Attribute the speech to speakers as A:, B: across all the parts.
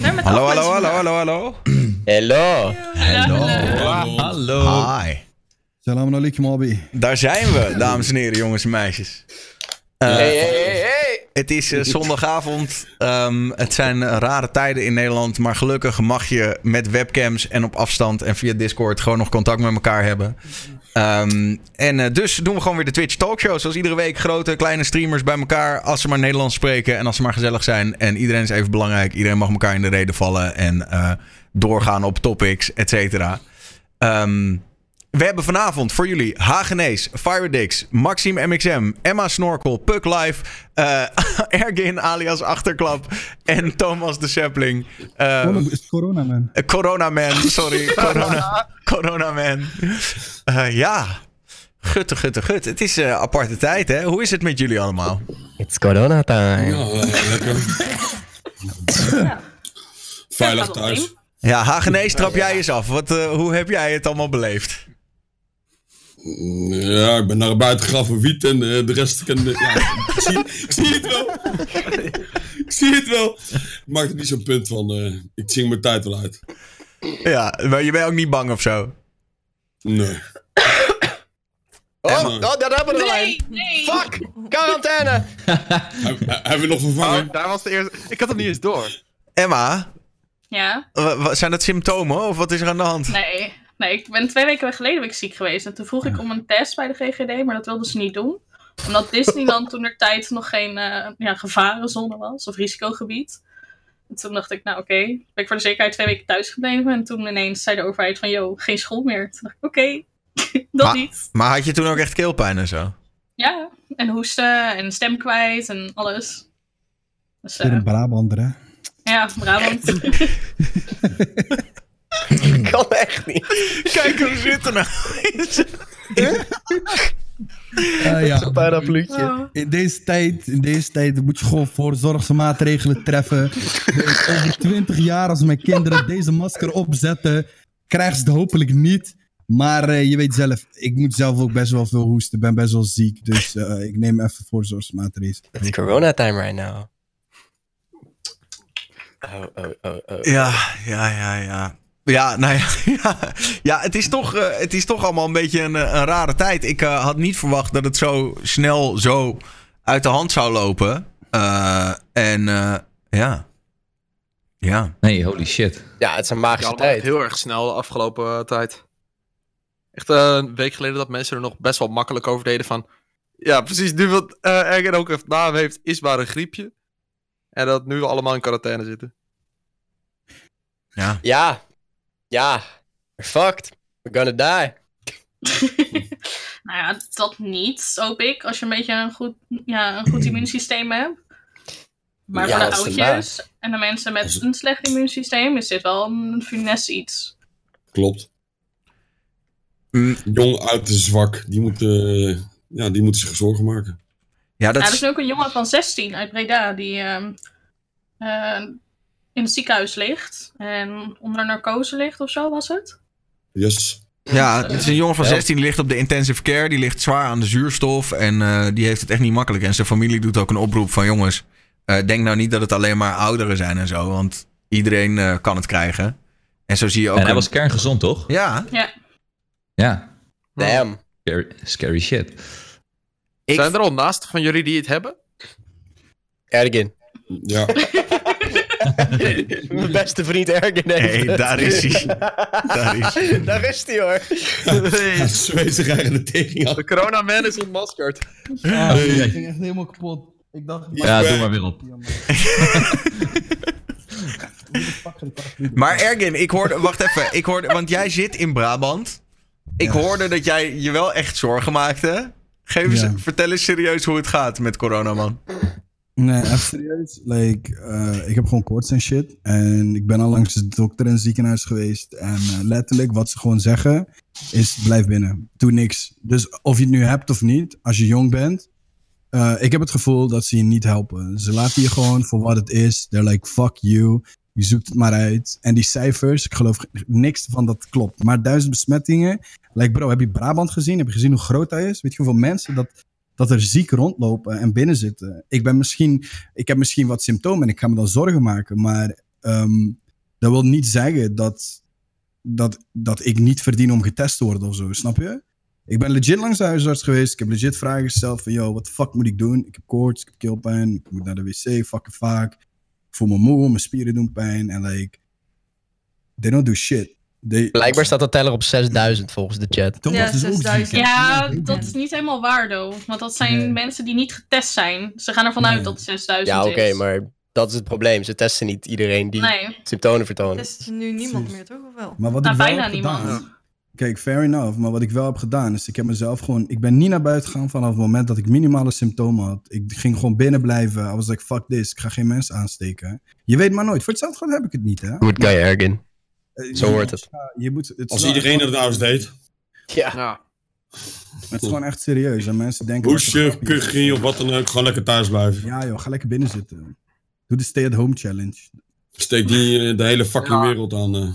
A: Hallo, hallo, hallo, hallo, hallo.
B: Hello.
C: Hallo.
A: Hallo.
D: Hi.
C: Salam alaikum, Abi.
A: Daar zijn we, dames en heren, jongens en meisjes. Eh,
B: Hey, hey, hey, hey.
A: Het is eh, zondagavond. Ehm, het zijn eh, rare tijden in Nederland. Maar gelukkig mag je met webcams en op afstand en via Discord gewoon nog contact met elkaar hebben. Ehm, en eh, dus doen we gewoon weer de Twitch Talkshow. Zoals iedere week grote, kleine streamers bij elkaar. Als ze maar Nederlands spreken en als ze maar gezellig zijn. En iedereen is even belangrijk. Iedereen mag elkaar in de reden vallen. En eh, doorgaan op topics, et cetera. Ehm, we hebben vanavond voor jullie Hagenees, Firedix, Maxim MXM, Emma Snorkel, Puck Live, eh, Ergin alias Achterklap en Thomas de Sapling. Eh,
C: Corona- is Oh, het corona, man?
A: corona Man, sorry. corona, corona Man. Eh, ja, gutte, gutte, gut. Het is eh, aparte tijd, hè? Hoe is het met jullie allemaal?
B: It's corona time.
E: Ja, eh, lekker. Veilig thuis.
A: Ja, Hagenees, trap jij eens af. Wat, eh, hoe heb jij het allemaal beleefd?
E: Mm, Ja, ik ben naar buiten gegaan voor wiet en eh, de rest kan... ja, ik, zie, ik zie het wel. ik zie het wel. Ik maak er niet zo'n punt van. eh, ik zing mijn tijd wel uit.
A: Ja, maar je bent ook niet bang of zo.
E: Nee.
B: Oh, oh, daar hebben we er
F: Nee,
B: een.
F: nee.
B: Fuck! Quarantaine!
E: Heb- he- Hebben we nog vervangen?
G: Oh, daar was de eerste. Ik had het niet eens door.
A: Emma,
F: Ja,
A: wa- wa- zijn dat symptomen of wat is er aan de hand?
F: nee. Nee, ik ben twee weken geleden ben ik ziek geweest. En toen vroeg ik om een test bij de GGD, maar dat wilden ze niet doen. Omdat Disneyland toen er tijd nog geen eh, ja, gevarenzone was, of risicogebied. En toen dacht ik, nou oké, ben ik voor de zekerheid twee weken thuis gebleven. En toen ineens zei de overheid van, yo, geen school meer. Toen dacht ik, oké, dat
A: Maar-
F: niet.
A: Maar had je toen ook echt keelpijn en zo?
F: Ja, en hoesten en stem kwijt en alles. Dus eh,
C: Hier in Brabant, hè?
F: ja, Brabant.
B: Kan echt niet.
A: Kijk hoe zitten nou.
C: Eh, ja.
B: Parapluutje.
F: Oh.
C: In deze, tijd, in deze tijd moet je gewoon voorzorgsmaatregelen treffen. Dus Over 20 jaar, als mijn kinderen deze masker opzetten, krijgen ze het hopelijk niet. Maar eh, je weet zelf, ik moet zelf ook best wel veel hoesten. ben best wel ziek, dus eh, ik neem even voorzorgsmaatregelen.
B: It's corona time right now. Oh, oh, oh, oh.
A: Ja, ja, ja, ja. Ja, nou ja, ja, ja het, is toch, eh, het is toch allemaal een beetje een, eh, een rare tijd. Ik eh, had niet verwacht dat het zo snel zo uit de hand zou lopen. Eh, en eh, ja. Ja.
H: Nee, holy shit.
B: Ja, het is een
G: Ja,
B: magische
G: allemaal echt
B: tijd.
G: heel erg snel de afgelopen eh, tijd. Echt eh, een week geleden dat mensen er nog best wel makkelijk over deden van... Ja, precies. Nu wat eh Ergen ook even naam heeft, is maar een griepje. En dat nu we allemaal in quarantaine zitten.
B: Ja. Ja. We're fucked. We're gonna die.
F: Nou ja, dat niet, hoop ik. Als je een beetje een goed, ja, een goed immuunsysteem hebt. Maar
B: Ja,
F: voor de
B: dat is
F: oudjes en de mensen
E: Dat
F: met
E: is-
F: een slecht immuunsysteem is dit wel een funest iets.
E: Klopt.
A: Mm.
E: Jong, uit en zwak. Die moeten, eh, ja, die moeten zich zorgen maken.
A: Ja, dat
F: Nou, er
A: is-
F: is nu ook een jongen van 16 uit Breda die ehm, eh, in het ziekenhuis ligt. En onder narcose ligt of zo was het.
E: Yes.
A: ja, het is een jongen van 16 die ligt op de intensive care. Die ligt zwaar aan de zuurstof. En eh, die heeft het echt niet makkelijk. En zijn familie doet ook een oproep van jongens. eh, denk nou niet dat het alleen maar ouderen zijn en zo. Want iedereen eh, kan het krijgen. En zo zie je ook.
H: En hij
A: een-
H: was kerngezond, toch?
A: Ja,
F: Ja,
H: Ja.
B: Damn.
H: Scary, scary shit.
A: Ik-
G: Zijn er al naast van jullie die het hebben?
B: Ergin.
E: Ja.
B: Mijn beste vriend Ergin heeft
A: Hey,
B: het.
A: daar is hij. Daar is hij.
B: Daar is hij hoor.
E: ja zweet zich eigenlijk de tering aan.
G: De corona man is ontmaskerd.
C: Ah, Ik ging echt helemaal kapot. Ik dacht,
H: Ja, doe maar weer op.
A: Maar Ergin, ik hoorde... Wacht even. Ik hoorde, want jij zit in Brabant. Ik hoorde dat jij je wel echt zorgen maakte. Geef eens,
C: Ja.
A: Vertel eens serieus hoe het gaat met corona, man.
C: Nee, echt serieus. Like, eh, ik heb gewoon koorts en shit. En ik ben al langs de dokter in het ziekenhuis geweest. En eh, letterlijk, wat ze gewoon zeggen, is blijf binnen. Doe niks. Dus of je het nu hebt of niet, als je jong bent. eh, ik heb het gevoel dat ze je niet helpen. Ze laten je gewoon voor wat het is. They're like, fuck you. Je zoekt het maar uit. En die cijfers, ik geloof niks van dat klopt. Maar duizend besmettingen. Like bro, heb je Brabant gezien? Heb je gezien hoe groot hij is? Weet je hoeveel mensen dat dat er ziek rondlopen en binnen zitten. Ik, ben misschien, ik heb misschien wat symptomen en ik ga me dan zorgen maken, maar ehm, Dat wil niet zeggen dat, dat, dat ik niet verdien om getest te worden of zo, snap je? Ik ben legit langs de huisarts geweest. Ik heb legit vragen gesteld van, yo, wat de fuck moet ik doen? Ik heb koorts, ik heb keelpijn, ik moet naar de wc, fucking vaak. Ik voel me moe, mijn spieren doen pijn. En like, they don't do shit. They,
D: Blijkbaar staat dat teller op 6000 volgens de chat.
C: Thomas
I: Ja,
C: is ook ziek,
I: 6000.
C: hè?
F: Ja,
C: ik
F: dat is niet helemaal waar, though. Want dat zijn
C: Nee.
F: mensen die niet getest zijn. Ze gaan ervan
C: Nee.
F: uit dat het 6000
B: Ja, oké,
F: is.
B: maar dat is het probleem. Ze testen niet iedereen die
F: Nee,
B: symptomen vertoont.
I: Test nu niemand
C: Precies.
I: meer, toch? Of wel?
C: Maar wat
F: nou,
C: ik wel
F: bijna
C: heb
F: niemand.
C: gedaan- Kijk, fair enough. Maar wat ik wel heb gedaan is, ik heb mezelf gewoon... Ik ben niet naar buiten gegaan vanaf het moment dat ik minimale symptomen had. Ik ging gewoon binnen blijven. I was like, fuck this. Ik ga geen mensen aansteken. Je weet maar nooit. Voor hetzelfde geld heb ik het niet, hè?
B: Good guy, Ergin.
C: Eh,
B: Zo
C: je-
B: hoort het.
C: ja, Je moet, het, is
E: Als
C: wel-
E: iedereen dat nou eens deed.
B: Ja.
G: Ja.
C: het is gewoon echt serieus. En mensen denken... dat het
E: Hoesje,
C: een grapje is.
E: kuchie of wat dan ook. Gewoon lekker thuis blijven.
C: Ja joh, ga lekker binnen zitten. Doe de stay-at-home challenge.
E: Steek niet eh, de hele fucking
G: Ja.
E: wereld aan. eh.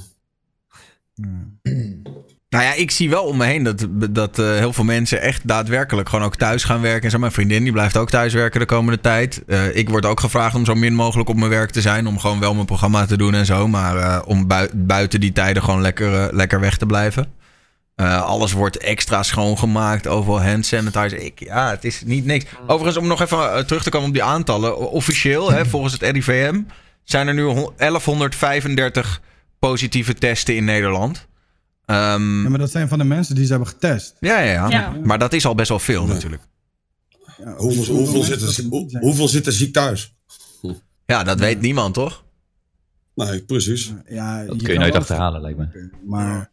C: Ja.
A: Nou ja, ik zie wel om me heen dat, dat eh, heel veel mensen echt daadwerkelijk gewoon ook thuis gaan werken. En zo, mijn vriendin die blijft ook thuis werken de komende tijd. Eh, ik word ook gevraagd om zo min mogelijk op mijn werk te zijn. Om gewoon wel mijn programma te doen en zo. Maar eh, om bui- buiten die tijden gewoon lekker, eh, lekker weg te blijven. Eh, alles wordt extra schoongemaakt. Overal hand sanitizer. Ik, ja, het is niet niks. Overigens, om nog even eh, terug te komen op die aantallen. O- Officieel, hè, volgens het RIVM, zijn er nu hon- 1135 positieve testen in Nederland. Ehm,
C: Ja, maar dat zijn van de mensen die ze hebben getest.
A: ja, ja, ja.
F: Ja.
A: Maar dat is al best wel veel
E: Ja.
A: natuurlijk.
C: Ja,
E: Hoeveel, hoeveel,
C: mensen dat
E: zitten,
C: er niet
E: hoe-
C: zijn.
E: hoeveel zitten ziek thuis?
A: Ja, dat weet niemand, toch?
E: Nee, precies.
C: Ja,
H: Dat
C: je
H: kun je
C: kan
H: nooit
C: wel-
H: achterhalen, lijkt me.
C: Maar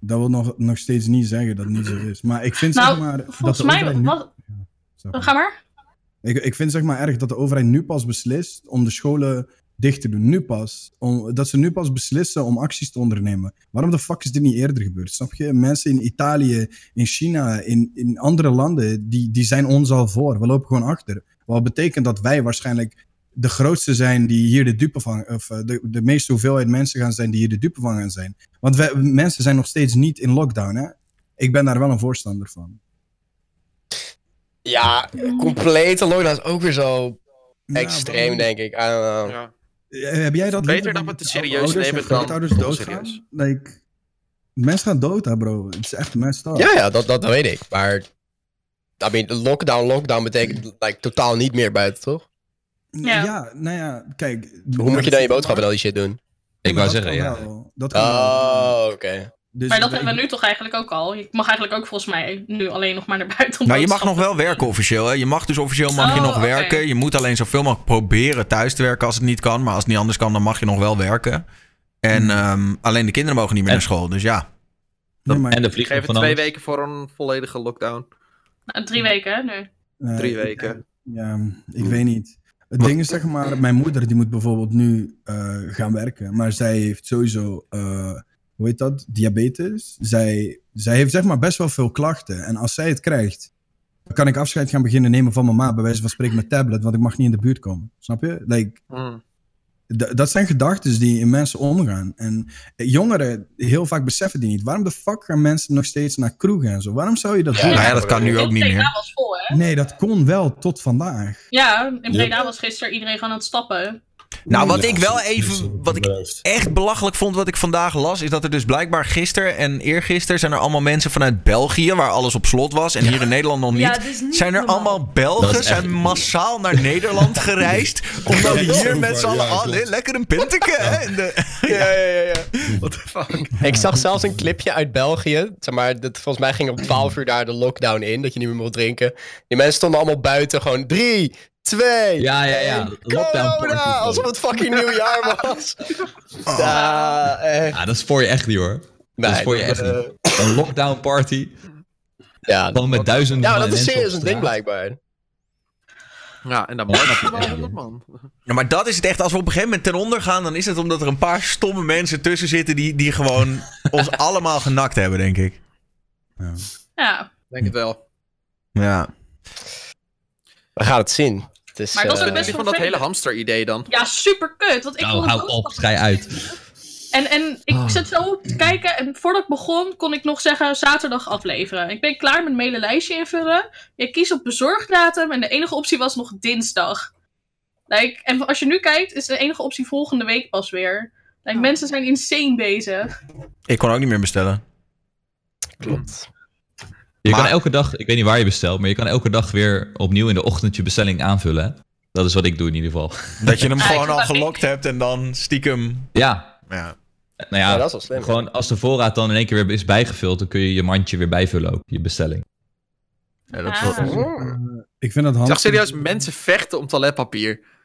C: dat wil nog, nog steeds niet zeggen dat het niet zo is. Maar ik vind
F: Nou,
C: zeg maar... dat de
F: volgens mij...
C: overheid nu-
F: Wat,
C: Zeg maar.
F: ga maar.
C: Ik, ik vind zeg maar erg dat de overheid nu pas beslist om de scholen dicht te doen. Nu pas. Om, dat ze nu pas beslissen om acties te ondernemen. Waarom de fuck is dit niet eerder gebeurd? Snap je? Mensen in Italië, in China, in, in andere landen, die, die zijn ons al voor. We lopen gewoon achter. Wat betekent dat wij waarschijnlijk de grootste zijn die hier de dupe van... Of eh, de, de meeste hoeveelheid mensen gaan zijn die hier de dupe van gaan zijn. Want wij, mensen zijn nog steeds niet in lockdown, hè? Ik ben daar wel een voorstander van.
B: Ja, complete lockdown is ook weer zo
C: Ja,
B: extreem,
C: waarom-
B: denk ik. I don't know.
G: ja.
C: Eh, Heb jij dat
G: Beter
C: liever
G: dat we
C: je
G: het serieus
C: ouders en
G: nemen dan
C: grootouders
G: onserieus.
C: doodgaan? Like, mensen gaan dood, hè, bro. Het is echt messed up.
B: Ja, ja dat, dat weet ik. Maar, I mean, lockdown, lockdown betekent like, totaal niet meer buiten, toch?
C: N-
F: Ja.
C: ja, nou ja, kijk.
B: Hoe moet je dan je boodschappen en al die shit doen?
H: Ik wou zeggen, ja.
C: Dat kan wel.
B: Oh, oké.
C: Dus
F: Maar dat
C: ik-
F: hebben we nu toch eigenlijk ook al. Ik mag eigenlijk ook volgens mij nu alleen nog maar naar buiten. om
A: Nou, je mag nog
F: boodschappen
A: wel werken officieel. Hè? Je mag dus officieel mag je
F: Oh,
A: nog
F: oké.
A: werken. Je moet alleen zoveel mogelijk proberen thuis te werken als het niet kan. Maar als het niet anders kan, dan mag je nog wel werken. En ehm, alleen de kinderen mogen niet meer
H: En-
A: naar school. Dus ja.
C: Nee, maar-
H: En de
G: Ik
H: vliegen
G: geef het
H: van
G: twee
H: alles.
G: weken voor een volledige lockdown.
F: Nou, drie weken, hè, nu.
C: eh,
G: Drie
C: ik-
G: weken.
C: Ja, ik weet niet. Het ding is, zeg maar, mijn moeder die moet bijvoorbeeld nu eh, gaan werken. Maar zij heeft sowieso, eh, hoe heet dat, diabetes. Zij, zij heeft zeg maar best wel veel klachten. En als zij het krijgt, dan kan ik afscheid gaan beginnen nemen van mijn ma. Bij wijze van spreken met tablet, want ik mag niet in de buurt komen. Snap je? Like,
G: Mm.
C: D- dat zijn gedachten die in mensen omgaan. En jongeren heel vaak beseffen die niet. Waarom de fuck gaan mensen nog steeds naar kroegen en zo? Waarom zou je dat
B: Ja,
C: doen?
A: Nou ja, dat kan nu ook niet meer.
F: Breda was vol, hè?
C: Nee, dat kon wel tot vandaag.
F: Ja, in Breda was gisteren iedereen gewoon aan het stappen.
A: Nou, wat
E: Ja,
A: ik wel
E: dat is
A: even. Wat ik
E: beleefd.
A: echt belachelijk vond wat ik vandaag las, is dat er dus blijkbaar gisteren en eergisteren zijn er allemaal mensen vanuit België, waar alles op slot was en hier in Nederland nog niet.
I: Ja, dat is niet
A: zijn er
I: normaal.
A: allemaal Belgen,
H: Dat is echt-
A: zijn massaal naar Nederland gereisd, omdat
E: Ja,
A: hier
E: ja,
A: met z'n allen,
E: ja,
A: ah,
E: klopt.
A: le- lekker een pinteke. hè, in de-
B: Ja, ja, ja. What the fuck? Ik zag zelfs een clipje uit België. Zeg maar, dat, volgens mij ging om 12 uur daar de lockdown in, dat je niet meer mocht drinken. Die mensen stonden allemaal buiten, gewoon drie, twee.
H: Ja, ja, ja.
B: één,
H: Lockdown
B: corona,
H: party.
B: Oh, nou, alsof het fucking nieuwjaar was. Ja, Ah, echt.
H: Ja, Ah, dat is voor je echt niet hoor. Dat is
B: Nee,
H: voor je echt
B: eh,
H: niet. Een lockdown party.
B: Ja,
H: Dan met duizenden
B: ja maar dat is
H: mensen op
B: serieus een
H: straat.
B: ding blijkbaar.
G: Ja, en dan bijna 200 man.
A: Ja, maar dat is het echt, als we op een gegeven moment ten onder gaan, dan is het omdat er een paar stomme mensen tussen zitten die, die gewoon ons allemaal genakt hebben, denk ik.
F: Ja,
G: Denk het wel.
A: Ja.
B: We gaan het zien. Het is,
F: Maar dat is
B: eh,
F: ook
G: Wat vind
F: best
G: je
F: wel
G: van dat hele
F: vervelend.
G: hamster-idee dan?
F: ja super kut. Want ik vond
H: Nou,
F: het
H: hou
F: ook
H: op, schij uit.
F: En, en ik
H: Ah.
F: zat zo te kijken en voordat ik begon kon ik nog zeggen zaterdag afleveren. Ik ben klaar met mailen lijstje invullen. Je kiest op bezorgdatum en de enige optie was nog dinsdag. Like, en als je nu kijkt is de enige optie volgende week pas weer. Like, Mensen zijn insane bezig.
A: Ik kon ook niet meer bestellen.
B: Klopt.
H: Je
A: Maar-
H: kan elke dag, ik weet niet waar je bestelt, maar je kan elke dag weer opnieuw in de ochtend je bestelling aanvullen. hè? Dat is wat ik doe in ieder geval.
A: Dat je hem gewoon al
F: Eigenlijk-
A: gelokt hebt en dan stiekem.
H: Ja,
A: Ja.
H: nou ja,
B: Ja, dat is wel slim.
H: gewoon als de voorraad dan in één keer weer is bijgevuld, dan kun je je mandje weer bijvullen ook, je bestelling.
G: Ja, dat is
F: Ah.
G: wel-
B: Oh.
C: Ik vind dat
G: Ik zag
C: handig.
G: serieus mensen vechten om toiletpapier.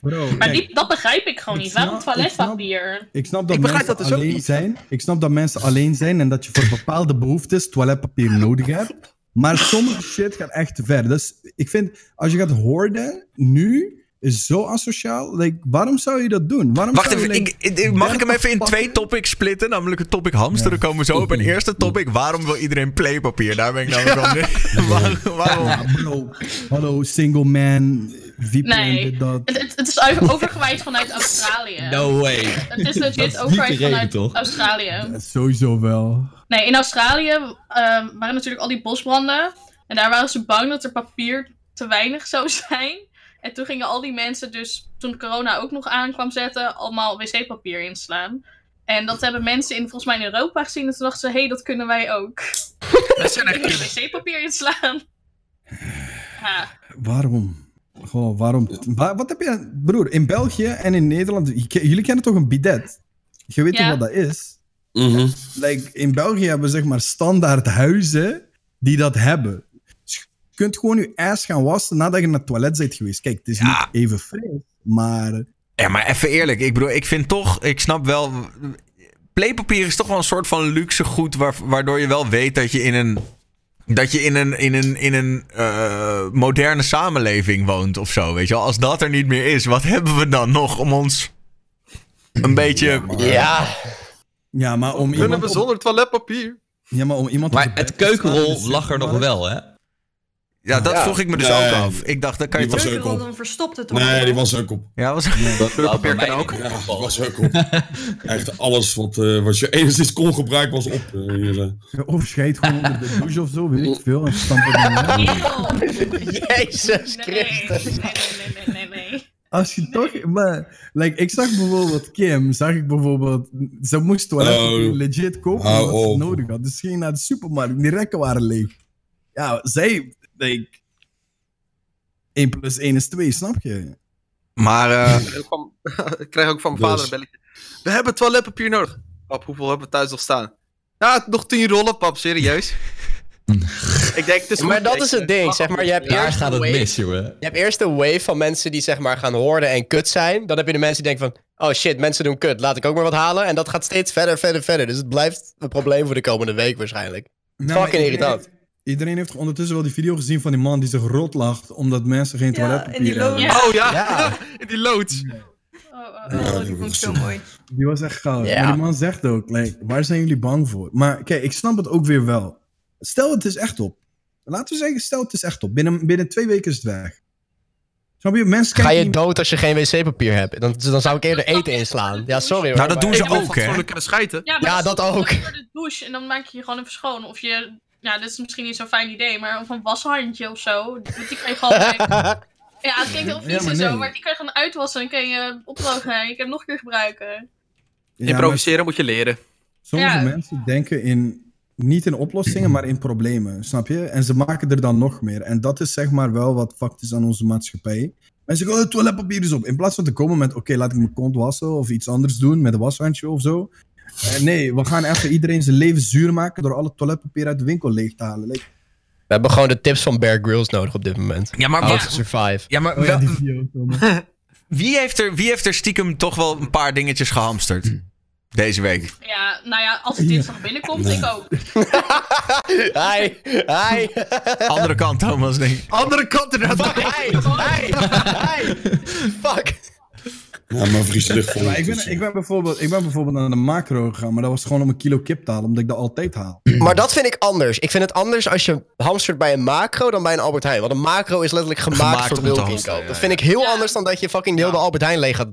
C: Bro,
F: Maar
C: kijk,
F: die, dat begrijp ik gewoon
C: Ik
F: niet.
C: snap-
F: Waarom
C: ik snap-
F: toiletpapier?
C: ik snap dat
G: Ik
C: mensen
G: begrijp dat dus ook
C: alleen
G: niet.
C: zijn. Ik snap dat mensen alleen zijn en dat je voor bepaalde behoeftes toiletpapier nodig hebt. Maar sommige shit gaat echt te ver. Dus ik vind, als je gaat hoorden, nu is zo asociaal. Like, waarom zou je dat doen? Waarom
A: Wacht
C: zou je,
A: even,
C: like-
A: ik, ik- mag ik hem even in twee topics splitten? Namelijk het topic hamsteren komen we zo op. En het eerste topic, waarom wil iedereen playpapier? Daar ben ik nou namelijk wel nu. Waarom?
F: Oh,
A: waarom?
C: Ja, bro. Nou, Hallo, single man, VPN,
F: Nee.
C: dit, dat.
F: Het, het, het is over- overgewijs vanuit Australië.
H: No way.
F: Het
H: Nou,
F: is
H: Dat is
F: legit
H: niet
F: overheid
H: de reden,
F: vanuit
H: toch?
F: Australië.
C: Ja, Sowieso wel.
F: Nee, in Australië ehm, waren natuurlijk al die bosbranden. En daar waren ze bang dat er papier te weinig zou zijn. En toen gingen al die mensen dus, toen corona ook nog aankwam zetten, allemaal wc-papier inslaan. En dat hebben mensen in, volgens mij in Europa gezien. En toen dachten ze, hé, hey, dat kunnen wij ook. Mensen kunnen wc-papier inslaan. Ja.
C: Waarom? Goh, waarom? Wa- wat heb je... Broer, in België en in Nederland... je ke- Jullie kennen toch een bidet? Je weet
F: Ja.
C: toch wat dat is?
E: Mhm.
C: Like, in België hebben we zeg maar standaard huizen die dat hebben. Dus je kunt gewoon je ass gaan wassen nadat je naar het toilet bent geweest. Kijk, het is
A: Ja.
C: niet even fris, maar...
A: Ja, maar even eerlijk. Ik bedoel, ik vind toch, ik snap wel. Playpapier is toch wel een soort van luxe goed. waar- waardoor je wel weet dat je in een. Dat je in een, in een, in een eh, moderne samenleving woont of zo. Weet je wel? Als dat er niet meer is, wat hebben we dan nog om ons. een beetje.
B: Ja,
C: Ja, maar om
G: Kunnen
C: iemand...
G: we
C: op-
G: zonder toiletpapier?
C: ja, maar om iemand op
H: Maar
C: de
H: het
C: bed te slaan is
H: keukenrol
C: super
H: lag er nog
C: mark.
H: wel, hè?
A: Ja, dat
B: Ja.
A: vroeg ik me dus
E: Nee.
A: ook af. Ik dacht, dan kan je
E: Die
A: toch.
E: was- ook
F: Nou,
I: Keukenrol,
E: op.
I: dan verstopt het toch?
E: Nee, die was ook op.
A: Ja, was.
H: Dat
G: Kleurpapier kan ook.
E: Ja, die was ook op. Echt alles wat, eh, wat je enigszins kon gebruiken was op. eh, hier, eh.
C: Of schijt gewoon onder de douche of zo, weet ik veel. En stamp het in.
B: Jezus
F: Nee,
B: Christus.
F: nee, nee, nee, nee, nee.
C: Als je toch, maar, like, ik zag bijvoorbeeld Kim, zag ik bijvoorbeeld, ze moest toiletpapier
E: Oh.
C: legit kopen
E: Hou
C: wat ze
E: op.
C: nodig had. Dus ze ging naar de supermarkt, die rekken waren leeg. Ja, zij, like, 1 plus 1 is 2, snap je? Nou,
A: Maar. eh,
G: Ik kwam- Ik kreeg ook van mijn
E: Dus.
G: vader een belletje. We hebben toiletpapier nodig. Pap, hoeveel hebben we thuis nog staan? Ja, nog tien rollen, pap, serieus. ik denk, het is
B: Maar
G: goed.
B: dat
G: Ik,
B: is het
G: eh,
B: ding,
G: mag
B: zeg
G: ook
B: maar. Je hebt
H: Daar
B: eerst
H: gaat
B: een
H: het
B: wave-
H: mis, jongen.
B: Je hebt eerst een wave van mensen die zeg maar gaan hoorden en kut zijn. Dan heb je de mensen die denken van, oh shit, mensen doen kut, laat ik ook maar wat halen. En dat gaat steeds verder, verder, verder. Dus het blijft een probleem voor de komende week waarschijnlijk.
C: Nou, maar
B: Fucking
C: iedereen
B: irritant.
C: heeft- Iedereen heeft ondertussen wel die video gezien van die man die zich rot lacht omdat mensen geen
I: Ja,
C: toiletpapier
I: en die
C: hebben.
E: eh.
I: loont.
G: Oh ja,
B: Ja.
G: in die loods.
F: Oh, oh, oh.
I: Oh, die vond ik zo mooi.
C: Die was echt goud.
B: Ja.
C: Maar die man zegt ook, like, waar zijn jullie bang voor? Maar kijk, ik snap het ook weer wel. Stel het is echt op. Laten we zeggen, stel het is echt op. Binnen, binnen twee weken is het weg. Snap je? Mensen
B: Ga
C: kijken
B: je
C: niet-
B: dood als je geen wc-papier hebt? Dan, dan zou ik eerder eten inslaan. Ja, sorry hoor.
A: Nou, dat
B: maar-
A: doen ze
G: Ik wil
A: ook, hè?
G: fatsoenlijk kunnen schijten.
F: Ja,
B: Ja,
F: maar
B: dat ook.
F: Door de douche en dan maak je je gewoon even schoon. Of je, nou, dit is misschien niet zo'n fijn idee, maar of een washandje of zo. Want die kan je gewoon. ja, het klinkt heel vies
C: maar
F: en zo,
C: nee.
F: maar die kan je gewoon uitwassen en kan je opdrogen. En je kan hem nog een keer gebruiken.
C: Ja, maar
G: Improviseren moet je leren.
C: sommige
F: Ja.
C: mensen denken in, niet in oplossingen, maar in problemen. Snap je? En ze maken er dan nog meer. En dat is zeg maar wel wat fact is aan onze maatschappij. Mensen zeggen, oh, toiletpapier is op. In plaats van te komen met, oké, laat ik mijn kont wassen of iets anders doen met een washandje of zo. Eh, nee, we gaan even iedereen zijn leven zuur maken door alle toiletpapier uit de winkel leeg te halen. Like,
B: We hebben gewoon de tips van Bear Grylls nodig op dit moment.
A: Ja, maar,
B: How
A: wa-
B: to Oh, survive.
A: ja, maar wel- wie, heeft er, wie heeft er stiekem toch wel een paar dingetjes gehamsterd?
B: Hmm.
A: Deze week.
F: Ja, nou ja, als het dinsdag binnenkomt, ik ook.
B: Hi, hi,
A: Andere kant, Thomas, denk ik.
G: Andere kant inderdaad.
B: fuck, hi, hi, hi. Fuck.
E: Ja, mijn vries ligt vol.
C: Maar ik ben, ik, ben bijvoorbeeld, ik ben bijvoorbeeld naar de macro gegaan, maar dat was gewoon om een kilo kip te halen, omdat ik dat altijd haal.
B: Maar dat vind ik anders. Ik vind het anders als je hamstert bij een macro dan bij een Albert Heijn. Want een macro is letterlijk gemaakt,
A: Gemaakt
B: voor
A: om te
B: bulk
A: hamsteren,
B: inkoop.
A: ja,
B: Dat vind ik heel
F: ja.
B: anders dan dat je fucking heel de Albert Heijn leeg gaat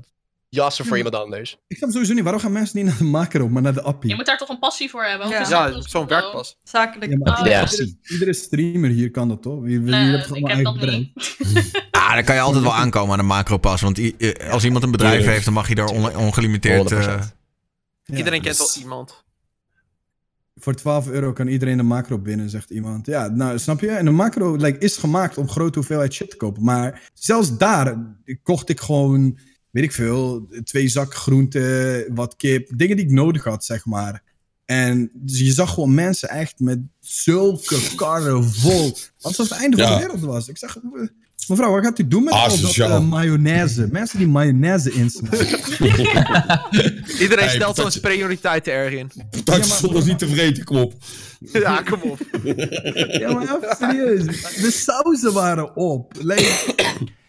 B: jassen
C: Hm.
B: voor iemand anders.
C: Ik snap sowieso niet, waarom gaan mensen niet naar de macro, maar naar de
F: Je
C: appie?
F: moet daar toch een passie voor hebben?
I: Ja.
F: anders
G: Ja,
F: is het
G: zo'n
F: gewoon-
G: werkpas.
I: Zakelijk.
C: Ja, maar
F: Oh,
C: iedere-
B: ja.
C: iedere, iedere streamer hier kan dat toch? Je, je
F: Nee,
C: hebt gewoon
F: ik
C: een
F: heb dat
C: eigen brein.
F: niet.
A: Ah, dan kan je altijd wel aankomen aan een macropas. Want i- eh, als iemand een bedrijf
E: Tuurlijk.
A: heeft, dan mag je daar on- ongelimiteerd... eh,
B: 100%.
C: Ja,
G: Iedereen kent
C: dus
G: wel iemand.
C: Voor 12 euro kan iedereen de macro binnen, zegt iemand. Ja, nou snap je? En de macro like, is gemaakt om grote hoeveelheid shit te kopen. Maar zelfs daar kocht ik gewoon, weet ik veel, twee zakken groente, wat kip. Dingen die ik nodig had, zeg maar. En dus je zag gewoon mensen echt met zulke karren vol. Alsof het einde van
E: Ja.
C: de wereld was. Ik zag, eh, mevrouw, wat gaat u doen met al dat
E: Asociaal.
C: eh, mayonaise? Mensen die mayonaise insmeren.
G: Iedereen
E: Hey,
G: stelt
E: dat
G: zo'n
E: je-
G: prioriteiten erg in.
E: Dat stond nog niet tevreden, kom op.
G: Ja, kom op.
C: Ja, maar even serieus. De sauzen waren op. Like,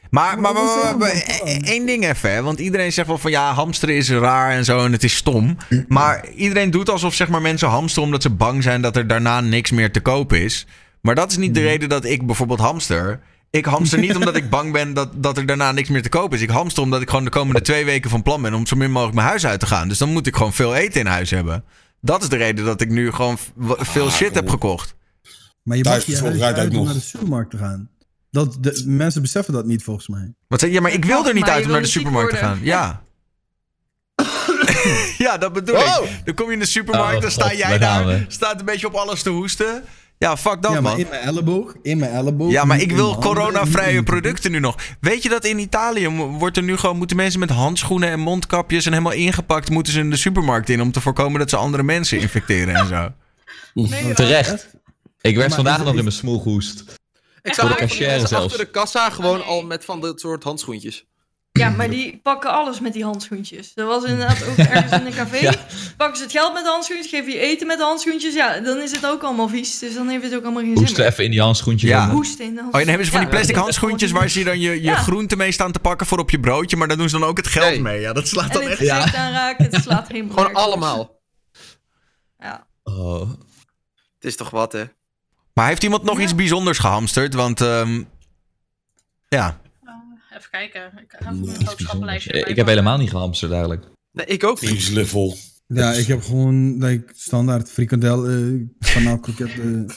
A: Maar, maar, maar,
C: Waarom
A: maar-
C: zijn we
A: maar-
C: dan
A: eh, eh, één ding even, hè, want iedereen zegt wel van ja, hamsteren is raar en zo en het is stom. Maar iedereen doet alsof zeg maar, mensen hamsteren omdat ze bang zijn dat er daarna niks meer te koop is. Maar dat is niet de reden dat ik bijvoorbeeld hamster. Ik hamster niet omdat ik bang ben dat, dat er daarna niks meer te koop is. Ik hamster omdat ik gewoon de komende twee weken van plan ben om zo min mogelijk mijn huis uit te gaan. Dus dan moet ik gewoon veel eten in huis hebben. Dat is de reden dat ik nu gewoon v- w- veel shit
E: kom
A: heb
E: op.
A: gekocht.
C: maar je mag je
E: Thuisbezorgd
C: huis
E: rijdt
C: uit
E: ook
C: om
E: nog.
C: naar de supermarkt te gaan. Dat, de, mensen beseffen dat niet, volgens mij.
A: Wat zeg je? Ja, maar ik wil
I: Wacht,
A: er niet
I: maar
A: uit
I: je
A: om naar de
I: wil niet ziek
A: supermarkt te gaan.
I: worden.
A: Ja. ja, dat bedoel
B: Wow.
A: ik. Dan kom je in de supermarkt,
H: Oh,
A: dan sta
H: God,
A: jij
H: daar gaan
A: daar,
H: we.
A: staat een beetje op alles te hoesten. Ja, fuck dat
C: ja, maar
A: man.
C: in mijn elleboog. In mijn elleboog.
A: ja, maar
C: niet
A: ik
C: in
A: wil
C: mijn handen, niet
A: coronavrije
C: in-
A: producten nu nog. Weet je dat in Italië mo- wordt er nu gewoon, moeten mensen met handschoenen en mondkapjes en helemaal ingepakt, moeten ze in de supermarkt in om te voorkomen dat ze andere mensen infecteren en zo.
F: Nee, joh.
H: Terecht. Ik werd
C: Maar
H: vandaag
C: is-
H: nog
C: is-
H: in mijn smoel gehoest.
G: Ik
F: Voor
G: zag
F: de
G: ook
F: cashier
G: mensen
H: zelfs.
G: achter de kassa gewoon
F: Nee.
G: al met van dat soort handschoentjes.
I: Ja, maar die pakken alles met die handschoentjes. Dat was inderdaad ook ergens in een café.
H: Ja.
I: Pakken ze het geld met de handschoentjes, geven je eten met de handschoentjes. Ja, dan is het ook allemaal vies. Dus dan heeft het ook allemaal geen zin
H: Hoesten even in die handschoentjes.
A: Ja.
I: meer.
H: jongen.
I: Hoesten in de
A: Oh, en dan hebben ze van die
I: Ja,
A: plastic
I: dat is
A: handschoentjes
I: gewoon
A: waar
I: niet-
A: ze dan je, je
I: Ja.
A: groenten mee staan te pakken voor op je broodje, maar dan doen ze dan ook het geld
G: Nee.
A: mee. Ja, dat slaat dan
I: En
A: echt
I: het gezicht aanraken, het slaat helemaal
G: Gewoon
I: nergens op.
G: allemaal.
I: Ja.
H: Oh.
G: Het is toch wat, hè?
A: Maar heeft iemand nog
I: Ja.
A: iets bijzonders gehamsterd? Want, ehm, ja.
F: Eh, even kijken. Ik heb een
E: Nee,
F: boodschappenlijstje. erbij
H: Ik heb
F: pakken.
H: helemaal niet gehamsterd eigenlijk.
G: Nee, ik ook niet.
E: Vrieslevel.
C: Ja, ik heb gewoon like, standaard frikandel, eh kanaalkroketten.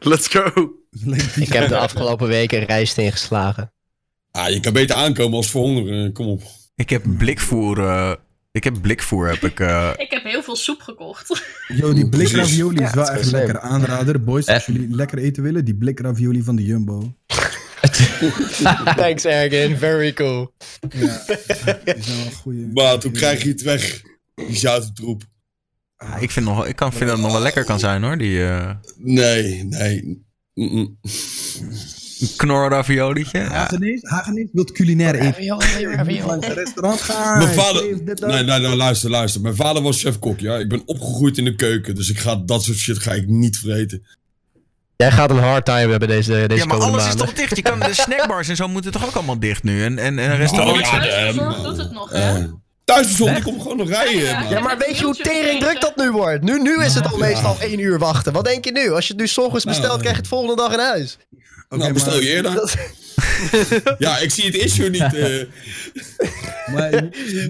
G: Let's go.
C: like, die-
B: Ik heb de afgelopen weken rijst ingeslagen.
E: Ah, je kan beter aankomen als verhongeren, eh, kom op.
A: Ik heb blikvoer. eh, ik heb blikvoer, heb ik. eh,
F: Ik heb heel veel soep gekocht.
C: Yo, die blik ravioli is wel echt
B: slim.
C: lekker. Aanrader, boys, als
H: Eh.
C: jullie lekker eten willen, die blik ravioli van de Jumbo.
B: Thanks, Ergin. Very cool.
C: Ja, die zijn wel goeie.
E: Maar toen krijg je het weg. Die zoute troep.
A: ah, ik vind, nog, ik kan, vind dat het nog wel lekker kan zijn hoor. Die eh
E: Nee, nee. Mm-mm.
A: knor raviolietje. Ja.
C: Hagenees, Hagenees wilt culinair eten. Langs een restaurant gaan.
E: Mijn vader...
C: geef dit, dat.
E: Nee, nee, nee, luister, luister. Mijn vader was chef-kok, ja. Ik ben opgegroeid in de keuken, dus ik ga, dat soort shit ga ik niet vreten.
B: Jij gaat een hard time hebben deze, deze
A: ja, maar
B: komende
A: alles is
B: maanden.
A: toch dicht? Je kan, de snackbars en zo moeten toch ook allemaal dicht nu? En, en, en een
E: Oh,
A: restaurant.
E: ja,
F: Thuisbezorgd
E: damn.
F: doet het nog, hè?
E: Eh Thuisbezorgd, ik kom gewoon nog rijden.
F: Ja,
E: man.
B: Ja, maar weet je hoe tering druk dat nu wordt? Nu, nu is het al meestal één uur wachten. Wat denk je nu? Als je het nu 's ochtends bestelt, krijg je het volgende dag in huis.
C: Nou, eh, Oké,
E: nou, bestel
C: maar-
E: je eerder.
B: Dat-
E: Ja, ik zie het issue niet. eh.
C: Maar,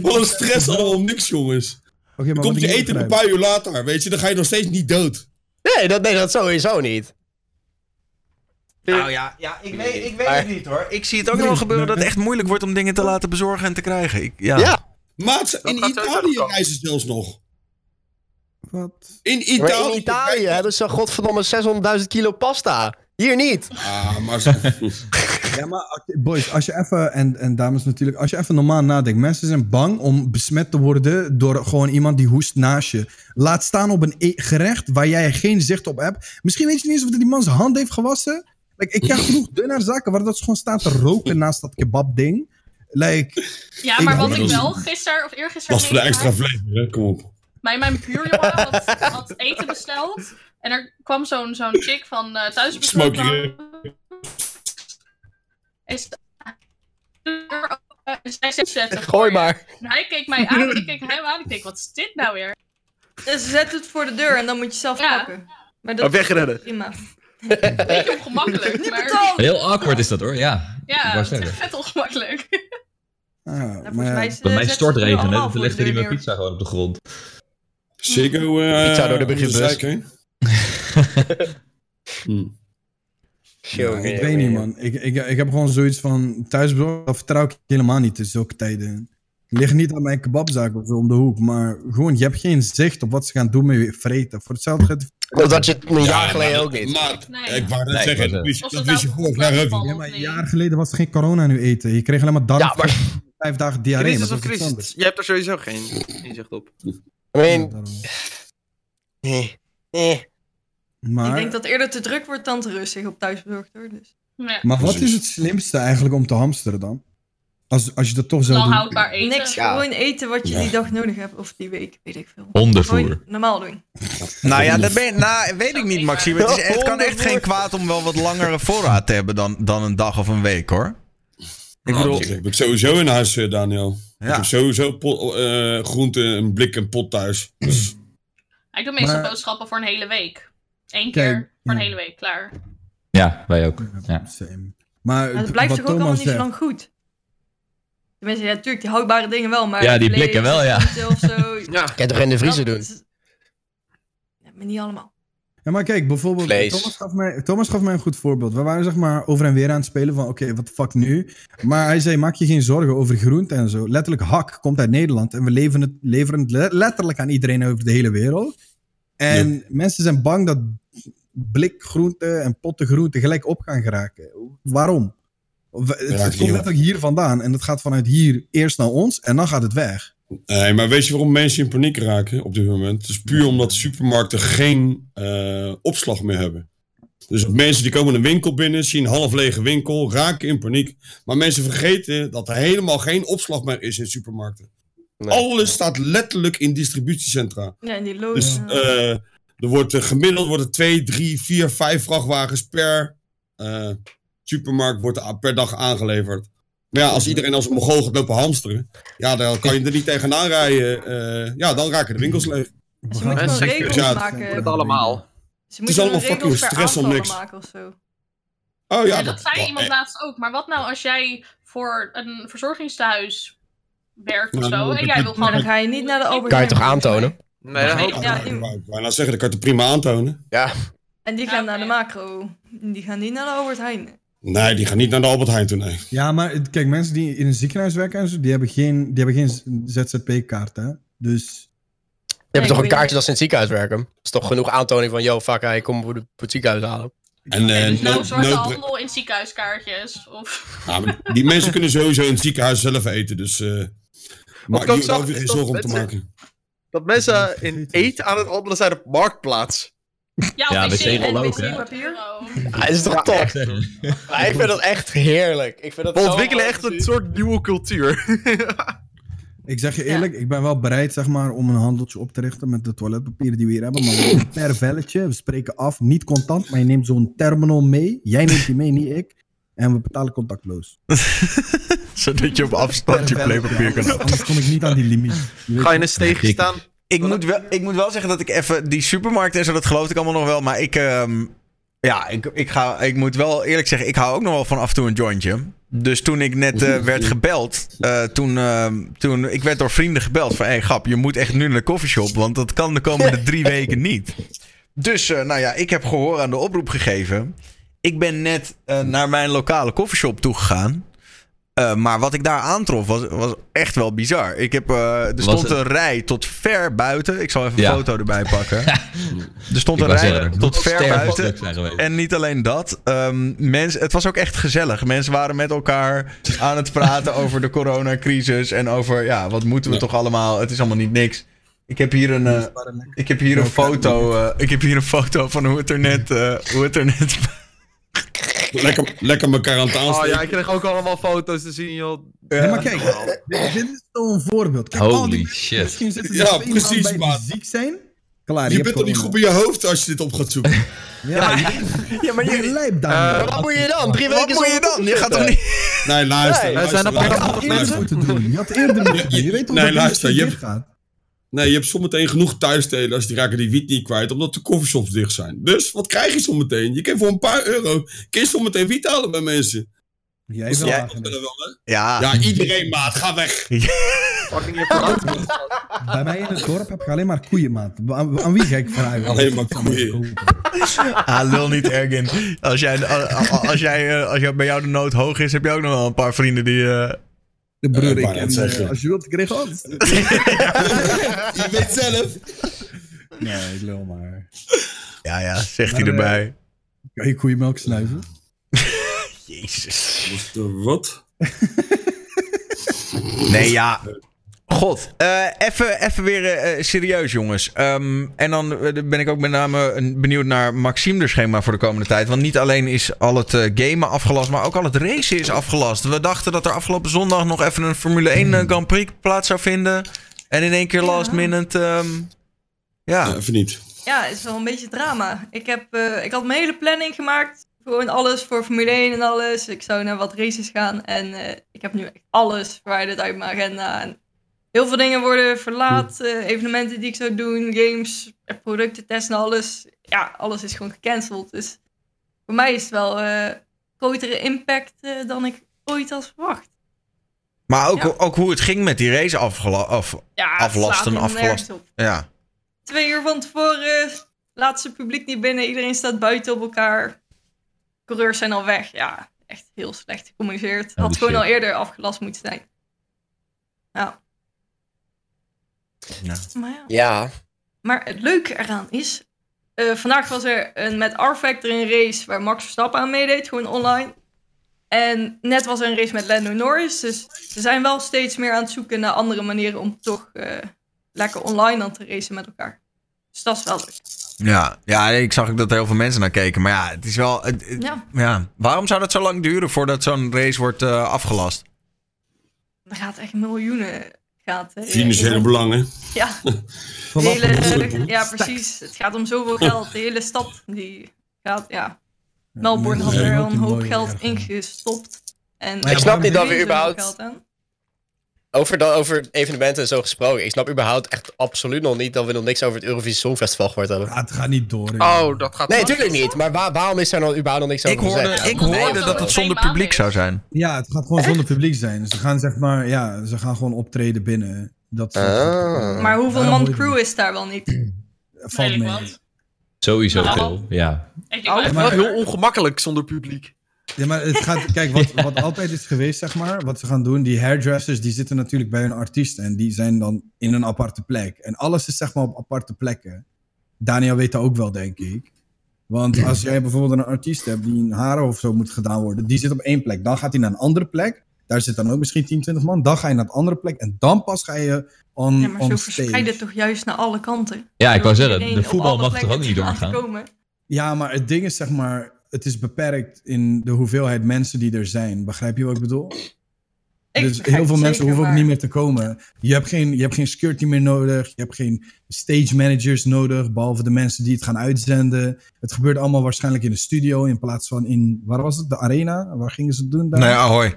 E: Wat een stress allemaal om niks, jongens.
C: Oké, maar
E: Komt
C: wat
E: je
C: ik niet
E: eten
C: begrijp-
E: een paar uur later, weet je, dan ga je nog steeds niet dood.
B: Nee, dat, nee, dat sowieso niet.
A: Nou ja, ja ik, weet, ik weet
B: Maar-
A: het niet hoor. Ik zie het ook nog wel
C: Nee,
A: gebeuren dat
C: nee.
A: het echt moeilijk wordt om dingen te laten bezorgen en te krijgen. Ik, ja.
B: Ja.
E: Maat, in
G: gaat sowieso nog
E: Italië
G: komen.
E: reizen ze zelfs nog.
C: Wat?
E: In
B: Maar
E: Italië.
B: in Italië hebben ze godverdomme 600.000 kilo pasta. Hier niet.
E: Ah, maar ze-
C: Ja, maar oké, boys, als je even, en, en dames natuurlijk, als je even normaal nadenkt. Mensen zijn bang om besmet te worden door gewoon iemand die hoest naast je. Laat staan op een e- gerecht waar jij geen zicht op hebt. Misschien weet je niet eens of die man zijn hand heeft gewassen. Like, ik krijg genoeg dunner zaken waar dat ze gewoon staan te roken naast dat kebabding. Like,
F: Ja, maar
C: Ik-
F: wat ik
E: Dat is-
F: wel gisteren of eergisteren
E: dat is voor de
F: meegemaakt-
E: extra vlees, hè? Kom op.
F: Mijn, mijn buurjongen had, had eten besteld. En er kwam zo'n zo'n chick van eh thuis bezorgd.
E: Smokey
F: Is is hij zet zetten.
B: Gooi maar.
F: En hij keek mij aan, ik keek hem aan. Ik denk, wat is dit nou weer?
I: Ja, Dus ze zetten het voor de deur en dan moet je zelf
F: Ja.
I: pakken. Maar dat
G: wegrennen.
I: is prima.
F: Beetje ongemakkelijk. maar,
I: Betaald!
H: Heel awkward is dat hoor, ja.
F: ja,
H: wou
F: het is echt
H: zeggen.
F: vet ongemakkelijk.
C: Ja,
I: volgens mij
C: Ah, maar
I: is-
H: Bij mij
I: zetten ze het nu
H: stortregende,
I: allemaal
H: dan
I: voor de
H: legde hij
I: deur
H: mijn
I: neer.
H: pizza gewoon op de grond.
E: Ziggo... eh,
B: Pizza door de
E: om
B: brievenbus.
E: zeik heen. Hm.
C: Ja, Hmm. Nou, ik weet niet, man. Ik, ik, ik heb gewoon zoiets van thuisbezorgd, dat vertrouw ik helemaal niet in zulke tijden. Het ligt niet aan mijn kebabzaak of zo om de hoek, maar gewoon, je hebt geen zicht op wat ze gaan doen met je vreten. Voor hetzelfde geld...
B: Dat had je het een jaar
E: Ja,
B: geleden
E: maar-
B: ook niet.
E: Maar,
F: Nee.
E: ik wou net
H: Nee,
B: eh,
E: zeggen,
H: ik
E: dat
H: wou
E: wist,
F: Of
E: dat
F: het
E: wist je
F: nou
E: vorig jaar ook
F: gevallen
E: niet.
F: of
C: Maar een
F: niet.
C: jaar geleden was er geen corona nu eten. Je kreeg alleen maar darm.
B: Ja, maar-
C: Vijf dagen diarree.
G: Christus
C: maar
G: of
C: dat is iets
G: Christus?
C: anders.
G: Je hebt er sowieso geen inzicht op.
B: I
C: Ja,
B: mean,
C: daarom.
B: nee. Nee.
C: Maar,
I: Ik denk dat eerder te druk wordt dan te rustig op thuisbezorgd hoor. Dus.
F: Ja.
C: maar wat
E: Precies.
C: is het slimste eigenlijk om te hamsteren dan? Als, als je dat toch zou
I: Nou,
F: Wel
C: doen.
F: houdbaar eten.
I: Niks,
B: Ja.
I: gewoon eten wat je
E: Ja.
I: die dag nodig hebt of die week, weet ik veel.
H: Hondenvoer.
I: Gewoon normaal doen.
A: Nou ja, dat ben, nou, weet ik niet, Maxime. Het, is- het kan echt geen kwaad om wel wat langere voorraad te hebben dan, dan een dag of een week, hoor. Ik bedoel,
E: Dat heb ik sowieso in huis, eh, Daniel. Ik
A: ja.
E: heb sowieso po- eh, groente, een blik en pot thuis. Dus,
F: Ik doe meestal
C: Maar-
F: boodschappen voor een hele week. Eén
C: Kijk,
F: keer voor een
C: ja.
F: hele week, klaar.
H: Ja, wij ook. Ja.
C: Same. Maar
I: Maar het
C: t-
I: blijft
C: wat
I: toch ook allemaal
C: Thomas
I: niet zo
C: zegt,
I: lang goed. Tenminste, ja, natuurlijk, die houdbare dingen wel, maar...
H: Ja, die
I: vlees,
H: blikken wel, ja.
I: groenten Of zo.
G: Ja,
B: Kan je toch in de vriezer
I: Dat
B: doen?
I: is- Ja, maar niet allemaal.
C: Ja, maar kijk, bijvoorbeeld
B: Vlees.
C: Thomas gaf, mij, Thomas gaf mij een goed voorbeeld. We waren zeg maar over en weer aan het spelen van, oké, wat de fuck nu? Maar hij zei, maak je geen zorgen over groente en zo. Letterlijk, hak komt uit Nederland en we leveren het, leveren het le- letterlijk aan iedereen over de hele wereld. En mensen zijn bang dat blik groente en potten groente gelijk op gaan geraken. Waarom? Of- Het,
E: Ja,
C: het
E: ik
C: komt
E: niet,
C: letterlijk hier vandaan en het gaat vanuit hier eerst naar ons en dan gaat het weg.
E: nee, Eh, maar weet je waarom mensen in paniek raken op dit moment? Het is puur omdat de supermarkten geen eh, opslag meer hebben. Dus mensen die komen een winkel binnen, zien een half lege winkel, raken in paniek. Maar mensen vergeten dat er helemaal geen opslag meer is in supermarkten.
B: Nee.
E: Alles staat letterlijk in distributiecentra.
I: Ja, en die lood.
E: Dus
I: Oh, ja.
E: eh, er wordt eh, gemiddeld worden 2, 3, 4, 5 vrachtwagens per eh, supermarkt wordt er a- per dag aangeleverd. Maar ja, als iedereen als een mogol gaat lopen hamsteren, ja, dan kan je er niet tegenaan rijden. eh, ja, dan raken de winkels leeg.
I: Dus je moet
G: gaan
I: gewoon
G: zeker-
I: regels
E: Ja, het-
I: maken.
G: het allemaal.
I: Ze moeten
E: is allemaal
I: gewoon regels
E: fucking
I: per
E: stress om
I: aantallen
E: niks.
I: maken of zo.
E: Oh
F: Ja,
E: ja,
F: dat zei iemand laatst ook. Maar wat nou als jij voor een verzorgingstehuis werkt of
E: Nou,
F: zo
E: dat-
F: en jij wil
I: Maar
F: gewoon...
I: dan ga je niet naar de Albert
B: Kan je toch
I: Heijn, volgens mij.
B: aantonen?
G: nee, dat
F: Nee.
G: hoop ik.
I: Ja,
E: Ja,
I: die-
E: ik wou bijna zeggen, dat kan je het prima aantonen.
B: Ja.
I: En die
F: Ja,
I: gaan
F: oké.
I: naar de macro. Die gaan niet naar de Albert Heijn.
E: Nee, die gaan niet naar de Albert Heijn toe, nee.
C: Ja, maar het- kijk, mensen die in een ziekenhuis werken en zo, die hebben geen, die hebben geen ZZP-kaart, hè? Dus
B: Je hebt
I: Nee,
B: toch een
I: ik weet
B: kaartje dat ze in het ziekenhuis werken? Dat is toch genoeg aantoning van, yo, fuck, hij komt voor de- voor het ziekenhuis halen.
E: En, eh,
F: Nee, dus nou
E: nood-
F: zorgt de
E: noodbre-
F: handel in ziekenhuiskaartjes. Of...
E: Ja, maar die mensen kunnen sowieso in het ziekenhuis zelf eten, dus... eh maar
G: dat
E: je
G: zag
E: hoeft je
G: ik
E: geen
G: dat
E: zorgen om te
G: mensen-
E: maken.
G: Dat mensen in eten aan het handelen zijn op marktplaats.
F: Ja,
H: Ja,
F: wc-
H: wc-rol
F: en
H: ook, hè?
F: wc-papier.
B: Ah, is toch top? Ah, ik vind dat echt heerlijk. Ik vind dat
G: We
B: zo
G: ontwikkelen
B: mooi
G: echt
B: om te
G: een
B: zien.
G: soort nieuwe cultuur.
C: ik zeg je eerlijk, ik ben wel bereid zeg maar, om een handeltje op te richten met de toiletpapieren die we hier hebben. Maar we doen per velletje, we spreken af, niet contant, maar je neemt zo'n terminal mee. Jij neemt die mee, niet ik. En we betalen contactloos.
A: Zodat je op afstand je playpapier kan
C: Anders- Anders kom ik niet aan die limiet. Je weet
G: Ga je in een steeg staan?
A: Ik moet, wel, ik moet wel zeggen dat ik even die supermarkt en zo, dat geloof ik allemaal nog wel. Maar ik, ehm, ja, ik, ik, ga, ik moet wel eerlijk zeggen, ik hou ook nog wel van af en toe een jointje. Dus toen ik net eh, werd gebeld, eh, toen, ehm, toen ik werd door vrienden gebeld van, hé hey, grap, je moet echt nu naar de coffeeshop, want dat kan de komende drie weken niet. Dus, eh, nou ja, ik heb gehoor aan de oproep gegeven. Ik ben net eh, naar mijn lokale coffeeshop toegegaan. Eh, maar wat ik daar aantrof was, was echt wel bizar. Ik heb, eh, er stond
H: het-
A: een rij tot ver buiten. Ik zal even
H: Ja.
A: een foto erbij pakken. er stond
H: Ik
A: een
H: wou
A: rij
H: zeggen, dat
A: tot
H: moet
A: ver
H: sterven
A: buiten.
H: druk zijn geweest.
A: En niet alleen dat. ehm, mens, het was ook echt gezellig. Mensen waren met elkaar aan het praten over de coronacrisis. En over, ja, wat moeten we
E: Ja.
A: toch allemaal? Nou, Het is allemaal niet niks. Ik heb hier een, eh,
C: maar lekker.
A: ik heb hier
B: Nou,
A: een foto, eh, ik heb hier een foto van hoe het er net, eh, hoe het er net
E: Lekker, lekker elkaar aan het
G: Oh
E: aansteken.
G: ja, ik kreeg ook allemaal foto's te zien, joh. Oh,
C: Nee, maar kijk, dit- dit is zo'n voorbeeld. Kijk, al die
H: Holy
E: Mm.
C: mensen,
H: shit.
C: Misschien zitten ze
E: Ja,
C: ja, precies,
E: precies,
C: bij die
E: maar-
C: ziek zijn. Klaar,
E: Je
C: hebt
E: bent toch niet
C: corona.
E: goed in je hoofd als je dit op gaat zoeken.
C: Ja, ja, maar je lijp daar.
B: Eh, Wat moet je dan? Drie
A: Wat
B: weken
A: moet je
B: zonder
A: dan? Je gaat toch
B: zitten?
A: niet...
E: Nee, luister.
B: Nee,
E: luister,
G: zijn dat
E: luister.
G: programma's?
E: Luister.
C: eerder moeten doen. Je had eerder moeten doen. Je weet toch
E: Nee,
C: dat
E: luister,
C: je
E: je
C: niet gaat.
E: Nee, je hebt zometeen genoeg thuistelers die raken die wiet niet kwijt omdat de coffeeshops dicht zijn. Dus wat krijg je zometeen? Je kan voor een paar euro kun je zometeen wiet halen bij mensen.
C: Jij
E: Dus
C: wel.
E: jij-
C: Hagen.
E: willen wel, hè?
A: Ja.
E: Ja, iedereen maat, ga weg.
C: Bij mij in het dorp heb ik alleen maar koeien, maat. Aan, aan wie ga ik vragen?
E: Alleen maar koeien.
A: Ah, lul niet, Ergin. Als, jij, a- a- als, jij, eh, als jou, bij jou de nood hoog is, heb je ook nog wel een paar vrienden die... eh,
C: De
E: Eh,
C: broer,
E: ik
C: ik
E: wou net
C: ken, eh,
E: zeggen.
C: Als je wilt, ik regel het.
E: Je weet zelf.
C: Nee, ik lul maar.
A: Ja, ja, zegt hij
C: Maar, eh,
A: erbij.
C: Kan je koeienmelk snuiven?
A: Jezus.
E: Dus, eh, Wat?
A: Nee, ja. God, eh, even even weer eh, serieus, jongens. Ehm, en dan eh, ben ik ook met name een- benieuwd naar Maxime de schema voor de komende tijd. Want niet alleen is al het eh, gamen afgelast, maar ook al het racen is afgelast. We dachten dat er afgelopen zondag nog even een Formule 1 eh, Grand Prix plaats zou vinden. En in één keer last minute. ehm, ja.
E: Ja, even niet.
I: Ja, het is wel een beetje drama. Ik, heb, eh, ik had mijn hele planning gemaakt. Gewoon alles voor Formule 1 en alles. Ik zou naar wat races gaan. En eh, ik heb nu echt alles verwijderd uit mijn agenda. En heel veel dingen worden verlaat. eh, evenementen die ik zou doen, games, eh, producten testen, alles. Ja, alles is gewoon gecanceld. Dus voor mij is het wel eh, grotere impact eh, dan ik ooit had verwacht.
A: Maar ook,
I: Ja.
A: ook hoe het ging met die race afgela- af.
I: Ja, het
A: Aflasten,
I: slaat helemaal
A: afgelast.
I: nergens op.
A: Ja.
I: Twee uur van tevoren, laat ze publiek niet binnen, iedereen staat buiten op elkaar. Coureurs zijn al weg. Ja, echt heel slecht gecommuniceerd. Had
E: dus
H: die
I: gewoon
H: shit.
I: al eerder afgelast moeten zijn. Ja.
A: Ja.
I: Maar, ja.
B: Ja.
I: maar het leuke eraan is, eh, vandaag was er een, met R-Factor een race waar Max Verstappen aan meedeed, gewoon online. En net was er een race met Lando Norris, dus ze zijn wel steeds meer aan het zoeken naar andere manieren om toch eh, lekker online dan te racen met elkaar. Dus dat is wel leuk.
A: Ja. ja, ik zag ook dat er heel veel mensen naar keken. Maar ja, het is wel. het- het-
I: Ja,
A: Ja, waarom zou dat zo lang duren voordat zo'n race wordt eh, afgelast?
I: er gaat echt miljoenen. Gaat, eh,
E: Financiële
I: in-
E: belangen.
I: Ja, de
C: Vanaf
I: hele, ja, precies. Het gaat om zoveel geld. De hele stad die gaat, ja. Melbourne had er
C: Ja.
I: al een hoop
C: Mooi,
I: geld
C: erg.
I: ingestopt. En
C: Maar ja,
I: Er
B: snap niet
I: is
B: dat we
I: zoveel
B: überhaupt-
I: geld aan.
B: Over, dan, over evenementen en zo gesproken. Ik snap überhaupt echt absoluut nog niet dat we nog niks over het Eurovisie Songfestival gehoord hebben.
E: Ah,
C: Ja, het gaat niet door. joh.
G: Oh, dat gaat
B: Nee, natuurlijk niet. Maar waar- waarom is daar dan überhaupt nog niks
A: Ik
B: over
A: hoorde,
B: gezegd?
A: ik
F: Nee,
A: hoorde
F: dat
A: dat het
F: het
A: zonder
F: geen baan
A: publiek
F: is.
A: zou zijn.
C: Ja, het gaat gewoon zonder publiek zijn. Ze gaan zeg maar, ja, ze gaan gewoon optreden binnen. Dat soort-
B: Ah.
I: Maar hoeveel
C: Daarom
I: man
C: hoor je
I: crew is daar wel niet?
C: het- Valt
F: Redelijk
C: mee.
F: wat.
H: Sowieso
F: Nou.
H: veel, ja.
F: Ik denk
G: Oh,
F: wel
G: het
F: echt-
G: is wel heel ongemakkelijk zonder publiek.
C: Ja, maar het gaat, kijk, wat, wat altijd is geweest, zeg maar, wat ze gaan doen, die hairdressers, die zitten natuurlijk bij hun artiesten en die zijn dan in een aparte plek. En alles is zeg maar op aparte plekken. Daniel weet dat ook wel, denk ik. Want als jij bijvoorbeeld een artiest hebt die een haren of zo moet gedaan worden, die zit op één plek. Dan gaat hij naar een andere plek. Daar zit dan ook misschien 10, 20 man. Dan ga je naar een andere plek en dan pas ga je on,
I: Ja, maar zo
C: on
I: verspreiden
C: stage.
I: toch juist naar alle kanten.
H: Ja, ik wou
I: Door
H: zeggen,
I: iedereen
H: de
I: op
H: voetbal
I: alle
H: mag toch ook
I: plekken
H: niet
I: te laten
H: doorgaan?
I: komen.
C: Ja, maar het ding is zeg maar, het is beperkt in de hoeveelheid mensen die er zijn. Begrijp je wat ik bedoel?
I: Ik
C: dus
I: begrijp
C: heel veel
I: het
C: mensen
I: zeker,
C: hoeven ook
I: maar-
C: niet meer te komen. Je hebt, geen, je hebt geen security meer nodig. Je hebt geen stage managers nodig. Behalve de mensen die het gaan uitzenden. Het gebeurt allemaal waarschijnlijk in de studio. In plaats van in, waar was het? De arena? Waar gingen ze het doen daar?
A: Nee, ahoy.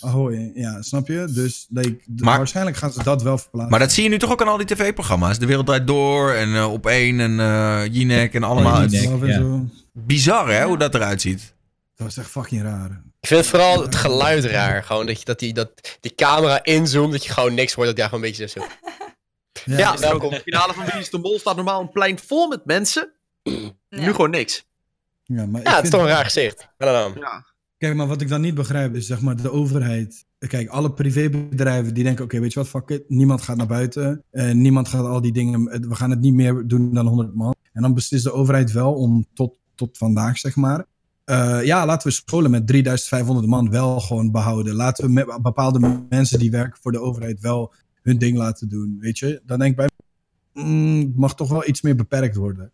C: Ahoy, ja, snap je? Dus like, d-
A: Maar-
C: waarschijnlijk gaan ze dat wel verplaatsen.
A: Maar dat zie je nu toch ook aan al die tv-programma's. De Wereld Draait Door en eh, Op één en eh Jinek en allemaal.
H: Ja,
A: Het
C: Love
A: is
H: Jinek.
C: en
H: ja.
C: zo.
A: Bizar hè, hoe dat eruit ziet.
C: Dat was echt fucking raar.
B: Ik vind vooral het geluid raar. Gewoon dat, je, dat, die, dat die camera inzoomt, dat je gewoon niks hoort. Dat jij gewoon een beetje zo... zo-
C: Ja.
B: Ja,
G: Ook in
B: welkom.
G: dus de finale van Wie is de Mol staat normaal een plein vol met mensen. Nu
I: Ja.
G: gewoon niks.
C: Ja, maar ik
B: Ja, het is
C: vind-
B: toch een raar gezicht. I don't know.
C: Kijk, maar wat ik dan niet begrijp is zeg maar de overheid. Kijk, alle privébedrijven die denken: oké, weet je wat, fuck it. Niemand gaat naar buiten. eh, niemand gaat al die dingen. het- We gaan het niet meer doen dan 100 man. En dan beslist de overheid wel om tot, tot vandaag, zeg maar. eh, ja, laten we scholen met 3500 man wel gewoon behouden. Laten we met bepaalde mensen die werken voor de overheid wel hun ding laten doen. Weet je, dan denk ik bij. mm, het mag toch wel iets meer beperkt worden.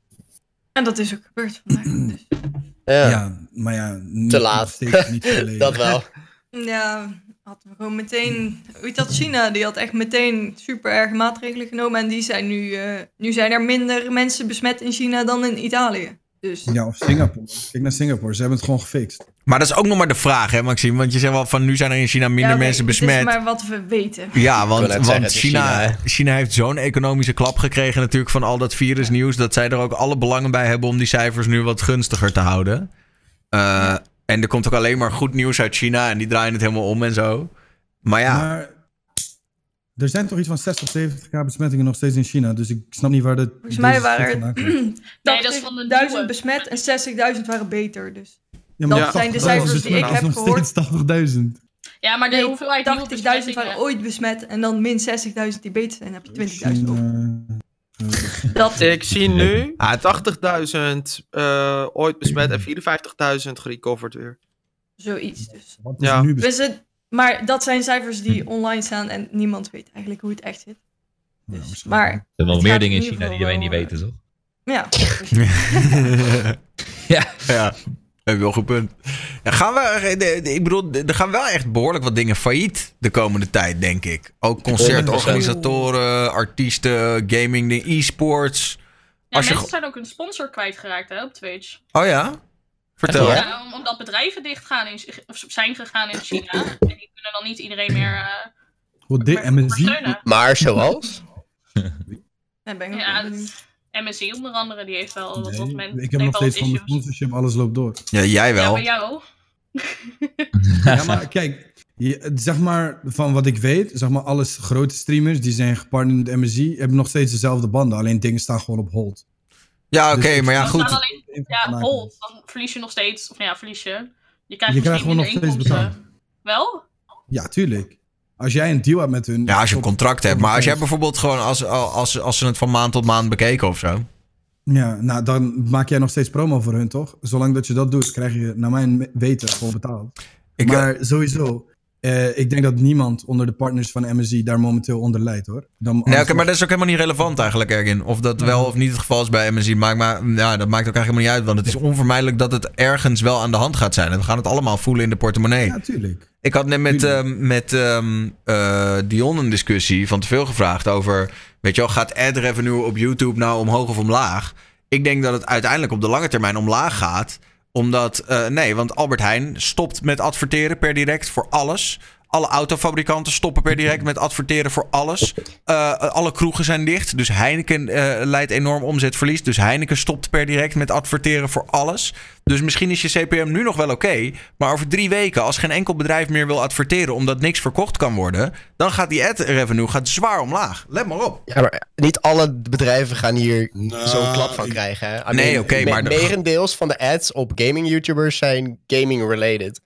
I: En dat is ook gebeurd vandaag. Dus.
B: Ja,
C: Ja, maar ja. niet-
B: Te laat.
C: nog steeds niet volledig.
B: dat wel.
I: Ja, hadden we gewoon meteen. Weet dat China, die had echt meteen super erge maatregelen genomen. En die zijn nu. eh, nu zijn er minder mensen besmet in China dan in Italië. Dus
C: Ja, of Singapore. Kijk naar Singapore. Ze hebben het gewoon gefixt.
A: Maar dat is ook nog maar de vraag hè Maxime. Want je zegt wel van nu zijn er in China minder
I: Ja, oké,
A: mensen
I: het is
A: besmet.
I: maar wat we weten.
A: Ja,
B: Ik
A: want,
B: wil net zeggen,
A: want
B: het is China,
A: China, China heeft zo'n economische klap gekregen natuurlijk van al dat virusnieuws. Dat zij er ook alle belangen bij hebben om die cijfers nu wat gunstiger te houden. Eh, En er komt ook alleen maar goed nieuws uit China en die draaien het helemaal om en zo. Maar ja,
C: Maar er zijn toch iets van 60 of 70k besmettingen nog steeds in China. Dus ik snap niet waar dat.
I: Volgens mij
C: deze
I: waren
C: shit vandaan
I: er
C: komt.
F: Nee, dat is van de
I: 1000
F: nieuwe.
I: besmet en 60.000 waren beter. Dus
C: Ja, dus
I: dat
C: maar
I: zijn de
C: 80.000
I: cijfers die ik
C: besmettingen
I: heb
C: is nog
I: gehoord.
C: steeds 80.000.
F: Ja, maar de
I: Nee,
F: hoeveelheid nieuwe
I: 80.000
F: besmettingen-
I: waren ooit besmet en dan min 60.000 die beter zijn, dan heb je 20.000 op.
C: China.
I: Dat
G: Ik zie nu
A: Ah,
G: 80.000 eh, ooit besmet en 54.000 gerecoverd weer.
I: zoiets dus.
C: Wat is
G: Ja.
C: nu besmet?
I: dus het, maar dat zijn cijfers die online staan en niemand weet eigenlijk hoe het echt zit.
C: Ja,
I: Dus,
C: misschien.
I: maar
H: Er zijn nog
I: Het
H: meer
I: gaat
H: dingen in
I: in ieder
H: China die wij
I: geval
H: niet
I: wel,
H: weten, toch?
I: ja, dus
H: Ja.
A: Ja, heb je wel een goed punt. Ja, gaan we, de- de- ik bedoel, de- er gaan wel echt behoorlijk wat dingen failliet de komende tijd, denk ik. Ook concertorganisatoren, artiesten, gaming, de e-sports.
F: Ja,
A: Als je
F: mensen
A: ge-
F: zijn ook hun sponsor kwijtgeraakt hè, op Twitch.
A: Oh ja? Vertel.
D: Echt waar?
F: Ja, om- omdat bedrijven dicht gaan in, Chi- of zijn gegaan in China. En die kunnen dan niet iedereen meer eh,
C: Wat dit MSI?
F: ondersteunen.
B: Maar zoals?
I: daar ben ik ook
F: Ja,
I: wel benieuwd.
F: MSI onder andere, die heeft wel wat, wat
C: Nee,
F: mensen.
C: ik heb nog steeds van mijn
F: issues.
C: sponsorship, alles loopt door.
A: Ja, jij
F: Ja,
A: wel.
F: bij jou.
C: Ja, maar kijk, je- zeg maar van wat ik weet, zeg maar alle grote streamers die zijn gepartnerd met MSI, hebben nog steeds dezelfde banden, alleen dingen staan gewoon op hold.
A: Ja, oké,
C: Dus-
A: maar ja,
F: Dan staan
A: goed.
F: alleen- ja, hold. Dan verlies je nog steeds. Of nou ja, verlies je. Je krijgt
C: Je
F: misschien
C: krijgt gewoon nog
F: minder
C: steeds
F: inkomsten.
C: betaald.
F: Wel?
C: Ja, tuurlijk. Als jij een deal hebt met hun.
A: Ja, als je een
C: op-
A: contract hebt. Maar als jij bijvoorbeeld gewoon, als, als, als ze het van maand tot maand bekeken of zo.
C: Ja, nou dan maak jij nog steeds promo voor hun, toch? Zolang dat je dat doet, krijg je, naar mijn me- weten, gewoon betaald.
A: Ik,
C: maar sowieso, eh, ik denk dat niemand onder de partners van MSI daar momenteel onder lijdt, hoor. Dan
A: Nee,
C: alles-
A: oké, maar dat is ook helemaal niet relevant eigenlijk, Ergin. Of dat wel of niet het geval is bij MSI. Maakt maar, ja, dat maakt ook eigenlijk helemaal niet uit. Want het is onvermijdelijk dat het ergens wel aan de hand gaat zijn. En we gaan het allemaal voelen in de portemonnee.
C: Ja, tuurlijk.
A: Ik had net met,
C: Tuurlijk.
A: ehm, met ehm, eh, Dion een discussie van te veel gevraagd over... Weet je wel, gaat ad revenue op YouTube nou omhoog of omlaag? Ik denk dat het uiteindelijk op de lange termijn omlaag gaat. Omdat, eh, nee, want Albert Heijn stopt met adverteren per direct voor alles. Alle autofabrikanten stoppen per direct met adverteren voor alles. Eh, alle kroegen zijn dicht. Dus Heineken eh, leidt enorm omzetverlies. Dus Heineken stopt per direct met adverteren voor alles. Dus misschien is je CPM nu nog wel oké. maar over drie weken, als geen enkel bedrijf meer wil adverteren. omdat niks verkocht kan worden. dan gaat die ad revenue gaat zwaar omlaag. Let maar op.
B: Ja, maar niet alle bedrijven gaan hier
E: Nou,
B: zo'n klap van
E: ik-
B: krijgen. Hè? I
A: Nee,
B: mean,
A: oké,
B: me-
A: maar de-
B: Merendeels van de ads op gaming-YouTubers zijn gaming-related.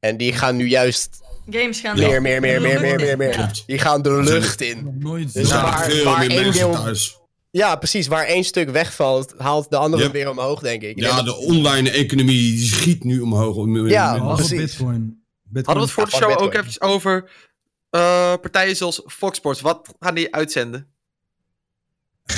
B: En die gaan nu juist
I: Games gaan dus
E: Ja.
B: meer, meer, meer, meer, meer, meer, meer.
E: Klopt.
B: Die gaan de lucht in.
C: Nog nooit
B: Dus
E: Ja,
B: waar-
E: veel
B: waar
E: meer
B: één
E: mensen
B: deel-
E: thuis.
B: Ja, precies. Waar één stuk wegvalt, haalt de andere
E: Yep.
B: weer omhoog, denk ik. Ik
E: Ja,
B: denk
E: de
B: dat-
E: online economie die schiet nu omhoog.
B: Ja,
C: Behalve
B: precies.
C: Bitcoin. Bitcoin.
G: Hadden we het voor de
B: Ja,
G: show ook
B: Bitcoin.
G: eventjes over eh, partijen zoals Fox Sports. Wat gaan die uitzenden?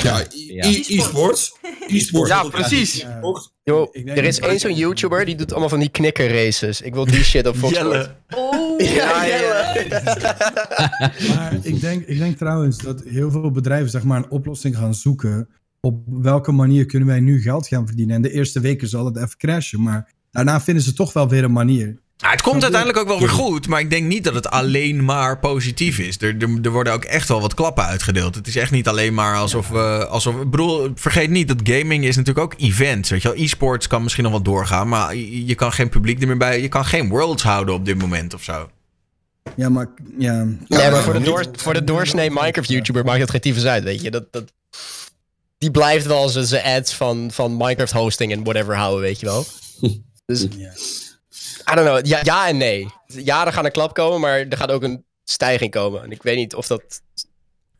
E: Ja, e- e- e-sports. E-sports.
G: Ja, precies.
C: Ja.
E: Ook-
B: Yo,
C: Ik denk
B: er is
C: dat-
B: één zo'n YouTuber die doet allemaal van die knikker-races. Ik wil die shit op Fox Sports.
I: Oh,
B: Ja, Jelle.
C: Maar ik denk, ik denk trouwens dat heel veel bedrijven zeg maar, een oplossing gaan zoeken. Op welke manier kunnen wij nu geld gaan verdienen? En de eerste weken zal het even crashen, maar daarna vinden ze toch wel weer een manier.
A: Ah, het komt uiteindelijk ook wel weer goed. maar ik denk niet dat het alleen maar positief is. Er, er, er worden ook echt wel wat klappen uitgedeeld. Het is echt niet alleen maar alsof we. Alsof, ik bedoel, vergeet niet dat gaming is natuurlijk ook events. Weet je wel, e-sports kan misschien nog wel doorgaan. maar je, je kan geen publiek er meer bij. Je kan geen worlds houden op dit moment of zo.
C: Ja, maar ja,
B: Nee, maar
E: Ja,
B: voor de,
E: niet-
B: doors, voor de doorsnee Minecraft-YouTuber maakt het geen tyfus uit, weet je. Dat, dat, die blijft wel zijn- zijn ads van, van Minecraft-hosting en whatever houden, weet je wel. Dus, I don't know. Ja, ja en nee. Ja, er gaat een klap komen, maar er gaat ook een stijging komen. En ik weet niet of dat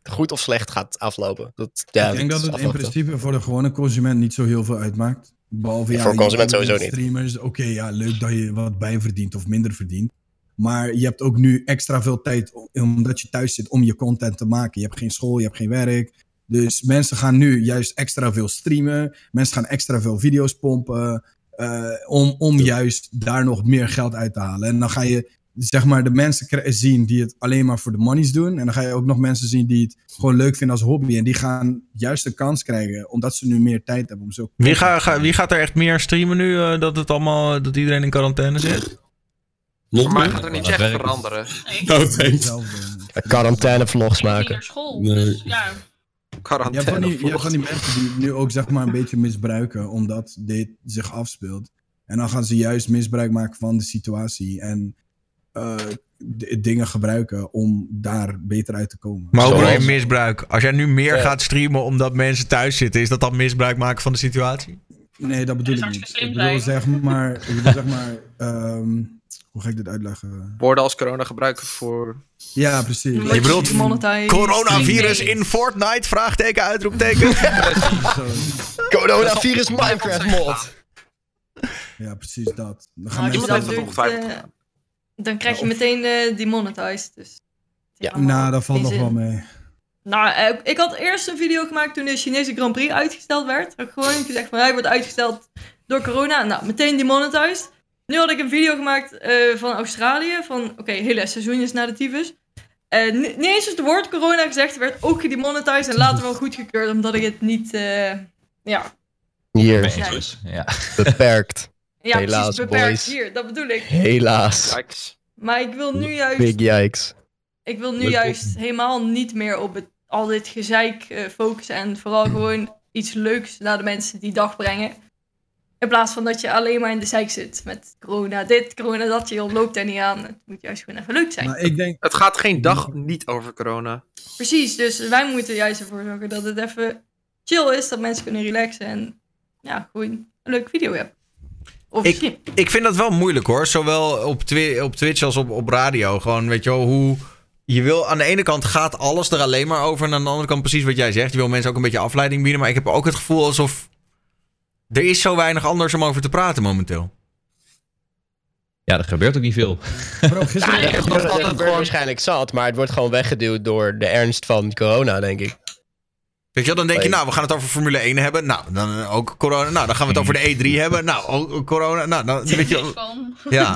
B: goed of slecht gaat aflopen. Dat, ja,
C: ik denk dat
B: is
C: het in
B: afwachten.
C: principe voor de gewone consument niet zo heel veel uitmaakt. Behalve ja,
B: Voor
C: je
B: consument sowieso niet.
C: Streamers, oké, ja, leuk dat je wat bijverdient of minder verdient. Maar je hebt ook nu extra veel tijd, o- omdat je thuis zit, om je content te maken. Je hebt geen school, je hebt geen werk. Dus mensen gaan nu juist extra veel streamen. Mensen gaan extra veel video's pompen. eh, om om juist daar nog meer geld uit te halen. En dan ga je zeg maar, de mensen kri- zien die het alleen maar voor de monies doen. En dan ga je ook nog mensen zien die het gewoon leuk vinden als hobby. En die gaan juist de kans krijgen, omdat ze nu meer tijd hebben om zo...
A: Wie, ga- ga- wie gaat er echt meer streamen nu eh, dat het allemaal eh, dat iedereen in quarantaine zit?
E: Nog
G: Voor mij
E: meer?
G: gaat er niet
H: dat
G: echt
H: werkt.
G: veranderen.
F: Nee, ik
E: Nou, thanks.
C: Hetzelfde.
B: Quarantaine-vlogs
F: ging
B: maken.
F: naar school.
E: Nee.
F: Dus, ja.
C: Je hebt, van
G: Quarantaine
C: die, je hebt van
G: volgt.
C: die mensen die het nu ook zeg maar een beetje misbruiken omdat dit zich afspeelt. En dan gaan ze juist misbruik maken van de situatie. En eh, d- dingen gebruiken om daar beter uit te komen.
A: Maar hoe bedoel je
C: Zoals-
A: misbruik? Als jij nu meer
C: Ja.
A: gaat streamen omdat mensen thuis zitten, is dat dan misbruik maken van de situatie?
C: Nee, dat bedoel ik niet. Ik bedoel, zeg maar, ik bedoel, zeg maar ehm, hoe ga ik dit uitleggen?
G: Woorden als corona gebruiken voor...
C: Ja, precies.
G: Je Emoties bedoelt monetize.
A: Coronavirus in Fortnite? Vraagteken, uitroepteken.
B: Coronavirus Minecraft mod.
C: Ja, precies dat. Dan
I: Nou, als
C: mensen-
I: je dat doet, eh, dan krijg je meteen eh demonetized. Dus
C: Ja. Nou, dat valt
I: Geen
C: nog wel
I: zin.
C: mee.
I: Nou, eh, ik had eerst een video gemaakt toen de Chinese Grand Prix uitgesteld werd. Heb ik gewoon gezegd van hij wordt uitgesteld door corona. Nou, meteen demonetized. Nu had ik een video gemaakt eh, van Australië. Van oké, hele seizoen is naar de tyfus. Eh, ni- niet eens het woord corona gezegd werd ook gedemonetized en later wel goedgekeurd omdat ik het niet. eh, ja,
B: Hier.
I: Ja.
H: Ja.
B: Beperkt.
I: ja
B: Helaas,
I: precies beperkt
B: boys.
I: hier, dat bedoel ik.
B: Helaas.
I: Maar ik wil nu juist
B: Big yikes.
I: Ik wil nu
B: Leuk
I: juist helemaal niet meer op het, al dit gezeik eh, focussen. En vooral gewoon iets leuks naar de mensen die dag brengen. In plaats van dat je alleen maar in de zeik zit met corona dit, corona dat. Je ontloopt er niet aan. Het moet juist gewoon even leuk zijn.
C: ik denk...
G: Het gaat geen dag niet over corona.
I: Precies, dus wij moeten juist ervoor zorgen dat het even chill is. Dat mensen kunnen relaxen en ja, gewoon een leuke video hebben. Of
A: Ik, ik vind dat wel moeilijk hoor. Zowel op, Twi- op Twitch als op, op radio. Gewoon, weet je wel, hoe. Je wil aan de ene kant gaat alles er alleen maar over. En aan de andere kant, precies wat jij zegt. Je wil mensen ook een beetje afleiding bieden. Maar ik heb ook het gevoel alsof. Er is zo weinig anders om over te praten momenteel.
H: Ja, er gebeurt ook niet veel.
C: Bro, gisteren...
B: Het wordt waarschijnlijk zat, maar het wordt gewoon weggeduwd door de ernst van corona, denk ik.
A: Weet je wel, dan denk je,
B: Nee.
A: nou, we gaan het over Formule 1 hebben. Nou, dan eh, ook corona. Nou, dan gaan we het over de E3 hebben. Nou, ook corona. Nou, dan weet je wel.
F: Van-
A: Ja.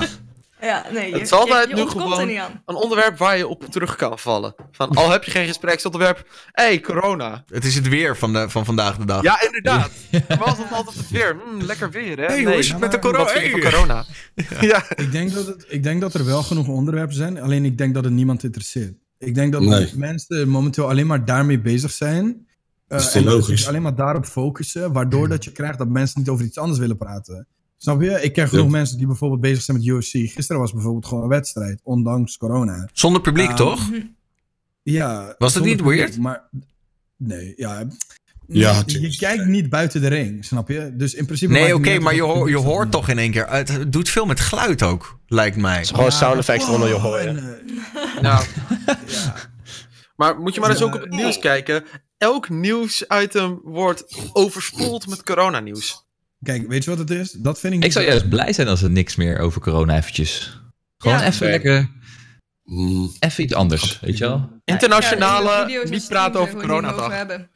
I: Ja, nee, je,
G: Het is altijd
I: je, je
G: nu
I: ontkomt er
G: gewoon-
I: niet aan.
G: Een onderwerp waar je op terug kan vallen. Van, al heb je geen gespreksonderwerp. Hé, hey, corona.
A: Het is het weer van, de, van vandaag de dag.
G: Ja, inderdaad. Er was het altijd het weer. Hm, lekker weer, hè?
A: Hey, hoe is het met de corona?
G: Wat vind je van
A: Hey.
G: corona? Ja.
C: Ik denk, dat het, ik denk dat er wel genoeg onderwerpen zijn, alleen ik denk dat het niemand interesseert. Ik denk dat
E: Nee.
C: mensen momenteel alleen maar daarmee bezig zijn. eh,
E: is toch
C: en dat
E: logisch? Hmm.
C: ze alleen maar daarop focussen, waardoor dat je krijgt dat mensen niet over iets anders willen praten. Snap je? Ik ken genoeg
E: Ja.
C: mensen die bijvoorbeeld bezig zijn met UFC. Gisteren was bijvoorbeeld gewoon een wedstrijd, ondanks corona.
A: Zonder publiek,
C: Ja.
A: toch?
C: Ja.
A: Was dat
C: zonder
A: niet
C: publiek,
A: weird?
C: Maar nee, ja.
E: Ja,
C: je,
E: tuurlijk.
C: kijkt niet buiten de ring, snap je? Dus in principe. maakt
A: Nee,
C: het
A: oké,
C: niet uit
A: maar
C: of
A: je,
C: het
A: hoor- je
C: publiek staat of
A: hoort
C: niet.
A: toch in één keer. Het het doet veel met geluid ook, lijkt mij.
B: Gewoon
C: Ja,
B: sound effects eronder joh.
C: oh,
B: gooien.
C: en, eh,
G: Nou,
C: ja.
G: maar moet je maar eens
C: Ja.
G: ook op het nieuws kijken. Elk nieuwsitem wordt overspoeld met coronanieuws.
C: Kijk, weet je wat het is? Dat vind ik niet.
H: Ik zou juist blij zijn als er niks meer over corona eventjes. Gewoon
I: Ja.
H: even lekker,
E: Mm,
H: even iets anders, weet je wel?
G: Internationale,
I: Ja, video's en
G: niet
I: streams
G: praten over
I: daar gewoon niet meer
G: coronadag.
I: over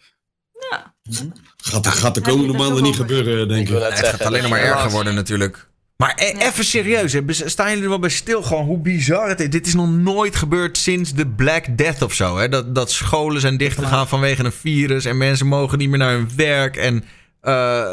I: hebben. Ja,
E: gaat, gaat de
I: Ja,
E: komende
I: dat is
E: maanden
I: ook
E: niet
I: wel-
E: gebeuren, denk
B: Ik wil
E: ik.
B: net
A: Het gaat
B: zeggen.
A: alleen nog maar
G: Ja.
A: erger worden natuurlijk. Maar e-
I: Ja.
A: even serieus, hè, bes- staan jullie er wel bij stil gewoon hoe bizar het is? Dit is nog nooit gebeurd sinds de Black Death of zo. Hè? Dat, dat scholen zijn dichtgegaan vanwege een virus en mensen mogen niet meer naar hun werk en eh,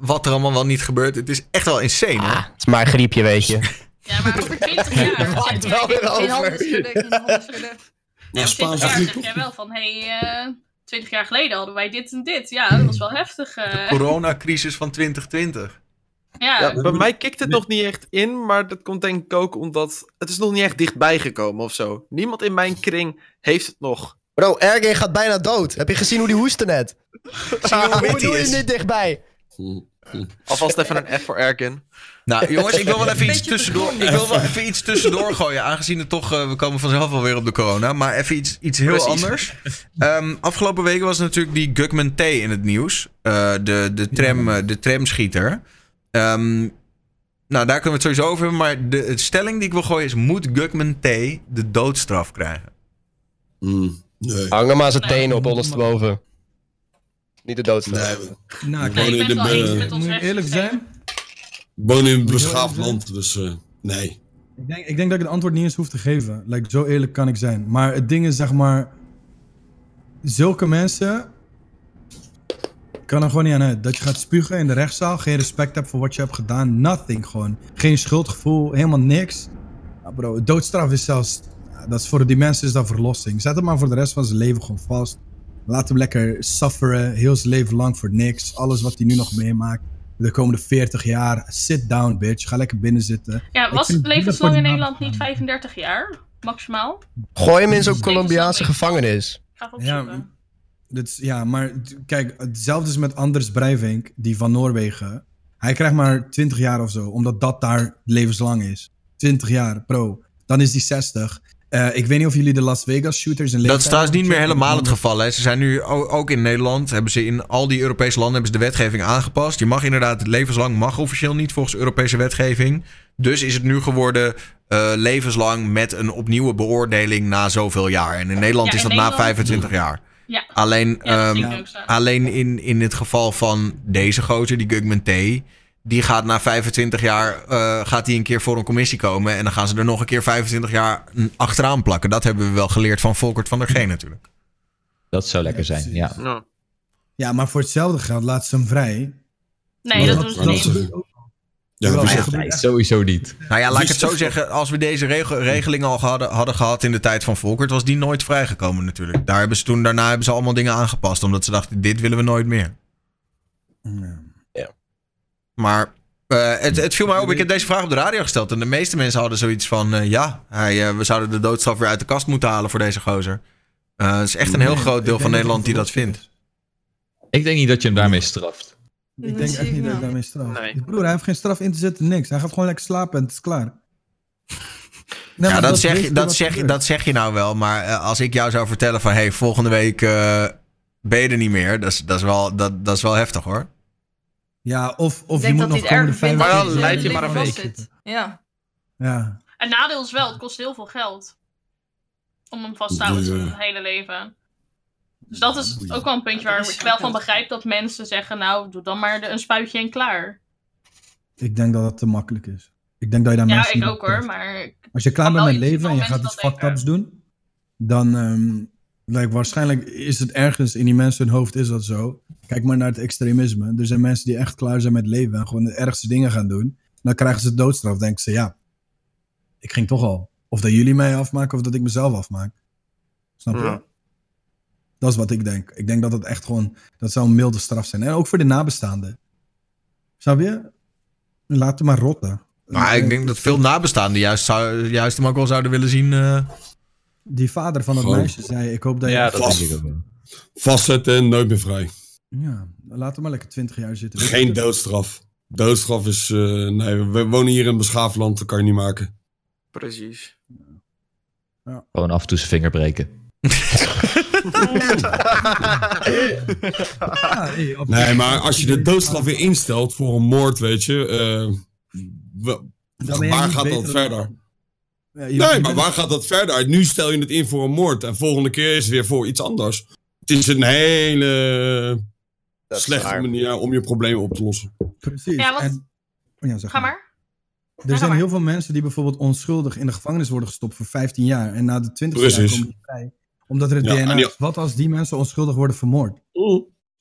A: wat er allemaal wel niet gebeurt. Het is echt wel insane. Hè?
B: Ah, het is maar een griepje, weet je.
F: Ja, maar over 20 jaar.
B: Waar het wel weer
I: geen
B: over.
I: handen schudden, geen handen schudden.
E: Maar
F: Over 20
E: Spaans
F: jaar
E: griep.
F: zeg jij wel van, hé, hey, 20 jaar geleden hadden wij dit en dit. Ja, dat was wel heftig. eh.
A: Coronacrisis van 2020.
F: ja.
G: Ja, bij mij kikt het nog niet echt in, maar dat komt denk ik ook omdat het is nog niet echt dichtbij gekomen of zo. Niemand in mijn kring heeft het nog.
B: Bro, RG gaat bijna dood. Heb je gezien hoe die hoestte net?
A: Zie je hoe
B: Hoe
A: wit hij
B: doe je
A: is?
B: dit dichtbij?
G: Alvast even een F voor Erkin.
A: Nou, jongens, ik wil wel even iets
I: Beetje
A: tussendoor. Ik
I: begonnen.
A: wil wel even iets tussendoor gooien. Aangezien het toch, eh, we komen vanzelf alweer op de corona. Maar even iets, iets heel
G: Precies.
A: anders. Ehm, afgelopen weken was natuurlijk die Gugman T in het nieuws. Eh, de, de, tram, eh, de tramschieter. Ehm, nou, daar kunnen we het sowieso over hebben. Maar de, de stelling die ik wil gooien is: moet Gugman T de doodstraf krijgen?
E: Mm, nee.
B: Hang hem aan zijn teen op, ondersteboven. Niet de doodstraf.
E: Nee, we
C: Nou,
F: Nee,
C: kijk,
E: wonen
F: ik
E: in
F: ben
E: de
F: het wel eens
E: be-
F: met ons
C: moet ik eerlijk
F: rechtssysteem.
C: zijn.
E: wonen in een beschaafd land, dus eh, nee.
C: Ik denk, ik denk dat ik het antwoord niet eens hoef te geven. Like, zo eerlijk kan ik zijn. Maar het ding is, zeg maar. Zulke mensen. kan er gewoon niet aan uit. Dat je gaat spugen in de rechtszaal. Geen respect hebt voor wat je hebt gedaan. Nothing gewoon. Geen schuldgevoel, helemaal niks. Ja, bro, doodstraf is zelfs. ja, Dat is voor die mensen is dat verlossing. Zet hem maar voor de rest van zijn leven gewoon vast. Laat hem lekker sufferen. Heel zijn leven lang voor niks. Alles wat hij nu nog meemaakt. de komende 40 jaar. Sit down, bitch. Ga lekker binnen zitten.
F: Ja,
C: Ik
F: was
C: vind
F: het
C: het niet
F: levenslang in
C: dat voor die
F: Nederland niet 35 jaar? Maximaal?
B: Gooi hem in zo'n Colombiaanse gevangenis.
F: Ga even
C: Ja,
F: opzoeken.
C: Dat is- ja, maar t- kijk, hetzelfde is met Anders Breivik, die van Noorwegen. Hij krijgt maar 20 jaar of zo, omdat dat daar levenslang is. 20 jaar, pro. Dan is die 60. Eh, ik weet niet of jullie de Las Vegas shooters in
A: Dat is
C: leeftijd
A: trouwens niet meer
C: hebben
A: helemaal het
C: gecheckt.
A: geval. Hè. Ze zijn nu o- ook in Nederland, hebben ze in al die Europese landen hebben ze de wetgeving aangepast. Je mag inderdaad, levenslang mag officieel niet volgens Europese wetgeving. Dus is het nu geworden eh, levenslang met een opnieuw beoordeling na zoveel jaar. En in Nederland
F: Ja,
A: is
F: in
A: dat na
F: Nederland-
A: 25 jaar.
F: Ja.
A: Alleen,
F: Ja, dat zie
A: ehm,
F: ik ook staan.
A: alleen in, in het geval van deze gozer, die Gugman T. Die gaat na 25 jaar eh, gaat die een keer voor een commissie komen. En dan gaan ze er nog een keer 25 jaar mm, achteraan plakken. Dat hebben we wel geleerd van Volkert van der G natuurlijk.
H: Dat zou lekker
C: Ja,
H: zijn,
C: precies.
H: ja.
G: Nou,
C: Ja, maar voor hetzelfde geld laat ze hem vrij.
F: Nee,
E: Ja,
F: dat doen ze
E: maar
F: niet.
E: is- Ja,
C: Terwijl
E: dat is
C: ze
E: echt-
C: gebeurt echt-
H: Sowieso niet.
A: Nou ja, laat ik het zo
E: Dus-
A: zeggen. Als we deze regel, regeling al hadden, hadden gehad in de tijd van Volkert, was die nooit vrijgekomen natuurlijk. Daar hebben ze toen, daarna hebben ze allemaal dingen aangepast. Omdat ze dachten, dit willen we nooit meer.
C: Ja.
A: Maar eh, het, het viel mij op. Ik heb deze vraag op de radio gesteld. En de meeste mensen hadden zoiets van: eh, ja, hij, eh, we zouden de doodstraf weer uit de kast moeten halen voor deze gozer. Eh, het is echt een heel
C: Nee,
A: groot
C: ik
A: deel
C: denk
A: van
C: dat
A: Nederland die
C: het
A: dat vindt.
H: Ik denk niet dat je hem daarmee straft.
C: Ik
I: Dat
C: denk
I: zie
C: echt
I: ik
C: niet dat
I: wel.
C: hij daarmee straft.
G: Nee.
C: Die Broer, hij heeft geen straf in te zetten, niks. Hij gaat gewoon lekker slapen en het is klaar. Nee,
A: ja,
C: maar
A: dat, zeg,
C: weet
A: je-
C: je
A: dat,
C: wat
A: zeg, je-
C: gebeurt.
A: dat zeg je nou wel. Maar eh, als ik jou zou vertellen van: hey, volgende week eh, ben je er niet meer. Dat is, dat is, wel, dat, dat is wel heftig hoor.
C: Ja, of, of je
I: Ik denk
C: moet
I: dat
C: nog
I: hij het
C: komende
I: erg
C: vijf
I: vindt.
G: Maar
I: dat
G: dan
I: hij
F: dus
G: leid je
I: leven
G: maar een
I: vast
G: week.
I: zit. Ja.
C: Ja,
F: Het nadeel is wel, het kost heel veel geld. Om hem vast te houden
E: Ja.
F: voor het hele leven. Dus dat is
E: Boeien.
F: ook wel een puntje waar ik wel van begrijp dat mensen zeggen: Nou, doe dan maar de- een spuitje en klaar.
C: ik denk dat dat te makkelijk is. Ik denk dat je daar
F: Ja,
C: mensen
F: ik
C: niet
F: ook
C: op
F: hoor,
C: treft.
F: maar
C: Als je klaar bent
F: Maar wel,
C: met
F: je ziet
C: leven en
F: wel
C: je gaat iets
F: mensen dat
C: fucked ups doen, dan ehm, like, waarschijnlijk is het ergens in die mensen hun hoofd is dat zo. Kijk maar naar het extremisme. Er zijn mensen die echt klaar zijn met leven en gewoon de ergste dingen gaan doen. Dan krijgen ze doodstraf. Denken ze, ja, ik ging toch al. Of dat jullie mij afmaken of dat ik mezelf afmaak. Snap je?
G: Ja.
C: Dat is wat ik denk. Ik denk dat dat echt gewoon, dat zou een milde straf zijn. En ook voor de nabestaanden. Snap je? Laat hem maar rotten.
A: Maar ik denk dat veel nabestaanden juist, zou, juist hem ook wel zouden willen zien. eh,
C: Die vader van dat
E: Gewoon-
C: meisje zei, ik hoop dat je...
G: Ja, dat-
E: Vast-
H: denk ik ook wel.
E: Vastzetten en nooit meer vrij.
C: Ja, laat hem maar lekker 20 jaar zitten.
E: Geen doodstraf. Doodstraf is. eh, nee, we wonen hier in een beschaafd land, dat kan je niet maken.
G: precies.
H: Gewoon af en toe zijn vinger breken.
C: Ja, hey, op-
E: Nee, maar als je de doodstraf weer instelt voor een moord, weet je. eh, wa-
C: Dan ben je
E: waar
C: niet
E: gaat
C: beter
E: dat
C: dan-
E: verder?
C: Ja, je-
E: Nee,
C: je
E: maar
C: bent-
E: waar gaat dat verder uit? Nu stel je het in voor een moord en volgende keer is het weer voor iets anders. Het is een hele
B: Dat is
E: slechte
B: waar.
E: manier om je problemen op te lossen.
C: Precies.
F: Ja, want-
C: En- ja, zeg
F: ga maar.
C: Er
F: ga
C: zijn
F: maar.
C: heel veel mensen die bijvoorbeeld onschuldig in de gevangenis worden gestopt voor 15 jaar. En na de 20 jaar
E: Precies.
C: komen die vrij. Omdat er het
E: Ja, en
C: DNA
E: die-
C: is. Wat als die mensen onschuldig worden vermoord?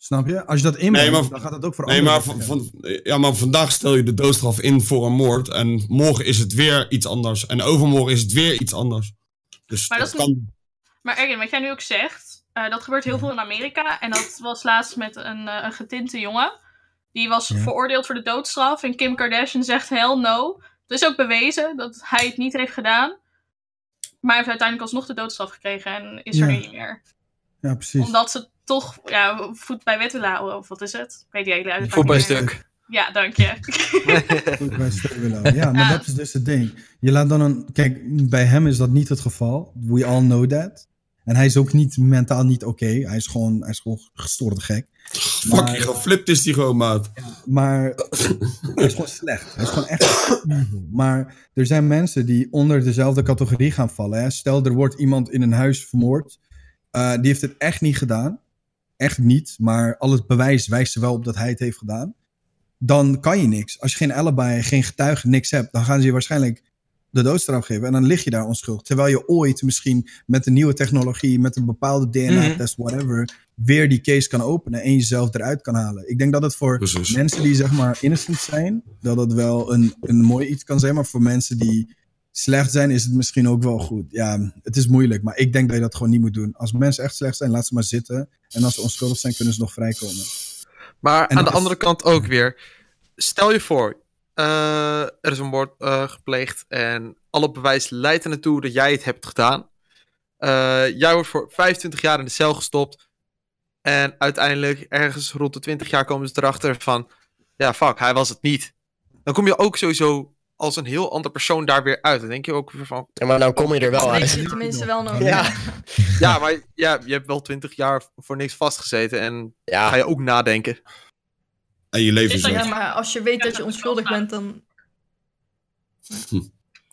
C: Snap je? Als je dat inbrengt,
E: Nee, maar-
C: dan gaat dat ook voor
E: Nee, maar,
C: anderen
E: van,
C: werken.
E: van- ja, maar vandaag stel je de doodstraf in voor een moord. En morgen is het weer iets anders. En overmorgen is het weer iets anders. Dus
F: Maar
E: dat,
F: dat is
E: kan.
F: Maar Erwin, wat jij nu ook zegt, eh, dat gebeurt heel veel in Amerika. En dat was laatst met een, eh, een getinte jongen. Die was
C: Ja.
F: veroordeeld voor de doodstraf. En Kim Kardashian zegt hell no. Het is ook bewezen dat hij het niet heeft gedaan. Maar hij heeft uiteindelijk alsnog de doodstraf gekregen en is er
C: Ja.
F: nu niet meer.
C: Ja, precies.
F: Omdat ze toch ja, voet bij wet willen houden. Of wat is het? Ik weet die hele uitspraak
G: Voet bij
F: niet meer.
G: stuk.
F: Ja, dank je.
C: Goed bij stil willen. Ja, maar
F: Ja.
C: dat is dus het ding. Je laat dan een. Kijk, bij hem is dat niet het geval. We all know that. En hij is ook niet mentaal niet oké. Hij is gewoon, hij is gewoon gestoord gek. Maar-
E: Fucking geflipt is die gewoon, maat.
C: Maar hij is gewoon slecht. Hij is gewoon echt evil. Maar er zijn mensen die onder dezelfde categorie gaan vallen. Hè. Stel, er wordt iemand in een huis vermoord. Eh, die heeft het echt niet gedaan. Echt niet. Maar al het bewijs wijst er wel op dat hij het heeft gedaan. Dan kan je niks. Als je geen alibi, geen getuige, niks hebt. Dan gaan ze je waarschijnlijk de doodstraf geven. En dan lig je daar onschuldig. Terwijl je ooit misschien met een nieuwe technologie. Met een bepaalde DNA-test, whatever. Weer die case kan openen. En jezelf eruit kan halen. Ik denk dat het voor
E: Precies.
C: mensen die zeg maar innocent zijn, dat dat wel een, een mooi iets kan zijn. Maar voor mensen die slecht zijn, is het misschien ook wel goed. Ja, het is moeilijk, maar ik denk dat je dat gewoon niet moet doen. Als mensen echt slecht zijn, laat ze maar zitten. En als ze onschuldig zijn, kunnen ze nog vrijkomen.
G: Maar
C: En
G: aan
C: dat
G: de
C: is-
G: andere kant ook weer. stel je voor, eh, er is een moord eh, gepleegd en alle bewijs leidt er naartoe dat jij het hebt gedaan. Eh, jij wordt voor 25 jaar in de cel gestopt. En uiteindelijk, ergens rond de 20 jaar, komen ze erachter van: ja, fuck, hij was het niet. Dan kom je ook sowieso als een heel ander persoon daar weer uit. Dan denk je ook weer van:
B: Ja, maar nou kom je er wel
I: Dan weet
B: uit.
I: je het tenminste wel nog.
B: Ja.
G: ja, maar ja, je hebt wel 20 jaar voor niks vastgezeten. En ga
B: Ja,
G: je ook nadenken.
E: En je leven
F: Dus
E: is
F: dat
I: Ja,
E: weg.
I: maar als je weet dat je onschuldig bent, dan...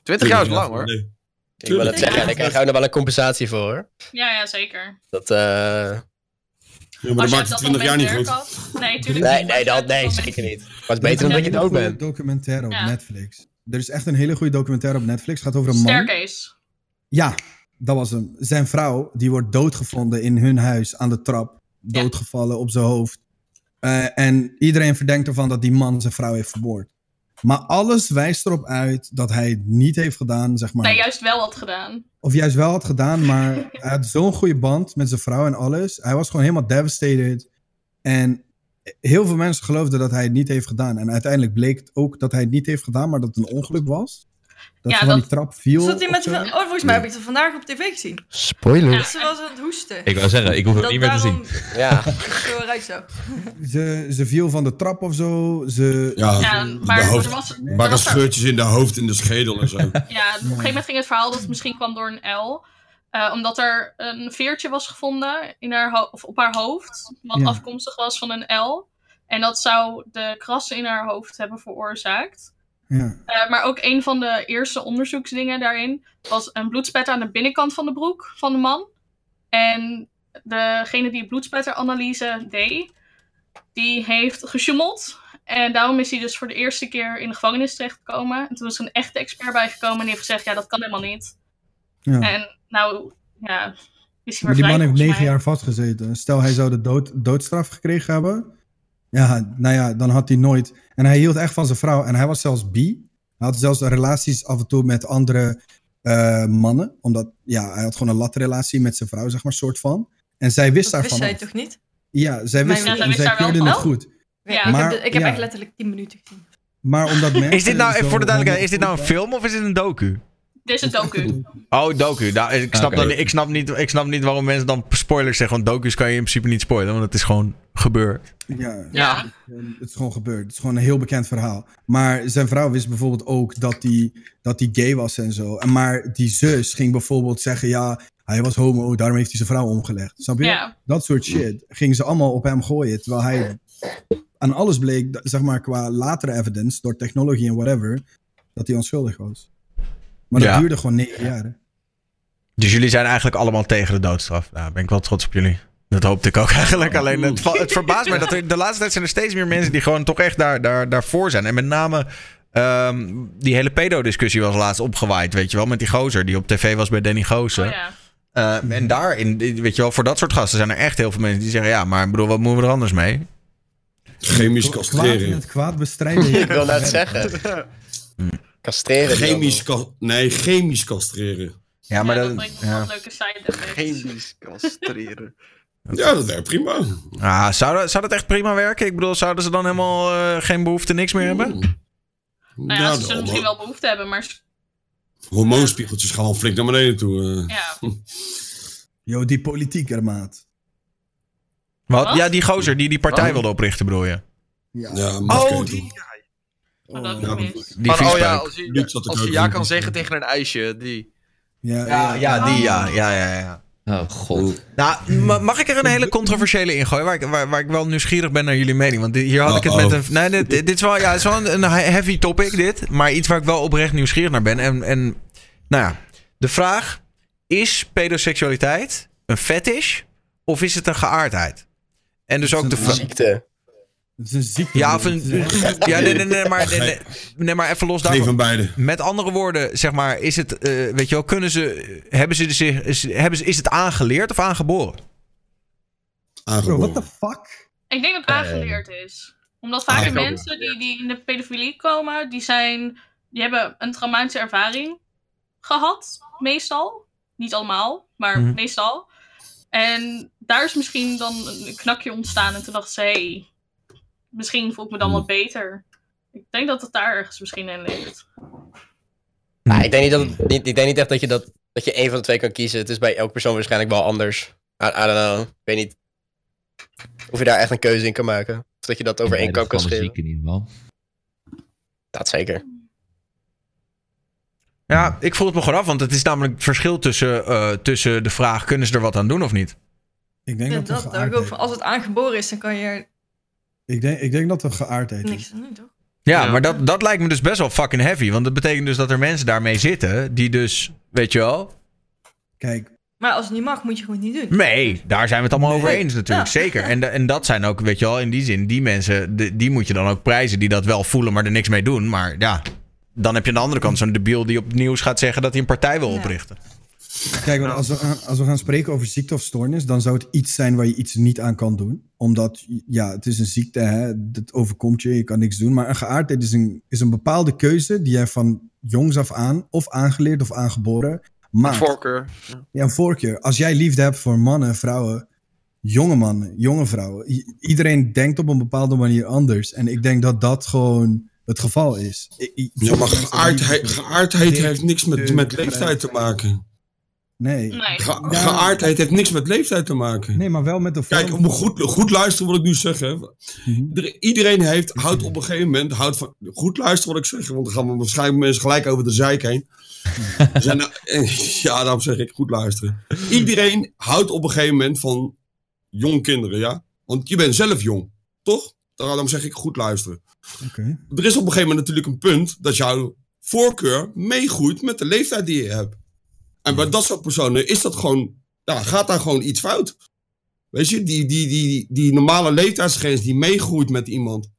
G: 20 jaar is lang hoor.
E: Nee.
B: ik wil het
I: Ja.
B: zeggen. Daar krijg je ook nog wel een compensatie voor, hoor.
F: Ja, ja, zeker.
B: Dat, eh,
E: Ja, maar dat
F: Als jij
E: maakt het
F: dat
E: 20 jaar
F: dan
E: niet
F: met
E: goed.
F: werk had- Nee, tuurlijk
B: Nee,
F: niet.
B: nee,
F: Als jij
B: dat, nee
F: dan
B: zeker
F: met-
B: niet. Maar het is beter dan dat je het ook bent.
C: documentaire op
F: Ja.
C: Netflix. Er is echt een hele goede documentaire op Netflix. gaat over een man.
F: Staircase.
C: Ja, dat was hem. Zijn vrouw, die wordt doodgevonden in hun huis aan de trap.
F: Ja.
C: Doodgevallen op zijn hoofd. Eh, en iedereen verdenkt ervan dat die man zijn vrouw heeft vermoord. Maar alles wijst erop uit dat hij het niet heeft gedaan, zeg maar.
F: Nee, juist wel had gedaan.
C: Of juist wel had gedaan, maar hij had zo'n goede band met zijn vrouw en alles. Hij was gewoon helemaal devastated. En heel veel mensen geloofden dat hij het niet heeft gedaan. En uiteindelijk bleek het ook dat hij het niet heeft gedaan, maar dat het een ongeluk was. Dat
F: Ja,
C: ze van
F: dat-
C: die trap viel.
I: Zat hij
C: of
I: met...
C: zo.
I: Oh, volgens mij heb ik het vandaag op tv gezien.
D: Spoiler.
I: Ze was aan het hoesten.
H: Ik wou zeggen, ik hoef het
I: Dat
H: niet meer te zien.
B: Ja.
I: daarom- Zo rijk zo.
C: Ze, ze viel van de trap of zo. Ze,
E: Ja,
F: Ja, Ehm, maar
E: de
F: er
E: hoofd.
F: was, er
E: Waren
F: was er-
E: scheurtjes in de hoofd, in de schedel en zo.
F: Ja, op een gegeven moment ging het verhaal dat het misschien kwam door een L. Eh, omdat er een veertje was gevonden in haar ho- of op haar hoofd, wat
C: Ja.
F: afkomstig was van een L. En dat zou de krassen in haar hoofd hebben veroorzaakt.
C: ja.
F: Eh, maar ook een van de eerste onderzoeksdingen daarin was een bloedspet aan de binnenkant van de broek van de man. En degene die bloedspetteranalyse deed, die heeft gesjoemeld. En daarom is hij dus voor de eerste keer in de gevangenis terechtgekomen. En toen is er een echte expert bijgekomen en die heeft gezegd, ja, dat kan helemaal niet.
C: ja.
F: En nou, ja, is hij
C: Maar
F: weer
C: die
F: vrij
C: man heeft
F: volgens
C: negen
F: mij.
C: jaar vastgezeten. Stel, hij zou de dood, doodstraf gekregen hebben. Ja, nou ja, dan had hij nooit. En hij hield echt van zijn vrouw. En hij was zelfs bi. Hij had zelfs relaties af en toe met andere eh, mannen. Omdat, ja, hij had gewoon een latrelatie met zijn vrouw, zeg maar, soort van. En zij wist
I: Dat
C: daarvan.
I: wist jij
C: af.
I: toch niet?
C: Ja, zij
I: Maar
C: wist,
I: ja,
C: het
I: zij
C: en
F: wist
C: zij
F: daar wel
C: keurde
F: van.
C: het goed.
I: Ja,
F: Maar-
I: ik heb, de- ik heb
C: ja.
I: echt letterlijk 10 minuten gezien.
C: Maar omdat mensen.
A: Is dit nou,
C: zo
A: even voor de duidelijkheid, is dit nou een
C: goed
A: film of is dit een docu?
F: Dit is een docu.
A: Oh, docu. Nou, ik, snap
H: Oké.
A: dan, ik, snap niet, ik snap niet waarom mensen dan spoilers zeggen. Want docus kan je in principe niet spoilen, want het is gewoon gebeurd.
C: waren- Ja,
F: Ja.
C: En Het is gewoon gebeurd. Het is gewoon een heel bekend verhaal. Maar zijn vrouw wist bijvoorbeeld ook dat hij dat die gay was en zo. En Maar die zus ging bijvoorbeeld zeggen: ja, hij was homo, daarom heeft hij zijn vrouw omgelegd. Snap je?
F: Ja.
C: Dat soort shit. Gingen ze allemaal op hem gooien. Terwijl hij aan alles bleek, dat- zeg maar qua latere evidence, door technologie en whatever, dat hij onschuldig was. Maar dat
A: Ja.
C: duurde gewoon negen jaar. hè.
A: Dus jullie zijn eigenlijk allemaal tegen de doodstraf. Nou, ben ik wel trots op jullie. Dat hoopte ik ook eigenlijk. Alleen het, va- het verbaast me dat er de laatste tijd zijn er steeds meer mensen die gewoon toch echt daar, daar, daarvoor zijn. En met name ehm, die hele pedo-discussie was laatst opgewaaid, weet je wel. Met die gozer die op tv was bij Danny Goosen.
F: Oh, ja.
A: Ehm, en daarin, weet je wel, voor dat soort gasten zijn er echt heel veel mensen die zeggen... Ja, maar ik bedoel, wat moeten we er anders mee?
E: Chemisch
C: Kwaad in
E: castreren.
C: het kwaad bestrijden.
B: Ik wil net zeggen.
A: Hmm.
B: Castreren. die
E: Chemisch ka- Nee, chemisch castreren.
A: Ja, maar
F: Ja,
A: dat...
F: dat brengt nou nog
A: ja.
F: wel een leuke side effects.
G: Chemisch castreren.
E: Ja, dat werkt prima.
A: Ah, zou, dat, zou dat echt prima werken? Ik bedoel, zouden ze dan helemaal eh, geen behoefte, niks meer hebben?
F: Nou ja,
E: Ja,
F: ze
E: de
F: zullen misschien
E: homo-
F: wel behoefte hebben, maar
E: Hormoonspiegeltjes gaan wel flink naar beneden toe. eh.
F: ja.
C: Yo, die politiek, hè, maat.
A: Wat?
F: Wat?
A: Ja, die gozer die die partij
E: Oh.
A: wilde oprichten, bedoel je?
C: Ja.
G: Oh,
E: Ja, mafketel.
F: Maar dat
E: ja,
F: heb ik
E: dat-
F: mis.
A: Die
G: Van, oh ja,
A: viespeuk.
G: als je,
E: Niet dat ik
G: als je
E: ook
G: ja
E: niet-
G: kan zeggen tegen een ijsje, die.
C: Ja, Ah.
A: Ja,
C: ja.
A: ja, die
G: Ah.
A: ja. ja, ja, ja.
H: Oh god.
A: Nou, ma- mag ik er een hele controversiële in gooien? Waar ik, waar, waar ik wel nieuwsgierig ben naar jullie mening. Want di- hier had ik het met
E: Uh-oh.
A: een... Nee, dit, dit is wel, ja, het is wel een, een heavy topic, dit. Maar iets waar ik wel oprecht nieuwsgierig naar ben. En, en nou ja, de vraag... Is pedoseksualiteit een fetish of is het een geaardheid? En dus ook de vraag...
B: Ziekte.
C: Het is een ziekte.
A: Ja,
C: man.
A: of
C: Het
A: een,
C: is echt-
A: ja nee, nee, nee, maar, nee, nee, nee, maar even los
E: Geen
A: daarvan.
E: van beide.
A: Met andere woorden, zeg maar, is het, eh, weet je wel, kunnen ze, hebben ze, zich, is, hebben ze, is het aangeleerd of aangeboren?
C: Bro,
E: Aangeboren.
C: what the fuck?
F: Ik denk dat het
A: Ehm,
F: aangeleerd is. Omdat
A: Ah,
F: vaak de mensen die, die in de pedofilie komen, die zijn... Die hebben een traumatische ervaring gehad, meestal. Niet allemaal, maar
A: Mhm.
F: meestal. En daar is
A: Mhm.
F: misschien dan een knakje ontstaan en toen dacht ze, hé, hey, misschien voel ik me dan wat beter. Ik denk dat het daar ergens misschien in ligt.
B: Nou, ik, denk niet dat het- niet, ik denk niet echt dat je, dat, dat je één van de twee kan kiezen. Het is bij elk persoon waarschijnlijk wel anders. I, I don't know. Ik weet niet of je daar echt een keuze in kan maken. Of dat je dat over één
H: dat
B: kam kan
H: kan
B: scheren.
H: ziek in ieder geval.
B: Dat zeker.
A: Ja, ik voel het me gewoon af, want het is namelijk het verschil tussen, eh, tussen de vraag: kunnen ze er wat aan doen of niet?
C: Ik denk
I: Ja,
C: dat, we
I: dat, daar
C: geaard
I: ook
C: eten.
I: van. Als het aangeboren is, dan kan je er
C: Ik denk, ik denk dat we geaard eten.
I: niks aan doen, toch?
A: Ja,
G: Ja.
A: maar dat, dat lijkt me dus best wel fucking heavy. Want dat betekent dus dat er mensen daarmee zitten die dus, weet je wel.
C: Kijk,
I: Maar als het niet mag, moet je gewoon niet doen.
A: Nee, daar zijn we het allemaal over
I: Nee.
A: eens natuurlijk.
I: Ja.
A: Zeker. En, da- en dat zijn ook, weet je wel, in die zin, die mensen, de- die moet je dan ook prijzen die dat wel voelen, maar er niks mee doen. Maar ja, dan heb je aan de andere kant zo'n debiel die op het nieuws gaat zeggen dat hij een partij wil
I: Ja.
A: oprichten.
C: Kijk, want als we, gaan, als we gaan spreken over ziekte of stoornis, dan zou het iets zijn waar je iets niet aan kan doen. Omdat, ja, het is een ziekte, hè, dat overkomt je, je kan niks doen. Maar een geaardheid is een, is een bepaalde keuze die jij van jongs af aan, of aangeleerd of aangeboren, maakt.
G: Voorkeur.
C: Ja, een voorkeur. Als jij liefde hebt voor mannen, vrouwen, jonge mannen, jonge vrouwen. i- iedereen denkt op een bepaalde manier anders. En ik denk dat dat gewoon het geval is. I- i-
E: Ja, maar geaardheid, geaardheid heeft niks met, met leeftijd te maken.
C: Nee.
F: Nee.
E: Ge- geaardheid heeft niks met leeftijd te maken.
C: nee, maar wel met de vorm.
E: Kijk, om goed, goed luisteren wat ik nu zeg. Hè.
C: Mhm.
E: Ieder- Iedereen heeft, houdt op een gegeven moment, houdt van, goed luisteren wat ik zeg. Want dan gaan we waarschijnlijk mensen gelijk over de zeik heen. Er Zijn, ja, daarom zeg ik goed luisteren. Iedereen houdt op een gegeven moment van jong kinderen, ja. Want je bent zelf jong, toch? Daarom zeg ik goed luisteren.
C: Oké.
E: Er is op een gegeven moment natuurlijk een punt dat jouw voorkeur meegroeit met de leeftijd die je hebt. En bij dat soort personen is dat gewoon, ja, gaat daar gewoon iets fout. Weet je, die, die, die, die normale leeftijdsgrens die meegroeit met iemand.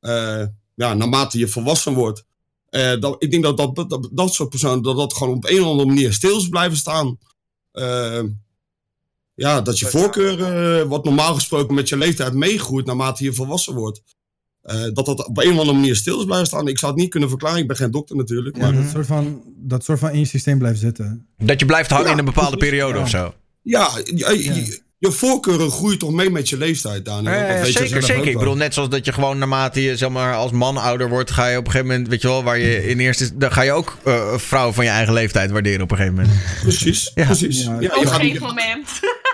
E: eh, ja, naarmate je volwassen wordt. Eh, dat, ik denk dat dat, dat, dat dat soort personen dat, dat gewoon op een of andere manier stil is blijven staan. Eh, ja, dat je voorkeur, eh, wat normaal gesproken met je leeftijd meegroeit naarmate je volwassen wordt. Eh, dat dat op een of andere manier stil is blijven staan. Ik zou het niet kunnen verklaren, ik ben geen dokter natuurlijk.
C: Ja,
E: Maar
C: dat soort van, dat soort van in je systeem blijft zitten.
A: Dat je blijft hangen
E: Ja,
A: in een bepaalde
E: precies.
A: periode
C: Ja.
A: of zo.
E: ja, je, je-
C: Ja.
E: je voorkeuren groeien toch mee met je leeftijd, Daniel.
A: Ja, ja,
E: Dat
A: ja,
E: weet je
A: Eh, zeker,
E: zelf ook
A: zeker. Ik
E: wel.
A: bedoel, net zoals dat je gewoon naarmate je zeg maar, als man ouder wordt, ga je op een gegeven moment, weet je wel, waar je in eerste, dan ga je ook eh, vrouwen van je eigen leeftijd waarderen op een gegeven moment.
E: Precies,
A: Ja.
E: precies.
C: Ja.
E: Ja,
F: Op
E: je
F: een
E: gaat niet-
F: gegeven moment.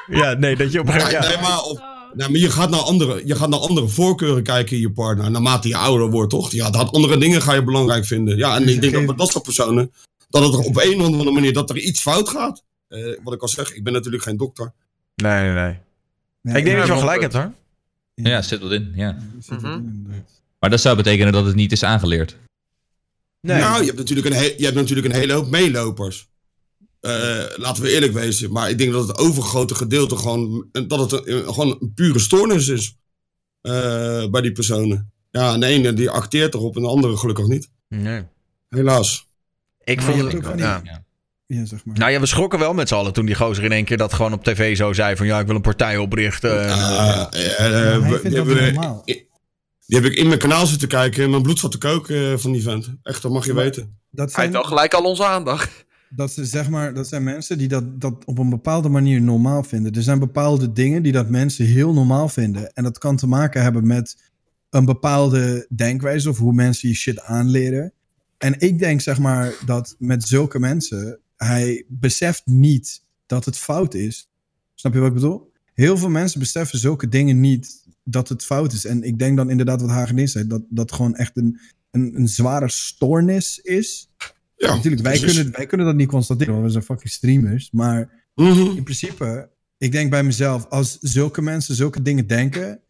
A: Ja, nee, dat je op een gegeven
E: Nee,
A: moment.
E: nee, maar op-
F: Oh.
E: nee, maar je gaat, naar andere, je gaat naar andere voorkeuren kijken in je partner. Naarmate je ouder wordt, toch? Ja, dat andere dingen ga je belangrijk vinden. Ja, en
C: Dus
E: ik
C: je
E: denk dat
C: geeft-
E: met dat soort personen... dat het er op een of andere manier dat er iets fout gaat. Eh, wat ik al zeg, ik ben natuurlijk geen dokter.
A: Ja. Nee, nee, nee.
C: Ja,
A: Ik denk dat je wel
G: maar-
A: gelijk hebt hoor.
H: Ja, zit wel in, ja.
C: dat zit
G: Mhm.
C: erin, inderdaad.
H: Maar dat zou betekenen dat het niet is aangeleerd.
A: Nee.
E: Nou, je hebt, natuurlijk een he- je hebt natuurlijk een hele hoop meelopers. Eh, laten we eerlijk wezen. Maar ik denk dat het overgrote gedeelte gewoon... eh, dat het een, gewoon een pure stoornis is. eh, bij die personen. Ja, en de ene die acteert erop en de andere gelukkig niet.
A: Nee.
E: Helaas.
A: Ik
C: Maar je
A: vond
C: hebt ook
A: het.
C: van die-
A: Ja.
C: Ja, zeg maar.
A: Nou ja, we schrokken wel met z'n allen toen die gozer in één keer dat gewoon op tv zo zei: van ja, ik wil een partij oprichten. En, eh,
E: Ah, eh,
C: Maar hij
E: we-
C: vindt
E: die,
C: dat
E: hebben,
C: niet
E: we-
C: normaal.
E: die heb ik in mijn kanaal zitten kijken en mijn bloed zat te koken eh, van die vent. Echt, dat mag je
C: Maar-
E: weten.
C: Dat
G: Hij heeft
C: zijn,
G: wel Nou, gelijk al onze aandacht.
C: dat, ze, zeg maar, dat zijn mensen die dat, dat op een bepaalde manier normaal vinden. Er zijn bepaalde dingen die dat mensen heel normaal vinden. En dat kan te maken hebben met een bepaalde denkwijze of hoe mensen je shit aanleren. En ik denk zeg maar dat met zulke mensen, hij beseft niet dat het fout is. Snap je wat ik bedoel? Heel veel mensen beseffen zulke dingen niet dat het fout is. En ik denk dan inderdaad wat Hagenis zei, dat dat gewoon echt een, een, een zware stoornis is.
E: Ja,
C: Natuurlijk, wij
E: precies.
C: kunnen, wij kunnen dat niet constateren, want we zijn fucking streamers. Maar
E: Mhm.
C: in principe, ik denk bij mezelf, als zulke mensen zulke dingen denken,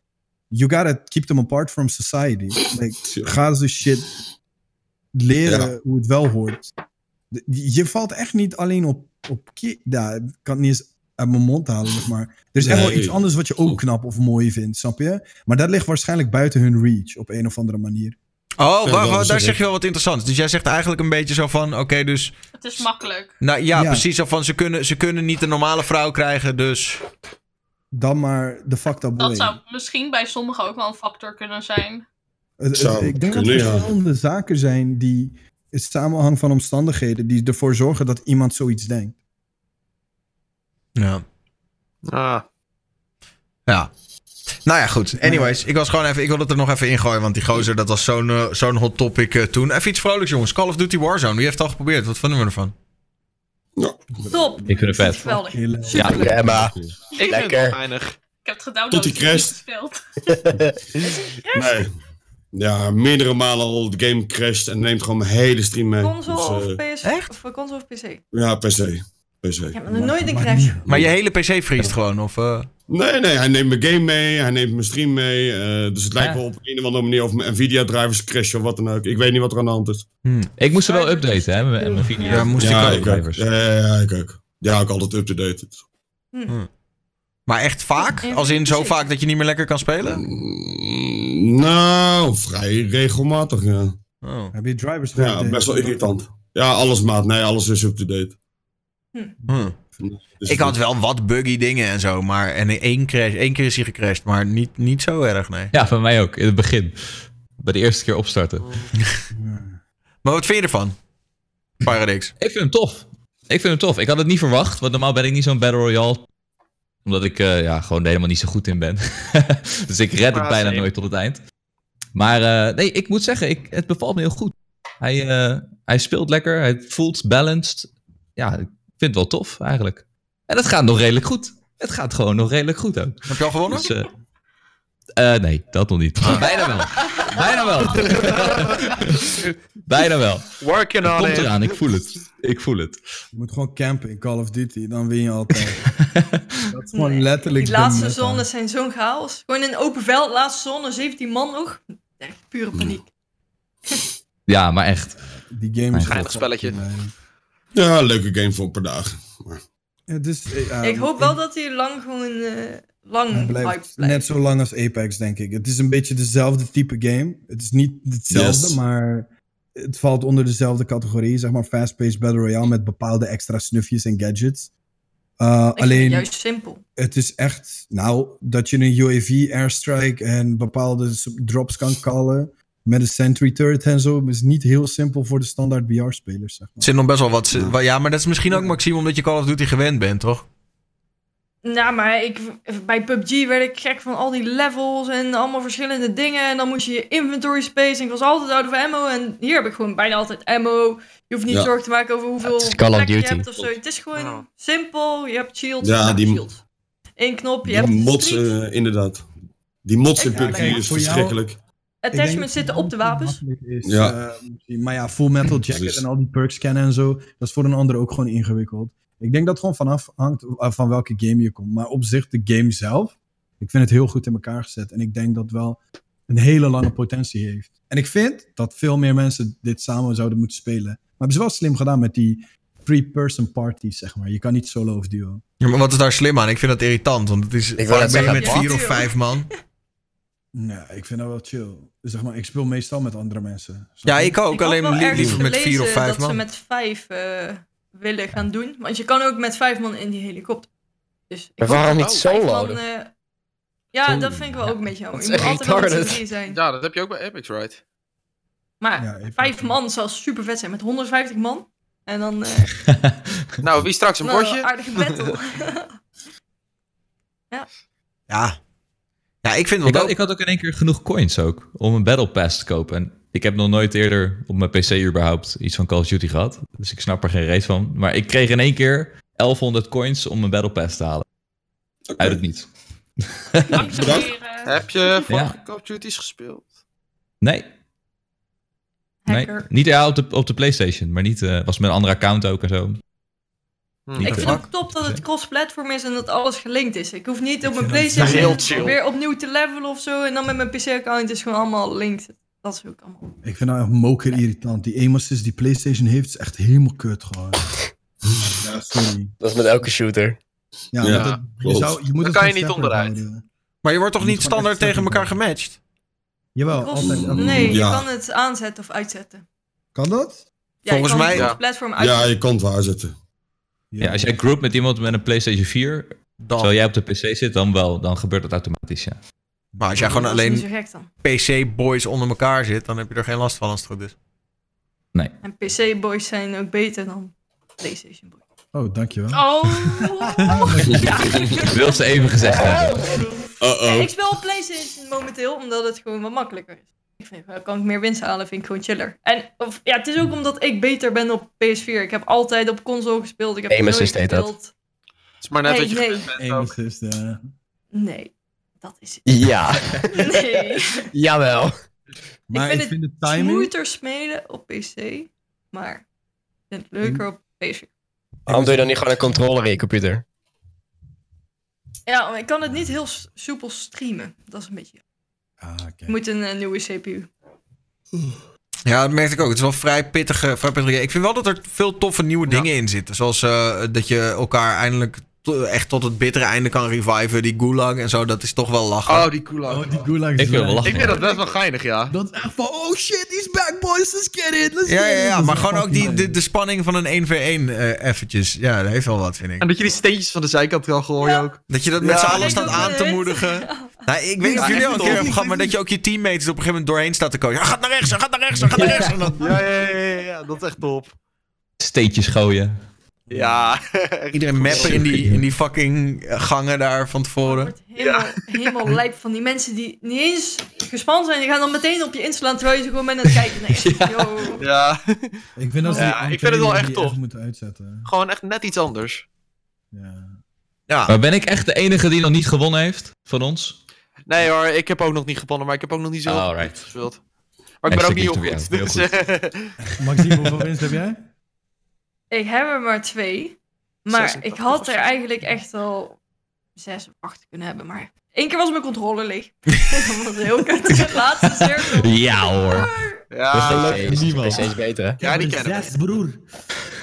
C: you gotta keep them apart from society. Like,
E: Ja.
C: ga ze shit leren hoe het wel hoort. De- Je valt echt niet alleen op, op ki- ja, ik kan het niet eens uit mijn mond halen, zeg maar. Er is echt wel
E: Nee.
C: iets anders wat je ook knap of mooi vindt, snap je? Maar dat ligt waarschijnlijk buiten hun reach op een of andere manier.
A: Oh, wacht,
E: dat
A: wacht,
E: is
A: daar
E: het.
A: zeg je wel wat interessants. Dus jij zegt eigenlijk een beetje zo van: oké, dus.
F: Het is makkelijk.
A: Nou ja,
C: Ja.
A: precies. Zo van: ze kunnen, ze kunnen niet een normale vrouw krijgen, dus.
C: Dan maar de fucked up way.
F: Dat zou misschien bij sommigen ook wel een factor kunnen zijn.
C: Het- het-
E: Zou
C: ik denk
E: kunnen,
C: dat
E: ja.
C: er verschillende zaken zijn die het samenhang van omstandigheden die ervoor zorgen dat iemand zoiets denkt.
A: Ja.
G: Ah,
A: ja. Nou ja, goed. Anyways, ik was gewoon even. Ik wilde het er nog even ingooien. Want die gozer, dat was zo'n eh, zo'n hot topic eh, toen. Even iets vrolijks, jongens. Call of Duty Warzone. Wie heeft het al geprobeerd? Wat vinden we ervan?
I: Top.
H: Ik vind het vet.
I: Geweldig.
B: Ja, Emma.
F: Ik vind het
B: Lekker.
F: wel geinig. Ik heb het gedaan
E: Tot
F: dat
E: die
F: ik het niet
E: crasht.
F: gespeeld.
E: Nee. Ja, meerdere malen al de game crasht en neemt gewoon mijn hele stream mee. Dus,
I: Console
E: eh,
I: of PS...
A: echt?
I: Of eh, console of PC? Ik
E: ja, PC. PC.
I: heb nog nooit een crash.
A: Maar je hele PC vriest gewoon? Of, eh?
E: Nee, nee, hij neemt mijn game mee, hij neemt mijn stream mee. eh, dus het lijkt
H: Ja.
E: wel op een of andere manier of mijn Nvidia-drivers crashen of wat dan ook. Ik weet niet wat er aan de hand is.
H: Ik moest er wel updaten, hè, met met mijn video.
A: Hm. Ja, moest
E: ja,
A: ik ook.
E: ik ook. Ja, ja, ja, ik ook. Ja, ook altijd up-to-date.
A: Maar echt vaak? Als in zo vaak dat je niet meer lekker kan spelen?
E: Mm, nou, vrij regelmatig, ja.
A: Oh.
C: Heb je drivers
E: Ja, best wel irritant. Ja, alles maat. Nee, alles is up-to-date.
A: Hm.
E: Dus
A: Ik had wel wat buggy dingen en zo. Maar, en één, crash, één keer is hij gecrashed. Maar niet, niet zo erg, nee.
H: Ja, van mij ook, in het begin. Bij de eerste keer opstarten.
A: Maar wat vind je ervan? Pyrodix.
H: Ik vind hem tof. Ik vind hem tof. Ik had het niet verwacht, want normaal ben ik niet zo'n Battle Royale. Omdat ik eh, ja, gewoon helemaal niet zo goed in ben. dus ik red het
G: Ah,
H: bijna
G: same.
H: nooit tot het eind. Maar eh, nee, ik moet zeggen, ik, het bevalt me heel goed. Hij, eh, hij speelt lekker, hij voelt balanced. Ja, ik vind het wel tof eigenlijk. En het gaat nog redelijk goed. Het gaat gewoon nog redelijk goed ook.
A: Heb je al gewonnen? Ah.
H: Dus, eh, eh, nee, dat nog niet. Bijna wel. Bijna wel. Bijna wel.
G: Working on
H: Komt
G: it.
H: eraan, ik voel het. Ik voel het.
C: Je moet gewoon campen in Call of Duty, dan win je altijd. dat is gewoon
I: Nee,
C: letterlijk.
I: Die laatste
C: de meta.
I: zones zijn zo'n chaos. Gewoon in een open veld, laatste zone, 17 man nog. Echt pure paniek.
H: Ja, maar echt.
C: Die game is.
G: Geinig
C: gewoon
G: spelletje.
C: fucking lijn.
E: Ja, leuke game voor een paar dagen.
C: Ja, dus, eh, ja,
I: ik hoop wel dat hij lang gewoon eh,
C: Hij
I: lang
C: blijft
I: blijft.
C: net
I: blijft.
C: zo lang als Apex, denk ik. Het is een beetje dezelfde type game. Het is niet hetzelfde,
E: Yes.
C: maar het valt onder dezelfde categorie. Zeg maar fast-paced battle royale met bepaalde extra snufjes en gadgets. Uh,
I: Ik vind het
C: alleen,
I: Juist simpel.
C: het is echt... Nou, dat je een UAV airstrike en bepaalde s- drops kan callen... met een sentry turret en zo... is niet heel simpel voor de standaard BR-spelers, zeg
A: Er
C: maar.
A: zit nog best wel wat. Ja, maar dat is misschien ook Maxime omdat je Call of Duty gewend bent, toch?
I: Nou, maar ik, bij PUBG werd ik gek van al die levels en allemaal verschillende dingen. En dan moest je je inventory space. En ik was altijd out of ammo. En hier heb ik gewoon bijna altijd ammo. Je hoeft niet
E: Ja.
I: zorgen te maken over hoeveel
B: het is Call of
I: plekken je
B: Duty.
I: hebt of zo. Het is gewoon
G: Ja.
I: simpel. Je hebt shield.
E: Ja,
I: nou,
E: die-
I: shield. Eén knop, je
E: Die
I: hebt
E: mods,
I: streak.
E: eh, inderdaad. Die mods in
I: Ja,
E: PUBG
I: kijk,
E: is
C: voor jou-
E: verschrikkelijk.
C: Ik denk
I: Attachments
C: dat
I: zitten op de wapens.
C: het makkelijk is,
E: Ja.
C: eh, misschien. maar ja, full metal jacket
E: Precies.
C: en al die perks kennen en zo. Dat is voor een ander ook gewoon ingewikkeld. Ik denk dat het gewoon vanaf hangt eh, van welke game je komt. Maar op zich, de game zelf. Ik vind het heel goed in elkaar gezet. En ik denk dat het wel een hele lange potentie heeft. En ik vind dat veel meer mensen dit samen zouden moeten spelen. Maar hebben ze wel slim gedaan met die three-person parties, zeg maar. Je kan niet solo of duo.
A: Ja, maar wat is daar slim aan? Ik vind dat irritant, want het is.
B: wou
A: Ik vaak
B: net
A: ben je
B: zeggen,
A: met
I: wat?
A: vier of vijf man.
C: Ja, ik vind dat wel chill. Dus zeg maar, ik speel meestal met andere mensen. Snap
A: Ja,
C: je?
A: ik ook.
I: had
A: alleen
I: wel
A: li-
I: ergens
A: liever met vier of
I: gelezen
A: vijf
I: dat ze
A: man.
I: met vijf eh, willen gaan doen. Want je kan ook met vijf man in die helikopter. Dus ik
B: Maar waarom niet
I: vind vijf
B: solo
I: man,
B: dan?
I: eh, ja, dat vind ik wel ook een beetje jammer.
B: Dat
I: Je
B: is
I: moet
B: echt
I: altijd wel met z'n
B: retarded.
I: drieën zijn.
G: Ja, dat heb je ook bij Apex, right?
I: Maar
C: Ja, ik-
I: vijf man zou super vet zijn met 150 man. En dan eh
G: Nou, wie straks een
I: nou,
G: bordje?
I: aardige battle.
A: Ja. Ja, ik vind het
H: Ik
A: wel.
H: had, ik
A: dope.
H: had ook in één keer genoeg coins ook om een Battle Pass te kopen. En ik heb nog nooit eerder op mijn PC überhaupt iets van Call of Duty gehad. Dus ik snap er geen reet van. Maar ik kreeg in één keer 1100 coins om een Battle Pass te halen. Uit het niet.
F: Activeren.
I: eh.
G: Heb je vorige
H: Ja.
G: Call of Duty's gespeeld?
H: Nee. Nee.
I: Hacker.
H: Niet ja, op, de, op de PlayStation. Maar niet, eh, was met een andere account ook en zo.
G: Hm.
H: Niet
I: Ik vind
H: ervan.
I: het top dat het cross-platform is en dat alles gelinkt is. Ik hoef niet op mijn
G: heel
I: PlayStation
G: chill.
I: weer opnieuw te levelen of zo. En dan met mijn PC-account is gewoon allemaal linked. Dat is ook allemaal.
C: Ik vind dat echt moker irritant. Die emoties die PlayStation heeft, is echt helemaal kut gewoon. ja, sorry.
B: Dat is met elke shooter.
C: Ja,
E: Ja,
C: want het- je,
E: klopt.
C: zou, je moet
G: Daar
C: het
G: kan je
C: gewoon
G: niet
C: separate
G: onderuit.
C: houden.
A: Maar je wordt toch
C: Je moet
A: niet
C: gewoon
A: standaard
C: echt
A: tegen elkaar
C: separate
A: gematcht?
C: Jawel,
I: Cross-
C: altijd. elke
I: nee,
C: keer.
I: je
E: Ja.
I: kan het aanzetten of uitzetten.
C: Kan dat?
I: Ja, je
A: Volgens
I: kan
A: mij-
I: Het platform
E: Ja,
I: uitzetten.
E: je kan het wel aanzetten.
H: Ja, als jij group met iemand met een PlayStation 4, terwijl
A: Dan.
H: jij op de PC zit, dan wel. Dan gebeurt dat automatisch, ja.
A: Maar als jij gewoon
I: Dat is
A: alleen
I: niet zo gek dan.
A: PC-boys onder elkaar zit, dan heb je er geen last van als het goed is.
I: En PC-boys zijn ook beter dan PlayStation-boys.
C: Oh, dankjewel.
F: Oh.
H: Ik wil ze even gezegd hebben.
E: Uh-oh.
I: Nee, ik speel op PlayStation momenteel omdat het gewoon wat makkelijker is. Ik vind, eh, kan ik meer winst halen, vind ik gewoon chiller. En of, ja, het is ook omdat ik beter ben op PS4. Ik heb altijd op console gespeeld. Ik heb
B: Aim
I: nooit
B: assist heet dat.
I: gespeeld.
G: Het is maar net
I: Nee,
G: wat je
I: nee.
G: gewend bent
C: Eén
G: ook.
C: assist, ja.
I: Nee, dat is
B: Ja,
J: Ah.
I: Nee.
B: jawel.
I: Ik
C: Maar
I: vind
C: ik
I: het
C: vind de
I: Het is
C: timing...
I: moeiter spelen op PC, maar ik vind het leuker op PC.
B: Waarom doe je dan niet gewoon een controller in je computer?
I: Ja, maar ik kan het niet heel s- soepel streamen. Dat is een beetje.
C: Ah, oké.
I: Ik moet een eh, nieuwe CPU.
A: Ja, dat merkte ik ook. Het is wel vrij pittige, vrij pittige. Ik vind wel dat er veel toffe nieuwe dingen in zitten. Zoals eh, dat je elkaar eindelijk to- echt tot het bittere einde kan reviven. Die gulag en zo, dat is toch wel lachen.
G: Oh, die Gulag.
C: Oh, die gulag is
H: Ik wil
C: wel-
H: wel lachen.
G: ik vind dat best wel geinig, ja.
C: Dat is echt van, oh shit, he's back boys, let's get it, let's
A: ja,
C: get
A: ja,
C: it.
A: ja.
C: Dat
A: Maar
C: is
A: gewoon ook die,
C: fucking
A: de,
C: leuk.
A: de spanning van een 1v1 eh, eventjes. Ja, dat heeft wel wat, vind ik.
G: En dat je die steentjes van de zijkant kan gooien ook.
A: Dat je dat met
G: Ja.
A: z'n
G: Ja,
A: allen
G: ik
A: staat
I: doe
A: aan
I: het.
A: te
J: Oh.
A: moedigen. Nou, ik weet niet
G: Ja,
A: of jullie
G: echt
A: al een
G: tof.
A: keer hebben gehad, maar dat je ook je teammates er op een gegeven moment doorheen staat te komen. Ja, gaat naar rechts, ja, gaat naar rechts, ja, gaat naar rechts. En dan-
G: Ja, ja, ja, ja, ja, dat is echt top.
H: Steetjes gooien.
G: Ja.
A: Iedereen mappen in die, in die fucking eh, gangen daar van
I: Ik
A: tevoren.
I: word helemaal, helemaal lijp van die mensen die niet eens gespannen zijn. Die gaan dan meteen op je inslaan terwijl je gewoon bent aan het kijken. Nee, yo.
G: Ja,
C: Ik vind dat ze die
G: Ja, ik vind het wel
C: antenne
G: echt
C: die
G: tof.
C: moeten uitzetten.
G: gewoon echt net iets anders.
C: Ja.
A: Ja,
H: Maar ben ik echt de enige die nog niet gewonnen heeft van ons?
G: Nee hoor, ik heb ook nog niet gewonnen, maar ik heb ook nog niet
B: Oh,
G: zo
H: Alright.
G: goed gespeeld. Maar ik ben ook niet
H: Hashtag
G: heel
H: niet
G: goed.
H: te- ja,
G: Dus,
H: heel
G: eh,
C: Maxime, hoeveel winst heb jij?
I: Ik heb er maar twee. Maar
G: 86
I: ik had
G: of
I: er
G: zo.
I: eigenlijk echt al zes of acht kunnen hebben. Maar één keer was mijn controller leeg. dat was heel kut. De laatste cirkel.
H: Ja hoor.
G: ja,
B: Jezus,
H: niemand.
B: PC is beter, hè?
G: ja, die kennen we.
C: Zes, broer.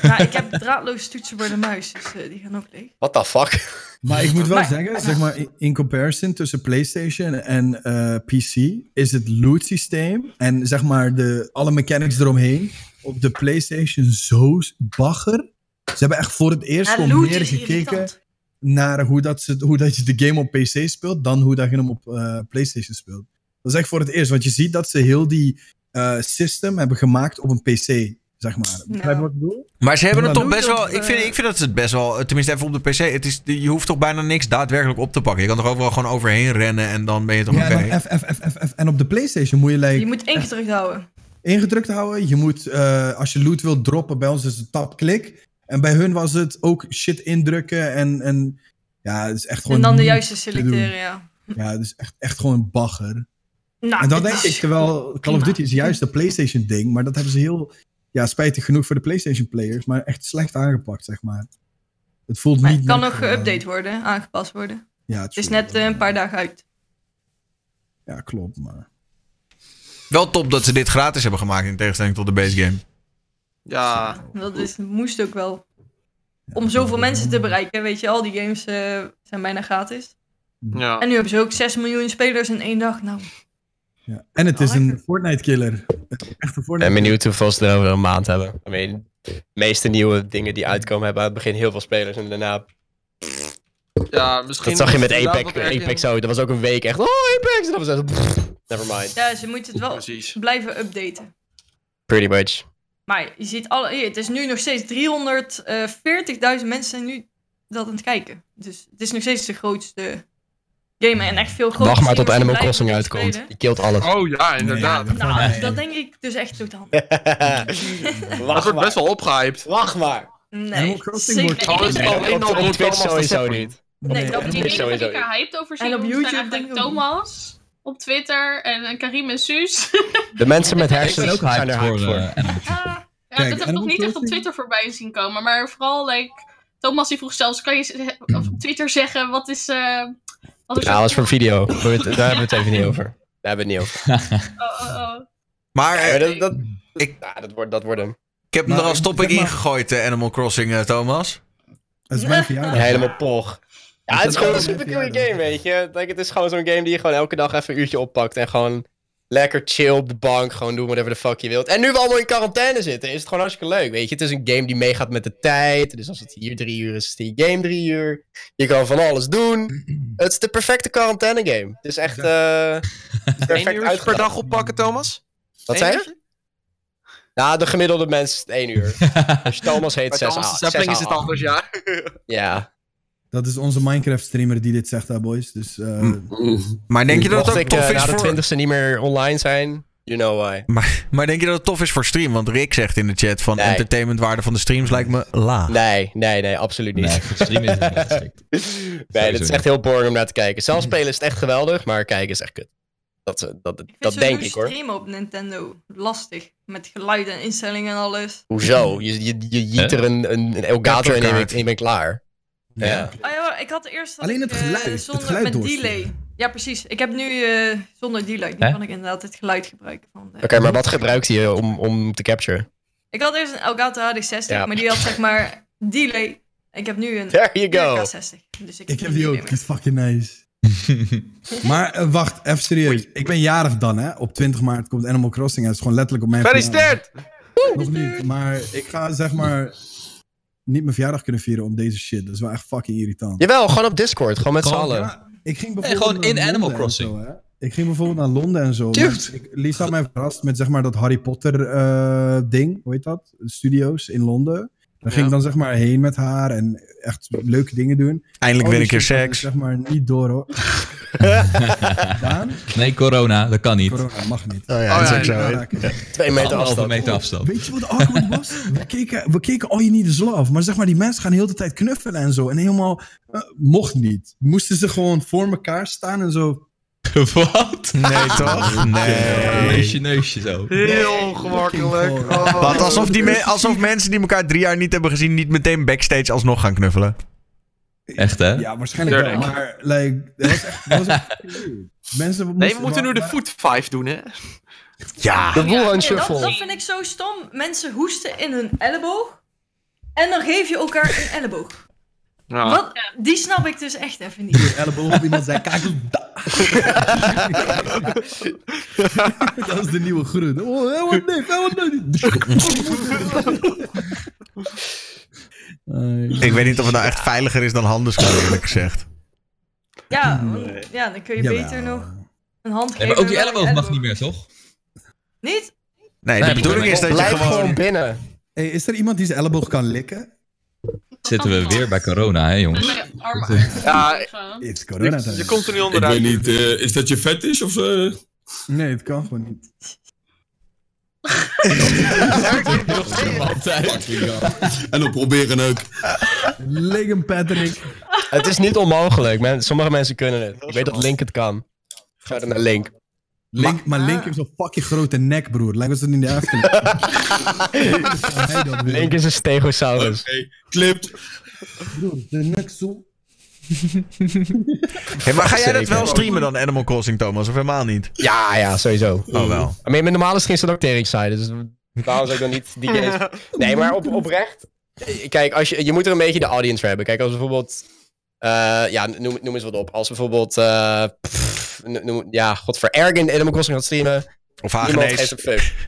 I: Ja, ik heb draadloos toetsenbord en muis, dus eh, die gaan ook leeg.
B: What the fuck?
C: Maar ik moet wel
I: Maar-
C: zeggen, zeg maar, in- in comparison tussen PlayStation en eh, PC is het loot systeem en zeg maar de, alle mechanics eromheen op de PlayStation zo s- bagger. Ze hebben echt voor het eerst
I: Ja,
C: gewoon
I: loot
C: meer
I: is
C: gekeken
I: irritant.
C: naar hoe, dat ze, hoe dat je de game op PC speelt dan hoe dat je hem op eh, PlayStation speelt. Dat is echt voor het eerst, want je ziet dat ze heel die eh, system hebben gemaakt op een PC, zeg maar. Begrijp je wat ik bedoel?
A: Maar ze hebben het
C: Maar
A: toch best
I: doe dat,
A: wel. Ik vind,
I: eh,
A: ik vind dat ze het best wel. eh, Tenminste, even op de PC. Het is, je hoeft toch bijna niks daadwerkelijk op te pakken. Je kan toch overal gewoon overheen rennen en dan ben je toch
C: Ja,
A: oké.
C: dan F, F, F, F, F. En op de PlayStation moet je like,
I: Je moet één keer terughouden.
C: ingedrukt houden. Je moet, eh, als je loot wilt droppen, bij ons is het tap-klik. En bij hun was het ook shit indrukken en, en ja, het is echt gewoon...
I: En dan de
C: niet-
I: juiste selecteren, ja.
C: Ja, het is echt, echt gewoon bagger.
I: Nou,
C: en dat
I: het
C: denk
I: is-
C: ik, terwijl Call of
I: prima.
C: Duty is juist de PlayStation ding, maar dat hebben ze heel, ja, spijtig genoeg voor de PlayStation players, maar echt slecht aangepakt, zeg maar. Het voelt
I: Maar
C: niet...
I: het kan
C: net,
I: nog
C: eh,
I: geüpdate worden, aangepast worden.
C: Ja,
I: Het is net eh, een paar dagen uit.
C: Ja, klopt, maar...
A: Wel top dat ze dit gratis hebben gemaakt in tegenstelling tot de base game.
G: Ja,
I: Ah, Dat is, moest ook wel. Om zoveel mensen te bereiken, weet je, al die games eh, zijn bijna gratis.
G: ja.
I: En nu hebben ze ook 6 miljoen spelers in één dag. Nou,
C: Ja. En het is
I: Oh,
C: een
I: lekker.
C: Fortnite-killer. Echt een
B: Ik ben
C: Fortnite-killer.
B: benieuwd hoeveel ze er over een maand hebben. I mean, de meeste nieuwe dingen die uitkomen hebben aan het begin heel veel spelers. En daarna,
G: ja, misschien...
B: dat zag je met
G: inderdaad
B: Apex,
G: wat erg-
B: Apex zo. Dat was ook een week echt, oh Apex! En dat was echt, pff, never mind.
I: ja, ze moeten het wel
G: Precies.
I: blijven updaten.
B: Pretty much.
I: Maar je ziet alle, hier, het is nu nog steeds 340.000 mensen zijn nu dat aan het kijken. Dus het is nog steeds de grootste game en echt veel groter.
B: Wacht maar tot Animal Crossing uitkomt. Die killt alles.
G: Oh ja, inderdaad.
I: Nou, dat denk ik dus echt totaal.
G: Dat
B: wacht maar.
G: wordt best wel opgehyped.
B: Wacht maar.
I: Nee,
C: Animal Crossing
I: zeker
C: wordt-
I: niet.
G: Alles
B: Nee,
G: alleen
B: op,
G: al
B: op
G: door
B: Twitch
G: Thomas te
B: sowieso
G: zeggen.
B: niet.
I: Nee, dat
F: De
B: Nee,
I: niet.
F: enige die
B: sowieso.
F: ik er hyped over
I: En
F: zie
I: op
F: doen
I: YouTube
F: zijn eigenlijk
I: denk ik ook niet.
F: Thomas op Twitter en eh, Karim en Suus.
B: De mensen met
H: Ik ben
B: hersenen
H: ook
B: zijn
H: hyped
B: er
H: voor...
B: hyped voor.
H: eh, Animal Crossing.
F: Ah, Ja,
C: Kijk,
F: dat heb ik
C: Animal
F: nog niet echt op
C: Crossing-
F: Twitter voorbij zien komen. Maar vooral, like, Thomas die vroeg zelfs, kan je z- eh, of op Twitter zeggen wat is... eh wat is
B: Ja, dat was voor video. Daar hebben we het even niet over. Daar hebben we het niet over.
F: oh, oh, oh.
A: Maar eh,
B: Ja, dat, dat,
A: Ik-
B: ja, dat, wordt, dat wordt hem.
A: ik heb hem
C: Maar,
A: er als topic
C: zeg maar-
A: ingegooid, de Animal Crossing, eh, Thomas.
C: Het is mijn verjaardag.
B: Helemaal poch. Ja,
C: Dat
B: het is gewoon een
C: is wel
B: super
C: een
B: game, weet je. Ik denk, Het is gewoon zo'n game die je gewoon elke dag even een uurtje oppakt. En gewoon lekker chill op de bank. Gewoon doen whatever the fuck je wilt. En nu we allemaal in quarantaine zitten, is het gewoon hartstikke leuk, weet je. Het is een game die meegaat met de tijd. Dus als het hier drie uur is, is die game drie uur. Je kan van alles doen. Het is de perfecte quarantaine game. Het is echt eh
G: Eén
B: perfect
G: uur per
B: uitgedacht.
G: dag oppakken, Thomas?
B: Wat
G: Eén
B: zei je?
G: uurtje?
B: Nou, de gemiddelde mens is het één uur. Als je Dus Thomas heet
G: Bij
B: 6
G: Thomas de Sapling is het anders, ja.
B: Ja.
C: Dat is onze Minecraft-streamer die dit zegt, daar, boys. Dus, eh,
A: Hm. Maar denk je dat
B: Mocht
A: het ook
B: ik eh,
A: tof is
B: na de
A: voor...
B: twintigste niet meer online zijn, you know why.
A: Maar, maar denk je dat het tof is voor stream? Want Rick zegt in de chat van
B: Nee.
A: entertainmentwaarde van de streams lijkt me laag.
B: Nee, nee, nee, absoluut niet.
H: Nee,
B: Nee,
H: voor stream is het niet geschikt.
B: dat is
H: Sowieso
B: echt heel boring om naar te kijken. Zelf spelen is het echt geweldig, maar kijken is echt kut. Dat, eh, dat,
I: Ik
B: dat
I: vind
B: denk
I: sowieso
B: ik hoor.
I: streamen op Nintendo lastig. Met geluid en instellingen en alles.
B: Hoezo? Je, je, je jiet er een, een, een Elgato in en je bent- en je bent klaar. Ja.
I: Ah ja, ik had eerst dat
C: Alleen het
I: ik, eh,
C: geluid, het
I: zonder,
C: geluid
I: met
C: doorsturen.
I: delay. Ja, precies. Ik heb nu eh, zonder delay. Nu
H: Hè?
I: kan ik inderdaad het geluid gebruiken. Van de-
B: Oké, maar wat gebruikt je om, om te capturen?
I: Ik had eerst een Elgato HD60,
B: Ja.
I: maar die had zeg maar delay. En ik heb nu een
B: There you go.
I: 4K60. Dus ik,
C: ik heb
I: niet
C: die ook.
I: meer.
C: Die is fucking nice. maar eh, wacht, even serieus. Ik ben jarig dan, hè? Op 20 maart komt Animal Crossing. uit. Het is gewoon letterlijk op mijn verjaardag.
G: Gefeliciteerd!
C: Nog niet, maar ik ga zeg maar niet mijn verjaardag kunnen vieren om deze shit. Dat is wel echt fucking irritant.
B: Jawel, gewoon op Discord, gewoon met z'n
H: Gewoon,
B: allen.
C: Ja, ik ging bijvoorbeeld
H: gewoon in
C: naar
H: Animal
C: Londen en
H: Crossing.
C: zo, hè. ik ging bijvoorbeeld naar Londen en zo.
H: Dude.
C: maar Ik, Lies had mij verrast met zeg maar dat Harry Potter eh, ding, hoe heet dat? Studio's in Londen. Daar ging ik dan zeg maar heen met haar en echt leuke dingen doen.
A: Eindelijk
C: Al
A: weer
C: die
A: een keer
C: shit had ik,
A: seks.
C: Zeg maar niet door hoor. Daan?
H: Nee, corona, dat kan niet.
C: Corona mag niet.
A: Oh
G: Oh, ja,
A: dat is ook zo, hè.
C: Aanraken.
B: Twee meter
H: Anderhalve
B: afstand.
H: meter afstand.
C: Weet je wat awkward was? We keken, we keken All You Need Is Love. Maar zeg maar, die mensen gaan heel de tijd knuffelen en zo. En helemaal... eh, mocht niet. Moesten ze gewoon voor elkaar staan en zo...
H: Wat?
A: Nee, toch? Nee.
H: Neusje, neusje zo.
G: Heel gemakkelijk.
C: Fucking
G: Oh.
A: Wat, alsof, die me- alsof mensen die elkaar drie jaar niet hebben gezien... niet meteen backstage alsnog gaan knuffelen.
H: Echt, hè?
C: Ja, waarschijnlijk wel.
G: Tuurlijk.
C: Maar, like... Dat was echt... Dat was echt mensen moesten-
G: Nee, we moeten nu de
C: maar-
G: foot five doen, hè?
A: Ja.
B: De Wuhan
I: Ja, dat,
B: Shuffle.
I: dat vind ik zo stom. Mensen hoesten in hun elleboog. En dan geef je elkaar een elleboog.
J: Ah.
G: Ja.
I: Wat? Die snap ik dus echt even niet.
C: Elleboog op iemand zijn kaak. Da. dat is de nieuwe groen. Oh, helemaal niks. Helemaal niks. Eh,
A: Ik weet niet of het nou echt veiliger is dan handen schudden, eerlijk gezegd.
I: Ja, want- ja dan kun je
C: jawel.
I: beter nog een hand geven.
H: Nee, maar ook die
I: dan
H: elleboog
I: een
H: mag niet meer, toch?
I: Niet?
A: Nee, de
H: Nee,
A: bedoeling is dat je
B: Blijf
A: gewoon...
B: gewoon binnen.
C: Hey, is er iemand die zijn elleboog kan likken?
H: Zitten we weer bij corona, hè,
F: Met
H: jongens?
F: mijn arm uit.
G: Ja,
F: Zo.
C: It's corona
G: je,
C: time.
G: je komt er niet
E: Ik weet
G: onderuit.
E: niet, eh, is dat je vet is of... eh?
C: Nee, het kan gewoon niet.
E: en dan proberen ook.
C: Liggen Patrick.
B: Het is niet onmogelijk. men- sommige mensen kunnen het. Ik weet dat Link het kan. Ga dan naar Link.
C: Link, maar Link heeft zo'n fucking grote nek, broer. Lijkt alsof het in de afterlife. Hij dat wil.
B: Link is een stegosaurus.
E: Hey, clipped.
C: Broer, de nek zo.
A: Hey, maar ga jij dat
B: Zeker.
A: wel streamen dan, Animal Crossing, Thomas? Of helemaal niet?
B: Ja, ja, sowieso. Mm.
A: Oh, wel.
B: Maar met normale streams staat ook tering side. Dus waarom zou ik dan niet die games... Nee, maar op, oprecht. Kijk, als je, je moet er een beetje de audience voor hebben. Kijk, als bijvoorbeeld... eh, ja, noem, noem eens wat op. Als bijvoorbeeld... eh, pff, noem, ja, godver. Ergen Animal Crossing gaat streamen.
A: Of
B: Niemand geeft
A: Hagenees?
B: een fuck.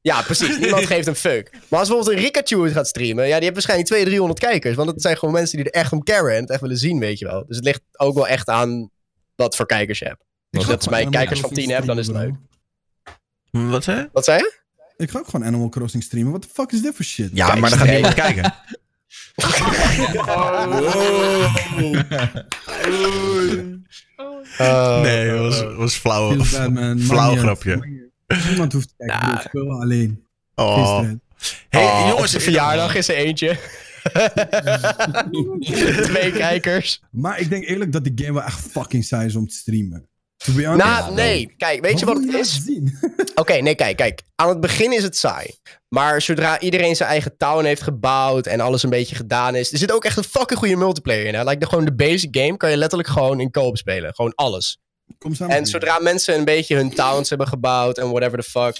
B: Ja, precies. Niemand geeft een fuck. Maar als bijvoorbeeld een Rikachu het gaat streamen, ja, die heeft waarschijnlijk 200, 300 kijkers. Want dat zijn gewoon mensen die er echt om caren en het echt willen zien, weet je wel. Dus het ligt ook wel echt aan wat voor kijkers je hebt. Dus
H: Wat-
B: dat is mijn
C: Animal
B: kijkers van
C: Crossing
B: 10 heb, dan is het leuk.
C: streamen,
A: Wat hè?
B: Wat zei je?
C: bro. Ik ga ook gewoon Animal Crossing streamen. What the fuck is dit voor shit?
A: Ja, maar dan gaat niemand kijken. Nee, dat was, was flauw.
C: Feel bad, man. Maakt
A: Flauw
C: niet uit.
A: grapje.
C: Niemand hoeft te kijken. broer. Ik speel alleen.
A: Oh.
C: Gisteren.
A: Hey,
B: Oh, op
A: jongens,
B: zijn verjaardag is er eentje. Twee kijkers.
C: Maar ik denk eerlijk dat die game wel echt fucking saai is om te streamen. To be honest.
B: Nou, nee. Kijk, weet je wat het is?
C: Zien?
B: Oké, nee, kijk, kijk. Aan het begin is het saai. Maar zodra iedereen zijn eigen town heeft gebouwd en alles een beetje gedaan is... Er zit ook echt een fucking goede multiplayer in. Hè? Like, de, gewoon de basic game kan je letterlijk gewoon in koop spelen. Gewoon alles.
C: Kom samen.
B: En zodra mensen een beetje hun towns hebben gebouwd en whatever the fuck...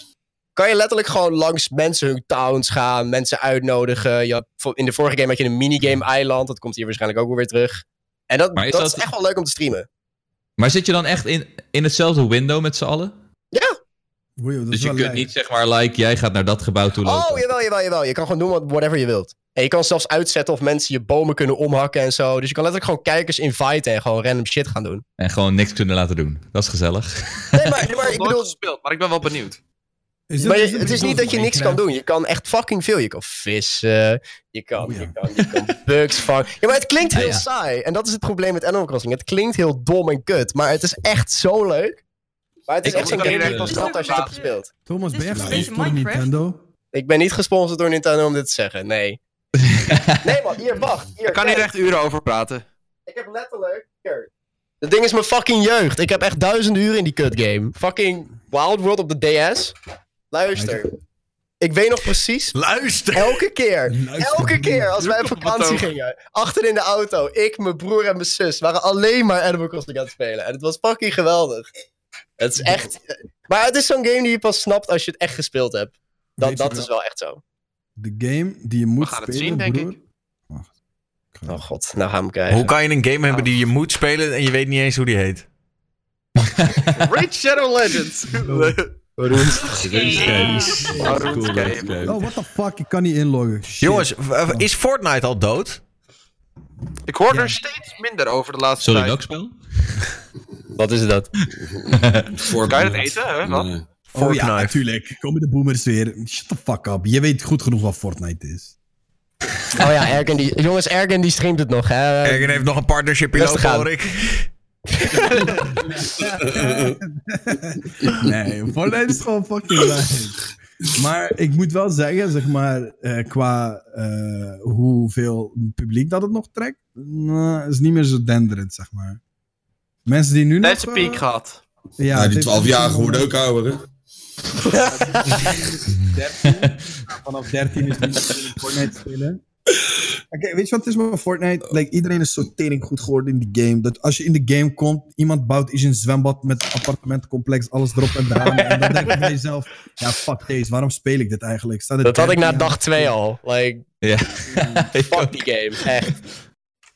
B: Kan je letterlijk gewoon langs mensen hun towns gaan, mensen uitnodigen. Je had, vo- in de vorige game had je een minigame-eiland. Dat komt hier waarschijnlijk ook wel weer terug. En dat,
H: Maar
B: dat,
H: is
B: is
H: dat-
B: echt wel leuk om te streamen.
H: Maar zit je dan echt in, in hetzelfde window met z'n allen?
C: Broer, dat is
H: Dus je
C: wel
H: kunt
C: lijp.
H: niet zeg maar, like, jij gaat naar dat gebouw toe lopen.
B: Oh, jawel, jawel, jawel. Je kan gewoon doen wat, whatever je wilt. En je kan zelfs uitzetten of mensen je bomen kunnen omhakken en zo. Dus je kan letterlijk gewoon kijkers inviten en gewoon random shit gaan doen.
H: En gewoon niks kunnen laten doen. Dat is gezellig.
B: Nee, maar, maar ik
G: nooit
B: bedoel...
G: gespeeld, maar ik ben wel benieuwd.
C: dit-
B: maar je-
C: is dit
B: het is
C: een
B: niet dat je niks kan
C: rekenaar?
B: doen. Je kan echt fucking veel. Je kan vissen, je kan,
C: Oh, ja.
B: je kan, je kan bugs vangen. Ja, maar het klinkt heel
D: Ja, ja.
B: saai. En dat is het probleem met Animal Crossing. Het klinkt heel dom en kut, maar het is echt zo leuk. Maar het is
G: Ik-
B: echt zo'n
G: ik-
B: game
G: ik-
B: die je pas
G: ik-
B: snapt als je het hebt gespeeld.
C: Thomas,
I: Dit
C: ben je
I: is een
C: gesponsord
I: beetje
C: door
I: Minecraft.
C: Nintendo?
B: Ik ben niet gesponsord door Nintendo om dit te zeggen, nee. nee man, hier, wacht. Hier,
G: Ik kan hier
B: kijk.
G: echt uren over praten.
B: Ik heb letterlijk... Hier. Dat ding is mijn fucking jeugd. Ik heb echt duizenden uren in die kut game. Fucking Wild World op de DS. Luister. Ik weet nog precies
A: Luister!
B: Elke keer.
C: Luister.
B: Elke keer als wij op
G: Kom op,
B: vakantie
G: Matto.
B: gingen. Achter in de auto. Ik, mijn broer en mijn zus waren alleen maar Animal Crossing aan het spelen. En het was fucking geweldig. Het is echt... Maar het is zo'n game die je pas snapt als je het echt gespeeld hebt. Dat,
C: Weet je
B: dat
C: wel-
B: is wel echt zo.
C: De game die je moet
G: gaan het
C: spelen,
G: zien, denk
C: broer.
G: ik.
C: Wacht. Ik ga-
B: Oh god, nou gaan we hem
A: Hoe
B: krijgen.
A: kan je een game hebben die je moet spelen en je weet niet eens hoe die heet?
G: Raid Shadow Legends.
C: Oh, what the fuck? Ik kan niet inloggen. Shit.
A: Jongens, w- w- is Fortnite al dood?
G: Ik hoor er steeds minder over de laatste
H: Sorry,
G: tijd.
H: welk spel?
B: Wat is dat?
G: Kan je dat eten? Hè? Wat?
E: Nee.
C: Oh ja,
A: Fortnite.
C: natuurlijk. Komen de boomers weer. Shut the fuck up. Je weet goed genoeg wat Fortnite is.
B: Oh ja, Ergen die... Jongens, Ergen die streamt het nog, hè?
A: Ergen heeft nog een partnership in
B: Rustig aan.
A: hoor ik.
C: Nee, Fortnite is gewoon fucking leuk. Maar ik moet wel zeggen, zeg maar, eh, qua eh, hoeveel publiek dat het nog trekt, nah, is niet meer zo denderend, zeg maar. Mensen die nu
G: Net
C: nog...
G: zijn
C: eh,
G: piek gehad.
C: Ja,
E: Ja,
C: het
E: die
C: heeft-
E: 12-jarigen worden ook ouder, hè?
C: 13. Vanaf 13 is niet natuurlijk Fortnite spelen. Oké, weet je wat het is met Fortnite? Like, iedereen is zo tering goed geworden in die game. Dat als je in de game komt, iemand bouwt iets in een zwembad met een appartementcomplex, alles erop en eraan. en dan denk je bij jezelf, ja fuck deze, waarom speel ik dit eigenlijk? Staat er
B: Dat had ik
C: 13
B: na
C: aan?
B: dag 2 al. Like,
H: Ja.
B: fuck die game. Echt.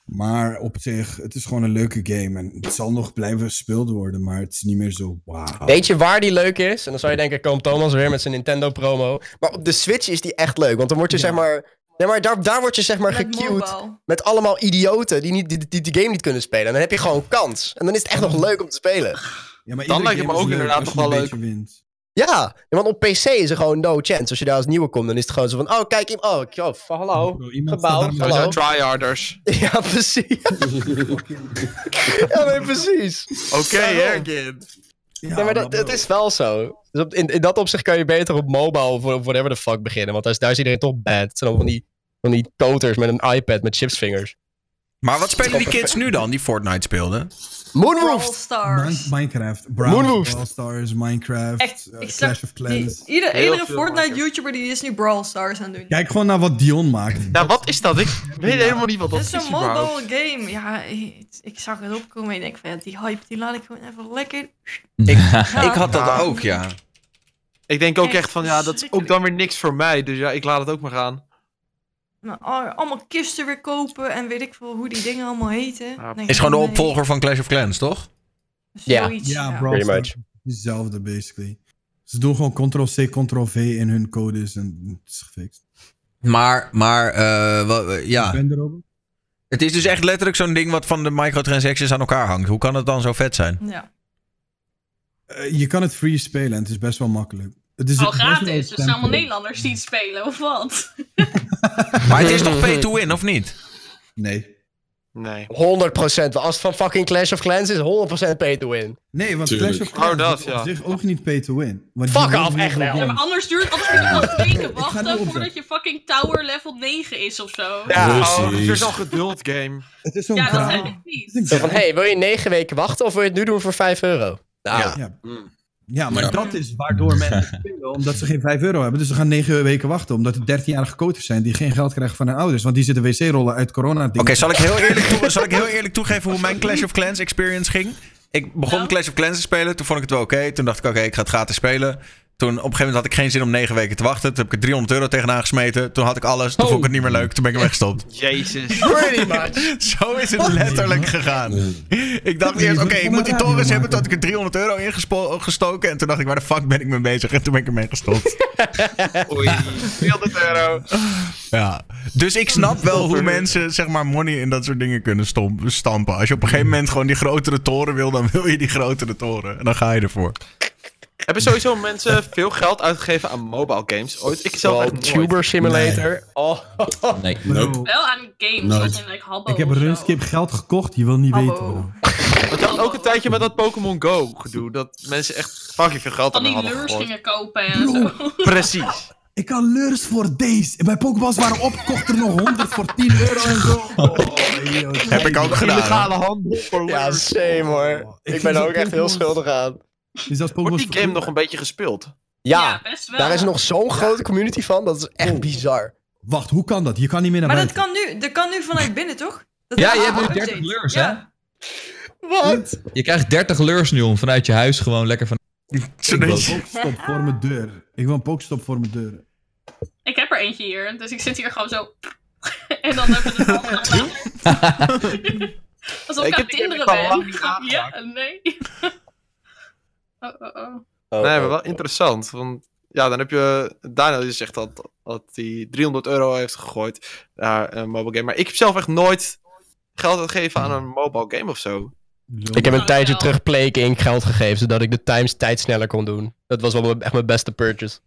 C: Maar op zich, het is gewoon een leuke game. En het zal nog blijven gespeeld worden, maar het is niet meer zo wauw.
B: Weet je waar die leuk is? En dan zou je denken, komt Thomas weer met zijn Nintendo promo. Maar op de Switch is die echt leuk. Want dan word je zeg maar... Nee, maar daar, daar word je zeg maar gecued
I: mobile.
B: met allemaal idioten die, niet, die, die de game niet kunnen spelen. En dan heb je gewoon kans. En dan is het echt nog leuk om te spelen.
C: Ah. Ja, maar
G: Dan
C: iedere
G: lijkt het
C: game
G: me ook
C: is leuk
G: inderdaad
C: als je
G: toch wel
C: een
G: leuk.
C: beetje wint.
B: Ja, want op PC is er gewoon no chance. Als je daar als nieuwe komt, dan is het gewoon zo van... Oh, kijk, iem- oh, ik- oh, f- hallo.
C: Bro, iemand
B: Gebouw.
C: staat daar met-
G: Dat zijn
B: Hallo.
G: tryharders.
B: Ja, precies. ja, nee, precies.
G: Oké,
B: Daarom.
G: Ergin.
C: Ja,
B: nee, maar
C: maar
B: dat,
C: bro.
B: het is wel zo. Dus op, in, in dat opzicht kan je beter op mobile of op whatever the fuck beginnen. Want daar is, daar is iedereen toch bad. Het zijn allemaal van die, van die toters met een iPad met chipsvingers.
A: Maar wat spelen die kids nu dan, die Fortnite speelden?
I: Brawl
B: Moonroof!
I: Stars.
C: Min- Minecraft, Brown,
B: Moonwolf.
C: Brawl Stars, Minecraft,
I: Echt,
C: eh,
I: ik snap
C: Clash of Clans.
I: Die- ieder-
G: Heel
I: iedere
G: veel
I: Fortnite
G: makers.
I: YouTuber die is nu Brawl Stars aan het doen.
C: Kijk gewoon naar wat Dion maakt.
G: Ja, wat is dat? Ik weet helemaal niet wat dat
I: Dit
G: is.
I: is een
G: überhaupt.
I: mobile game. Ja, ik, ik zag het opkomen en ik denk van ja, die hype die laat ik gewoon even lekker. gaan.
A: Ik had dat
G: Ja.
A: ook, ja.
G: Ik denk ook
I: Echt
G: echt van, ja, dat is ook dan weer niks voor mij. Dus ja, ik laat het ook maar gaan.
I: Nou, al- allemaal kisten weer kopen en weet ik veel hoe die dingen allemaal heten.
G: Ja.
I: Dan denk
A: Is
I: ik,
A: gewoon de
I: nee,
A: opvolger van Clash of Clans, toch?
B: Ja.
I: zoiets,
C: Ja,
I: ja.
C: Brawl
B: Pretty
C: Stars.
B: much.
C: Hetzelfde, basically. Ze doen gewoon ctrl-c, ctrl-v in hun codes en het is gefixt.
A: Maar, maar, eh, wa- eh,
C: Ik
A: ja.
C: ben er ook.
A: Het is dus echt letterlijk zo'n ding wat van de microtransactions aan elkaar hangt. Hoe kan het dan zo vet zijn?
I: Ja.
C: Eh, je kan het free spelen en het is best wel makkelijk. Het is
F: Al
C: het best wel
F: gratis. Dus het zijn
C: tempo.
F: allemaal Nederlanders die het spelen, of wat?
A: Maar het is toch pay to win, of niet?
C: Nee.
G: Nee.
B: 100%. Als het van fucking Clash of Clans is, 100% pay to win.
C: Nee, want
E: Tuurlijk.
C: Clash of
G: Oh, dat,
C: Clans is
G: ja.
C: op zich ook niet pay to win. Want
B: Fuck
C: die
B: off,
C: winnen
B: echt
C: heel
B: wel.
C: veel
F: Ja, maar anders duurt anders moet je nog weken
C: ga nu
F: wachten
C: opzetten.
F: voordat je fucking tower level 9 is of zo. Ja,
G: Ja,
E: Precies.
G: oh, het is zo'n geduld game.
C: Het is zo'n
F: dat
C: graal.
F: heb ik
C: Het
F: niet.
C: is
B: Zo
C: een
B: van,
C: graal.
B: hey, wil je 9 weken wachten of wil je het nu doen voor 5 euro? Nou,
A: Ja.
C: Ja. Ja, maar
E: Ja.
C: dat is waardoor mensen spelen, omdat ze geen 5 euro hebben. Dus ze gaan 9 weken wachten, omdat er 13-jarige coaches zijn die geen geld krijgen van hun ouders. Want die zitten wc-rollen uit corona.
A: Oké, zal, ik heel eerlijk toe- zal ik heel eerlijk toegeven hoe mijn Clash of Clans experience ging? Ik begon
F: Nou.
A: Clash of Clans te spelen, toen vond ik het wel oké. Toen dacht ik, oké, ik ga het gratis spelen. Toen op een gegeven moment had ik geen zin om negen weken te wachten. Toen heb ik er 300 euro tegenaan gesmeten. Toen had ik alles, toen vond ik het niet meer leuk. Toen ben ik weggestopt.
G: Jezus.
B: pretty much.
A: Zo is het letterlijk gegaan. Ik dacht eerst, oké, ik moet die torens hebben. Toen had ik er 300 euro in gespo- gestoken. En toen dacht ik, waar de fuck ben ik mee bezig? En toen ben ik ermee gestopt.
G: Oei. 400 euro.
A: Ja. Dus ik snap wel hoe mensen, zeg maar, money in dat soort dingen kunnen stom- stampen. Als je op een gegeven moment gewoon die grotere toren wil, dan wil je die grotere toren. En dan ga je ervoor.
G: Hebben sowieso mensen veel geld uitgegeven aan mobile games ooit? Ik zelf
B: Wel,
G: echt nooit.
B: Tuber Simulator. Oh.
H: Nee.
E: Nope.
F: Wel aan games,
E: Nooit.
F: zoals in like, Habbo
J: Ik heb
F: of zo.
J: Runskip geld gekocht, je wil niet
I: Hallo.
J: weten. bro.
G: Want je had ook een tijdje met dat Pokémon Go gedoe. Dat mensen echt fucking veel geld
F: Van
G: aan
F: die
G: hadden
F: lures
G: gegooid.
F: gingen kopen en zo.
G: Precies.
J: Ik had lures voor deze. Bij Pokéballs waren opkocht er nog 100 voor 10 euro en zo. Oh, joh,
A: Heb ik ook gedaan.
G: Illegale handel voor
B: Ja,
G: lures.
B: same hoor.
J: Oh, Ik
B: Ik
J: vind
B: ben
J: dat
B: ook echt heel
J: Pokémon-
B: schuldig aan.
J: Dus als
G: Wordt
J: Pokéballs
G: die game nog een beetje gespeeld?
B: Ja,
F: best wel.
B: daar is nog zo'n grote community van. Dat is echt bizar.
J: Oh. Wacht, hoe kan dat? Je kan niet meer naar
I: Maar dat
J: buiten.
I: kan nu, dat kan nu vanuit binnen, toch? Dat
H: Ja,
I: is Ah,
H: je
I: een
H: hebt nu
I: update.
H: 30 lures,
I: Ja.
H: hè?
B: Wat?
H: Je krijgt 30 lures nu om vanuit je huis gewoon lekker van...
J: Ik wil een Pokestop voor mijn deur. Ik wil een Pokestop voor mijn deur.
F: Ik heb er eentje hier, dus ik zit hier gewoon zo. en dan hebben we het allemaal gedaan.
G: Ik heb-
F: Alsof ik, aan
G: ik heb
F: kinderen
G: het al lang
F: ben.
G: niet aangeraakt.
F: Ja, nee. Oh, oh, oh.
G: nee, maar wel interessant. Want ja, dan heb je. Daniel die zegt dat, dat hij 300 euro heeft gegooid naar een mobile game. Maar ik heb zelf echt nooit geld uitgegeven aan een mobile game of zo.
B: Ik heb een tijdje
F: Ja.
B: terug Plague Inc. geld gegeven, zodat ik de times tijd sneller kon doen. Dat was wel mijn- echt mijn beste purchase.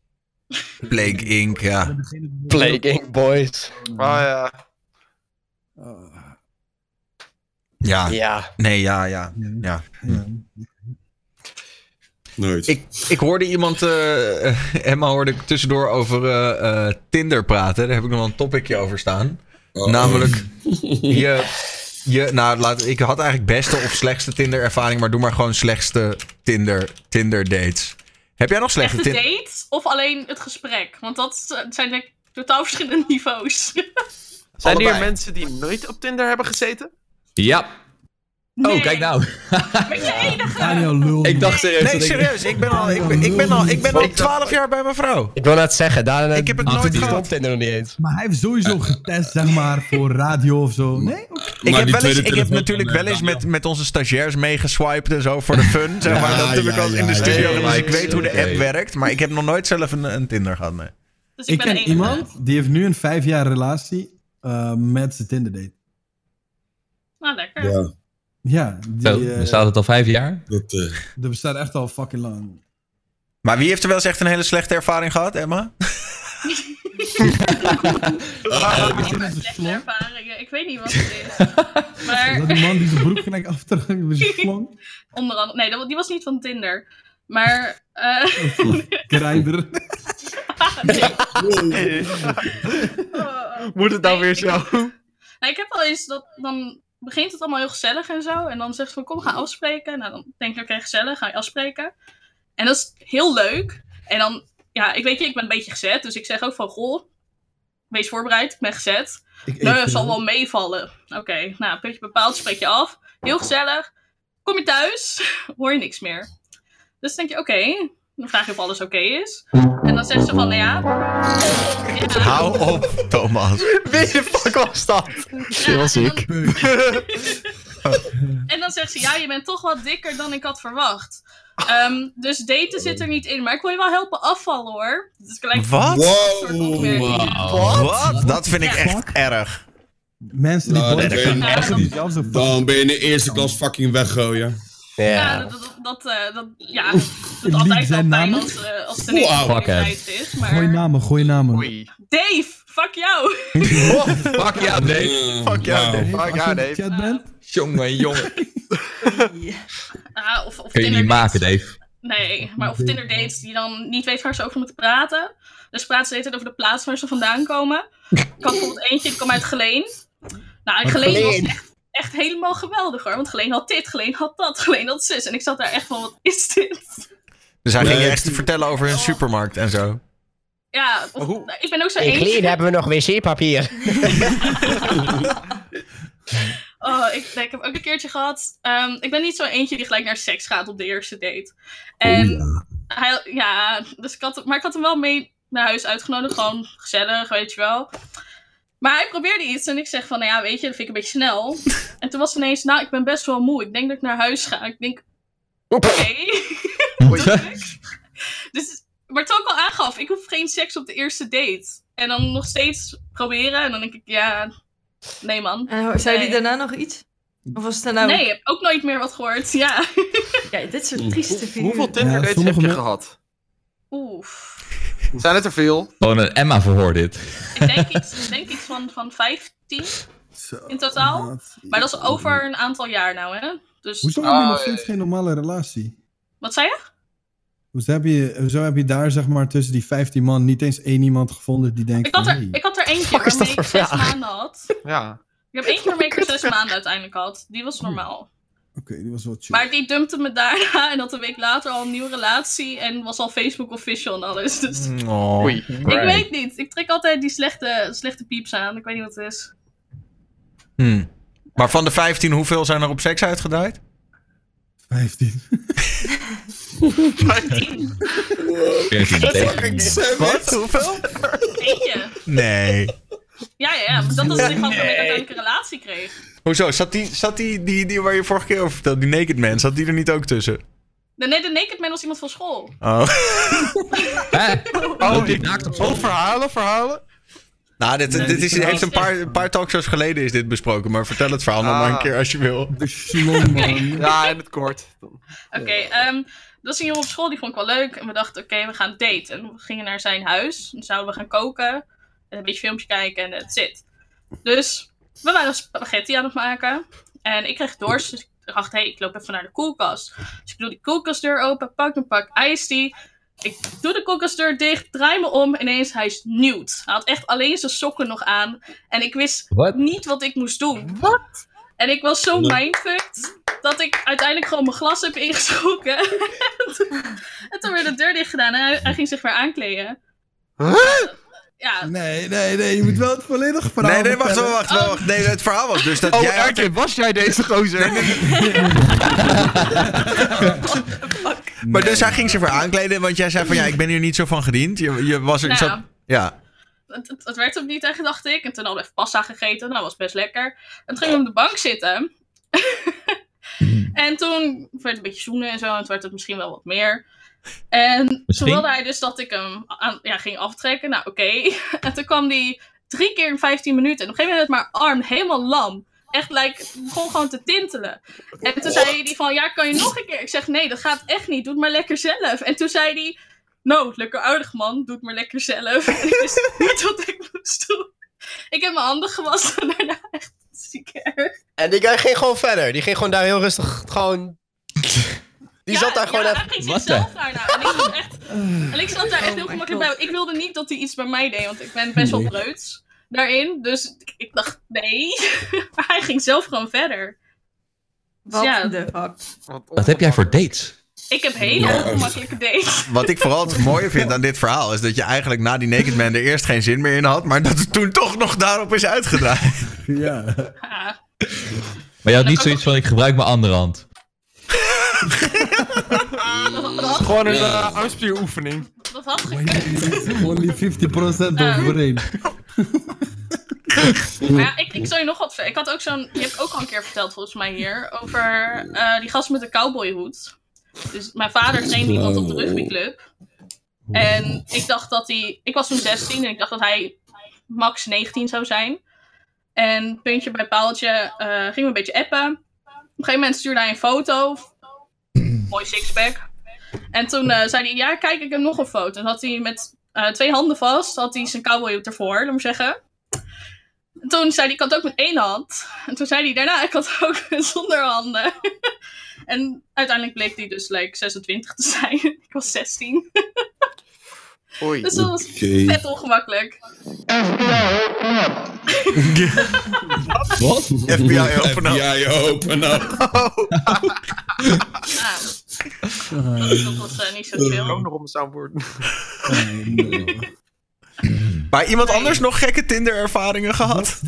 A: Plague Inc. Ja.
B: Plague Inc. boys.
G: Maar ja,
C: Ah,
A: Ja.
B: Ja.
A: Nee, ja, ja.
C: ja.
E: Nooit.
A: Ik, ik hoorde iemand, eh, eh, Emma hoorde ik tussendoor over eh, eh, Tinder praten. Daar heb ik nog wel een topicje over staan.
E: Oh.
A: Namelijk, je, je, nou, laat, ik had eigenlijk beste of slechtste Tinder ervaring, maar doe maar gewoon slechtste Tinder, Tinder dates. Heb jij nog
F: Echt
A: slechte
F: de
A: Tinder?
F: date of alleen het gesprek? Want dat eh, zijn denk ik totaal verschillende niveaus.
G: zijn er hier
H: Allebei.
G: mensen die nooit op Tinder hebben gezeten?
H: Ja.
F: Nee,
H: Oh, kijk nou.
F: Ben je enige?
J: Daniel lul.
H: Ik dacht serieus
A: Nee,
H: dat ik-
A: serieus. Ik ben al, ik ben, ik ben al, ik ben al 12 jaar bij mijn vrouw.
B: Ik wil net zeggen, daar
A: Ik heb het nooit
B: die
A: gehad.
B: stond Tinder nog niet eens.
J: Maar hij heeft sowieso getest, zeg maar, voor radio of zo. Nee?
A: Ik
E: Maar
A: heb,
E: die
A: wel eens,
E: tweede
A: ik heb
E: telefoon
A: natuurlijk
E: van, eh,
A: wel eens
E: Daniel.
A: met, met onze stagiairs meegeswiped en zo voor de fun. Zeg maar,
E: Ja,
A: dat heb ik
E: ja,
A: al in de
E: ja,
A: studio
E: ja,
A: gedaan, dus
H: ja,
A: ik weet hoe de
H: oké.
A: app werkt. Maar ik heb nog nooit zelf een, een Tinder gehad, nee.
F: Dus ik,
J: Ik
F: ben de
J: ken
F: enige.
J: iemand die heeft nu een vijf jaar relatie eh, met zijn Tinder date.
F: Nou, lekker.
E: Ja,
J: Ja, die,
H: Zo,
J: eh,
H: dan staat het al vijf jaar.
E: dat, eh,
J: dat bestaat echt al fucking lang.
A: Maar wie heeft er wel eens echt een hele slechte ervaring gehad, Emma?
F: Slechte ervaringen. Ik weet niet wat het is.
J: Dat
F: maar
J: die man die zijn broekknek aftrok met zijn slong.
F: onder andere. Nee, dat- die was niet van Tinder. Maar. eh,
J: Oh, Grijder.
G: Moet het nou
F: Nee,
G: weer
F: ik
G: zo?
F: Nou, ik heb wel eens dat dan begint het allemaal heel gezellig en zo. En dan zegt ze van kom, ga afspreken. Nou, dan denk ik oké, gezellig, ga je afspreken. En dat is heel leuk. En dan, ja, ik weet je, ik ben een beetje gezet. Dus ik zeg ook van goh, wees voorbereid, ik ben gezet.
J: Ik
F: Nou,
J: eet,
F: dat zal
J: eh,
F: wel meevallen. Oké, nou, puntje bepaald, spreek je af. Heel gezellig. Kom je thuis, hoor je niks meer. Dus denk je, oké, dan vraag je of alles oké is. En dan zegt ze van, nou ja... ja.
A: Hou op, Thomas.
B: Wie de fuck was dat?
F: Ja,
B: was
F: en
B: ik.
F: dan- en dan zegt ze, ja, je bent toch wat dikker dan ik had verwacht. Ehm, dus daten zit er niet in, maar ik wil je wel helpen afvallen hoor. Dat is gelijk
A: Wat?
F: soort
E: wow.
F: opmerking.
A: Wat? Dat vind ik echt
J: Fuck.
A: erg.
J: Mensen die
E: Nou,
J: boos
E: dat
J: zijn,
E: kan
J: mensen die zelf zo
E: Dan ben je in de eerste klas fucking weggooien.
F: Ja,
B: Ja.
F: dat, dat, dat, eh, dat, ja, dat doet
J: Lied
F: altijd wel
J: zijn
F: pijn
J: naam.
F: als, eh, als het
E: Wow.
F: een wow,
H: Fuck, hè.
F: tijd is.
J: Gooi
F: Maar
J: namen, gooi namen.
G: Oei.
F: Dave, fuck jou.
H: Fuck ja, nee.
E: Fuck
G: jou,
J: Hey,
G: Fuck,
J: als
G: ja,
J: je in de
G: nee.
J: chat bent,
H: Jongen, jongen.
F: Ah, of, of
H: Kun je niet
F: Tinder
H: maken,
F: dates.
H: Dave.
F: Nee, maar of Tinder dates die dan niet weet waar ze over moeten praten. Dus praat ze de hele tijd over de plaats waar ze vandaan komen. Ik had bijvoorbeeld eentje, die kwam uit Geleen. Nou, en Geleen was echt, echt helemaal geweldig hoor. Want Geleen had dit, Geleen had dat, Geleen had zus. En ik zat daar echt van, wat is dit?
A: Dus hij ging
E: Nee,
A: je echt
E: tuurlijk.
A: vertellen over hun supermarkt en zo.
F: Ja, of-
G: hoe-
F: nou, ik ben ook zo
B: In
F: eentje.
B: Gleen hebben we nog wc-papier.
F: Oh, ik, nee, ik heb ook een keertje gehad. ehm, ik ben niet zo eentje die gelijk naar seks gaat op de eerste date. En hij, ja, dus ik had, hem- maar ik had hem wel mee naar huis uitgenodigd. Gewoon gezellig, weet je wel. Maar hij probeerde iets en ik zeg van, nou ja, weet je, dat vind ik een beetje snel. En toen was het ineens, nou, ik ben best wel moe. Ik denk dat ik naar huis ga. Ik denk, oké. dus, maar toen ik al aangaf, ik hoef geen seks op de eerste date. En dan nog steeds proberen. En dan denk ik, ja, nee man.
I: En ho- zei
F: Nee.
I: die daarna nog iets? Of was het nou...
F: Nee, ik heb ook nooit meer wat gehoord. Ja.
I: ja dit soort trieste figuren.
G: Hoeveel Tinder dates heb je gehad?
F: Oef.
G: Zijn het er veel?
H: Gewoon een Emma-verhoor dit.
F: Ik denk iets, ik denk iets van, van 15 in totaal. Maar dat is over een aantal jaar nou, hè? Dus,
C: Hoezo heb je nog steeds geen normale relatie?
F: Wat zei je?
C: Hoezo Dus heb, je, hoezo heb je daar zeg maar tussen die 15 man niet eens één iemand gevonden die denkt
F: Ik had
C: van,
F: er,
C: hey,
F: ik had er eentje
C: Fuck is dat
F: waarmee ik
C: voor
F: zes
C: vraag?
F: maanden had.
G: Ja.
F: Ik heb eentje waarmee ik er zes maanden uiteindelijk had. Die was
C: Hmm.
F: normaal.
C: Oké, die was wel chill.
F: Maar die dumpte me daarna en had een week later al een nieuwe relatie en was al Facebook official en alles. Dus
A: Oh.
F: ik weet niet. Ik trek altijd die slechte, slechte pieps aan. Ik weet niet wat het is.
A: Hmm. Maar van de 15, hoeveel zijn er op seks uitgedraaid?
C: 15.
F: 15.
A: Wat? Hoeveel?
F: Eentje.
A: Nee.
F: Ja, ja, ja. Maar dat was de gast waarmee ik uiteindelijk een relatie kreeg.
A: Hoezo? Zat, die, zat die, die, die waar je vorige keer over vertelde, die Naked Man, zat die er niet ook tussen?
F: De, nee, de naked man was iemand van school.
A: Oh.
G: Oh, ik Oh, verhalen, verhalen.
A: Nou, dit,
G: Nee,
A: dit
G: die
A: is, heeft een
G: verhaal-
A: paar, een paar talkshows geleden is dit besproken, maar vertel het verhaal nog maar een
G: Ah.
A: keer als je wil.
G: Ja, in het kort.
F: Oké, ehm, er was een jongen op school die vond ik wel leuk. En we dachten, oké, we gaan daten. En we gingen naar zijn huis. Dan zouden we gaan koken. En een beetje filmpje kijken en that's it. Dus we waren spaghetti aan het maken. En ik kreeg dorst. Dus ik dacht, hé, ik loop even naar de koelkast. Dus ik doe die koelkastdeur open. Pak een pak ijs die. Ik doe de koelkastdeur dicht. Draai me om. Ineens, hij is nude. Hij had echt alleen zijn sokken nog aan. En ik wist niet wat ik moest doen. Wat? En ik was zo mindfucked dat ik uiteindelijk gewoon mijn glas heb ingeschrokken. en toen- en toen werd de deur dicht gedaan en hij, hij ging zich weer aankleden. Ja.
C: Nee, nee, nee, je moet wel het volledige verhaal
A: Nee, nee, wacht, wacht,
C: vertellen.
A: wacht. wacht. Nee, het verhaal was dus dat
G: Oh,
A: jij... had-
G: Erwin, was jij deze gozer?
A: Maar dus hij ging ze voor aankleden, want jij zei van ja, ik ben hier niet zo van gediend. Je, je was er...
F: Nou.
A: zat- ja.
F: Het, het, het werd hem niet echt, dacht ik. En toen hadden we even pasta gegeten. Nou, was best lekker. En toen ging we op de bank zitten. en toen werd het een beetje zoenen en zo. En toen werd het misschien wel wat meer. En
K: Misschien?
F: toen wilde hij dus dat ik hem aan, ja, ging aftrekken. Nou, oké. En toen kwam die drie keer in 15 minuten. En op een gegeven moment werd mijn arm helemaal lam. Echt, like, het begon gewoon te tintelen. En toen zei hij van, ja, kan je nog een keer? Ik zeg, nee, dat gaat echt niet. Doe het maar lekker zelf. En toen zei hij, nou, lekker aardig man. Doe het maar lekker zelf. En ik wist niet wat ik moest doen. Ik heb mijn handen gewassen daarna. Echt ziek erg.
B: En die guy ging gewoon verder. Die ging gewoon daar heel rustig gewoon... Die
F: Ja,
B: zat daar gewoon
F: ja,
B: even...
F: hij ging zichzelf daarna. nou, En ik, zat echt, en ik zat daar echt heel gemakkelijk bij. Ik wilde niet dat hij iets bij mij deed, want ik ben best wel
B: Nee.
F: preuts daarin. Dus ik, ik dacht, nee. maar hij ging zelf gewoon verder.
I: Wat
F: de
H: Wat heb jij voor dates?
F: Ik heb hele
A: Ja.
F: ongemakkelijke dates.
A: Wat ik vooral het mooie vind aan dit verhaal is dat je eigenlijk na die Naked Man er eerst geen zin meer in had, maar dat het toen toch nog daarop is uitgedraaid.
C: Ja.
H: Maar je had niet zoiets van, ik gebruik mijn andere hand.
G: Gewoon een eh, armspieroefening.
F: Dat had
J: Only 50% overeen.
F: Maar ja, ik, ik zou je nog wat ver- Ik had ook zo'n. Je hebt ook al een keer verteld, volgens mij, hier. Over eh, die gast met de cowboyhoed. Dus mijn vader trainde iemand op de rugbyclub. En ik dacht dat hij. Ik was toen 16 en ik dacht dat hij max 19 zou zijn. En puntje bij paaltje eh gingen we een beetje appen. Op een gegeven moment stuurde hij een foto. Mooi sixpack. En toen eh, zei hij, ja, kijk, ik heb nog een foto. En had hij met eh, twee handen vast, had hij zijn cowboyhoed ervoor, laat maar zeggen. Toen zei hij, ik had ook met één hand. En toen zei hij daarna, ik had ook zonder handen. En uiteindelijk bleek hij dus like, 26 te zijn. Ik was 16.
G: Oei.
F: Dus dat was
E: Oké.
F: vet ongemakkelijk.
E: Wat?
A: FBI, open up.
E: FBI, open
J: nou.
E: up.
F: Dat was eh, niet zo chill.
G: Ook nog om zou worden.
A: Maar iemand anders nog gekke Tinder-ervaringen gehad?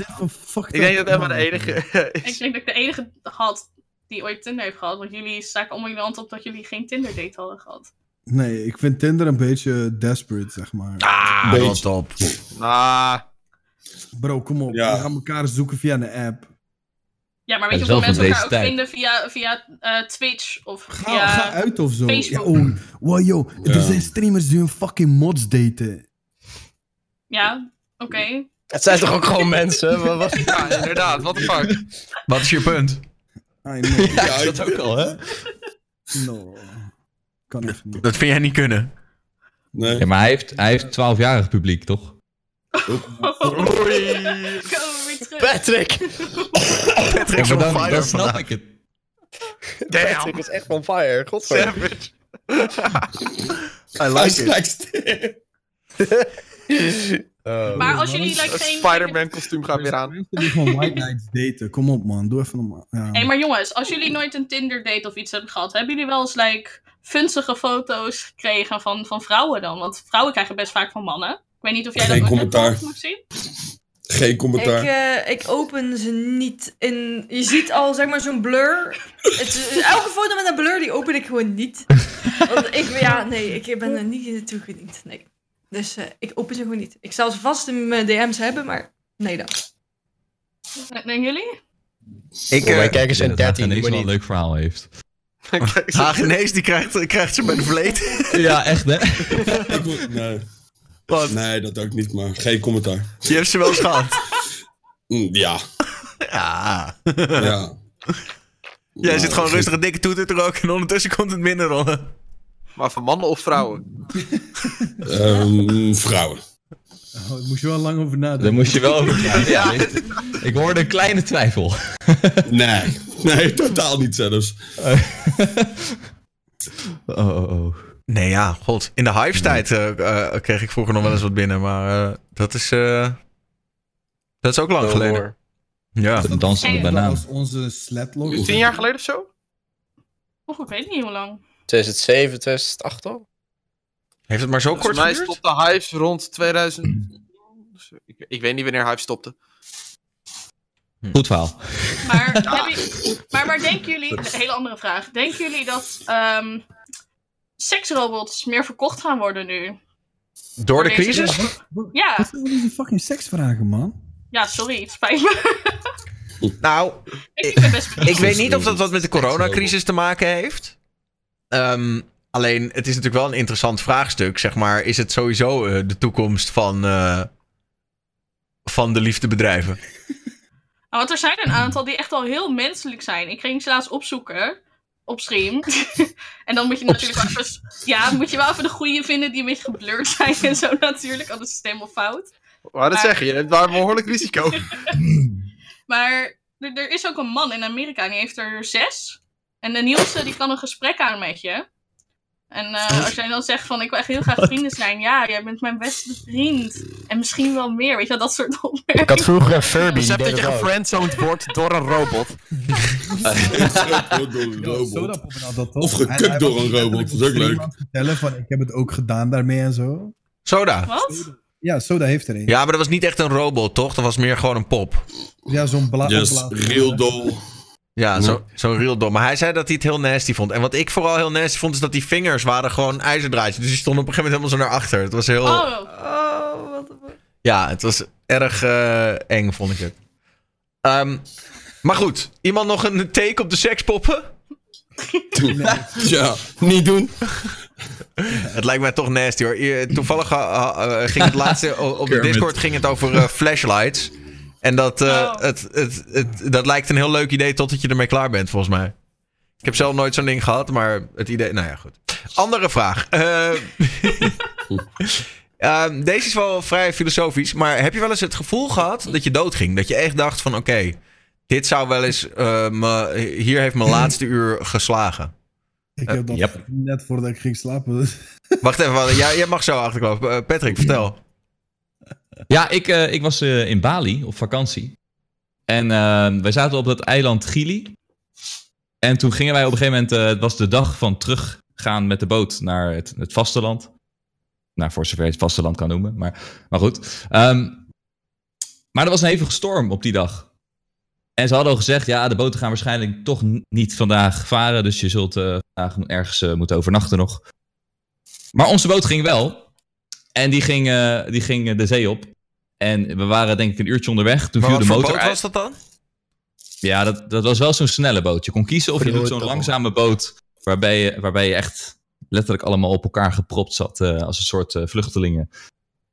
G: Ik denk dat Emma de enige
F: Ik denk dat ik de enige had die ooit Tinder heeft gehad. Want jullie staken allemaal in de hand op dat jullie geen Tinder date hadden gehad.
C: Nee, ik vind Tinder een beetje eh, desperate, zeg maar.
A: Ah,
C: Beetje.
A: rot op.
G: Ah.
C: Bro, kom op.
E: Ja.
C: We gaan elkaar zoeken via de app.
F: Ja, maar weet je
C: Ja,
F: hoeveel
C: zelfs
F: mensen
C: in
F: elkaar
C: deze
F: ook
C: tijd.
F: vinden via, via eh, Twitch of
C: Ga,
F: via...
C: ga uit of zo. Ja,
F: Facebook.
C: oh, wow, yo.
E: Ja.
C: Er zijn streamers die hun fucking mods daten.
F: Ja, oké.
B: Het zijn toch ook gewoon mensen? Wat, wat-
G: Ja, inderdaad, what the fuck.
A: Wat is je punt?
E: Ja,
G: is Ah, dat ook al, hè?
C: No. Kan echt niet.
A: Dat vind jij niet kunnen.
E: Nee.
H: Ja, maar hij heeft, hij heeft 12-jarig publiek, toch?
F: Komen we weer terug.
B: Patrick!
A: Patrick is
H: Ja,
A: on
H: maar dan,
A: fire
H: dan snap
A: vandaag.
H: ik het.
B: Patrick is echt on fire. Godverdomme.
G: Savage.
A: I
E: Hij
A: like it.
E: is like- Eh.
H: Oh,
F: Maar als jullie like,
G: Het
F: geen...
G: Spider-Man kostuum gaat weer aan.
C: Mensen die gewoon white nights daten. Kom op, man. Doe even normaal. Ja.
F: Hé, maar jongens, als jullie nooit een Tinder date of iets hebben gehad, hebben jullie wel eens like funzige foto's gekregen van, van vrouwen dan? Want vrouwen krijgen best vaak van mannen. Ik weet niet of jij
E: Geen
F: dat ook hebt
E: commentaar.
F: gehad, Maxime?
E: Geen
I: Ik,
E: commentaar.
I: eh, ik open ze niet in. Je ziet al zeg maar zo'n blur. Het is- elke foto met een blur die open ik gewoon niet. Want ik, ja, nee, ik ben er niet naartoe gediend. Nee. Dus eh, ik open ze gewoon niet. Ik zou ze vast in mijn DM's hebben, maar nee dan.
F: En, en jullie?
H: Oh,
A: Ik,
B: Voor
A: eh,
B: mijn kijkers
H: Ja,
B: zijn
H: dat hij
B: 13,
H: niks
B: maar
H: wel een
B: niet.
H: leuk verhaal heeft.
G: Kijk, zo-
A: Hagenees, die krijgt, krijgt ze bij de vleet.
H: Ja, echt hè?
E: Ik wil- nee.
A: Wat?
E: nee, dat ook niet, maar geen commentaar.
A: Je hebt ze wel eens gehad.
E: Mm, Ja,
A: Ja.
E: ja.
A: Jij
E: Ja,
A: zit gewoon
E: geen-
A: rustig een dikke toeter te roken en ondertussen komt het minder rollen.
G: Maar van mannen of vrouwen?
E: Ehm, vrouwen.
C: Oh, daar moest je wel lang over nadenken.
H: Daar moest je wel over gaan. Ja, dit- ik hoorde een kleine twijfel.
E: Nee, nee, totaal niet zelfs.
H: Eh. Oh, oh, oh.
A: Nee, ja, god. In de hypestijd tijd eh, eh, kreeg ik vroeger nog wel eens wat binnen, maar eh, dat is... eh, dat is ook lang geleden. Ja.
H: Een dansende
C: Dat
H: banaan.
C: was onze slatlog.
G: Tien jaar geleden of zo?
F: Och, ik weet niet hoe lang.
B: 2007, 2008 al?
A: Heeft het maar zo kort
G: Volgens mij
A: geduurd?
G: stopte Hives rond 2000. Ik, ik weet niet wanneer Hives stopte.
C: Hm.
H: Goed verhaal.
F: Maar, hebben jullie- maar, maar denken jullie... Een hele andere vraag. Denken jullie dat ehm, seksrobots meer verkocht gaan worden nu?
A: Door de
F: Deze-
A: crisis?
F: Ja,
C: Wat zijn al die fucking seksvragen, man?
F: ja sorry, het spijt me.
A: Nou,
F: Ik ben best...
A: ik weet niet of dat wat met de coronacrisis te maken heeft. Ehm, alleen, het is natuurlijk wel een interessant vraagstuk. Zeg maar, is het sowieso eh, de toekomst van, eh, van de liefdebedrijven?
F: Nou, want er zijn een aantal die echt al heel menselijk zijn. Ik ging ze laatst opzoeken op stream. en dan moet je natuurlijk wel even, ja, moet je wel even de goede vinden die een beetje geblurred zijn en zo natuurlijk, anders is het helemaal fout.
G: Maar dat
F: Maar-
G: zeg je, je hebt daar een behoorlijk risico.
F: Maar er, er is ook een man in Amerika en die heeft er zes. En de nieuwste die kan een gesprek aan met je. En eh,
B: Oh.
F: als jij dan zegt van ik wil echt heel graag vrienden zijn, ja, jij bent mijn beste vriend. En misschien wel meer, weet je wel, dat soort
B: Ik had
F: opmerkingen.
B: vroeger een Furby, die
G: Besef
B: deed
G: dat je
B: dat ook.
G: gefriendzoned wordt door een robot.
E: Gekut door een robot.
C: Soda pop en al dat toch?
E: Of
C: En hij
E: gekukt door
C: was
E: een
C: letterlijk
E: robot, dat is ook
C: op
E: leuk.
C: iemand vertellen van ik heb het ook gedaan daarmee en zo.
A: Soda.
F: Wat?
C: Ja, Soda heeft er een. Ja,
A: Ja, maar dat was niet echt een robot, toch? Dat was meer gewoon een pop.
C: zo'n bla
E: Yes,
C: opblaas-
E: real doll.
A: Ja, zo- zo'n real dom. Maar hij zei dat hij het heel nasty vond. En wat ik vooral heel nasty vond, is dat die vingers waren gewoon ijzerdraadjes. Dus die stonden op een gegeven moment helemaal zo naar achter. Het was heel...
F: Oh,
I: Oh, wat een.
A: Ja, het was erg eh, eng, vond ik het. Ehm, maar goed, iemand nog een take op de sekspoppen?
E: Ja, niet doen.
A: Het lijkt mij toch nasty hoor. Eer- Toevallig eh, eh, eh, ging het laatste o- op de
H: Kermit.
A: Discord ging het over eh, flashlights. En dat, eh,
F: Oh.
A: het, het, het, dat lijkt een heel leuk idee totdat je ermee klaar bent, volgens mij. Ik heb zelf nooit zo'n ding gehad, maar het idee. Nou ja, goed. Andere vraag. Eh, ehm, deze is wel vrij filosofisch, maar heb je wel eens het gevoel gehad dat je doodging? Dat je echt dacht van: oké, dit zou wel eens. eh, me- hier heeft mijn laatste uur geslagen.
C: Ik heb dat
H: Yep.
C: net voordat ik ging slapen.
A: Wacht even, wat- jij, jij mag zo achterlopen. Eh, Patrick, vertel.
H: Ja, ik, eh, ik was eh, in Bali op vakantie. En eh, wij zaten op dat eiland Gili. En toen gingen wij op een gegeven moment... eh, het was de dag van teruggaan met de boot naar het, het vasteland. Nou, voor zover je het vasteland kan noemen. Maar, maar goed. Ehm, maar er was een hevige storm op die dag. En ze hadden al gezegd... Ja, de boten gaan waarschijnlijk toch n- niet vandaag varen. Dus je zult eh, vandaag ergens eh, moeten overnachten nog. Maar onze boot ging wel. En die ging, eh, die ging eh, de zee op. En we waren denk ik een uurtje onderweg. Toen
A: Maar
H: viel
A: wat
H: de
A: voor
H: motor
A: boot
H: uit.
A: was dat dan?
H: Ja, dat, dat was wel zo'n snelle boot. Je kon kiezen of je doet
B: Verloren
H: zo'n
B: toch?
H: langzame boot. Waarbij je, waarbij je echt letterlijk allemaal op elkaar gepropt zat. eh, als een soort eh, vluchtelingen.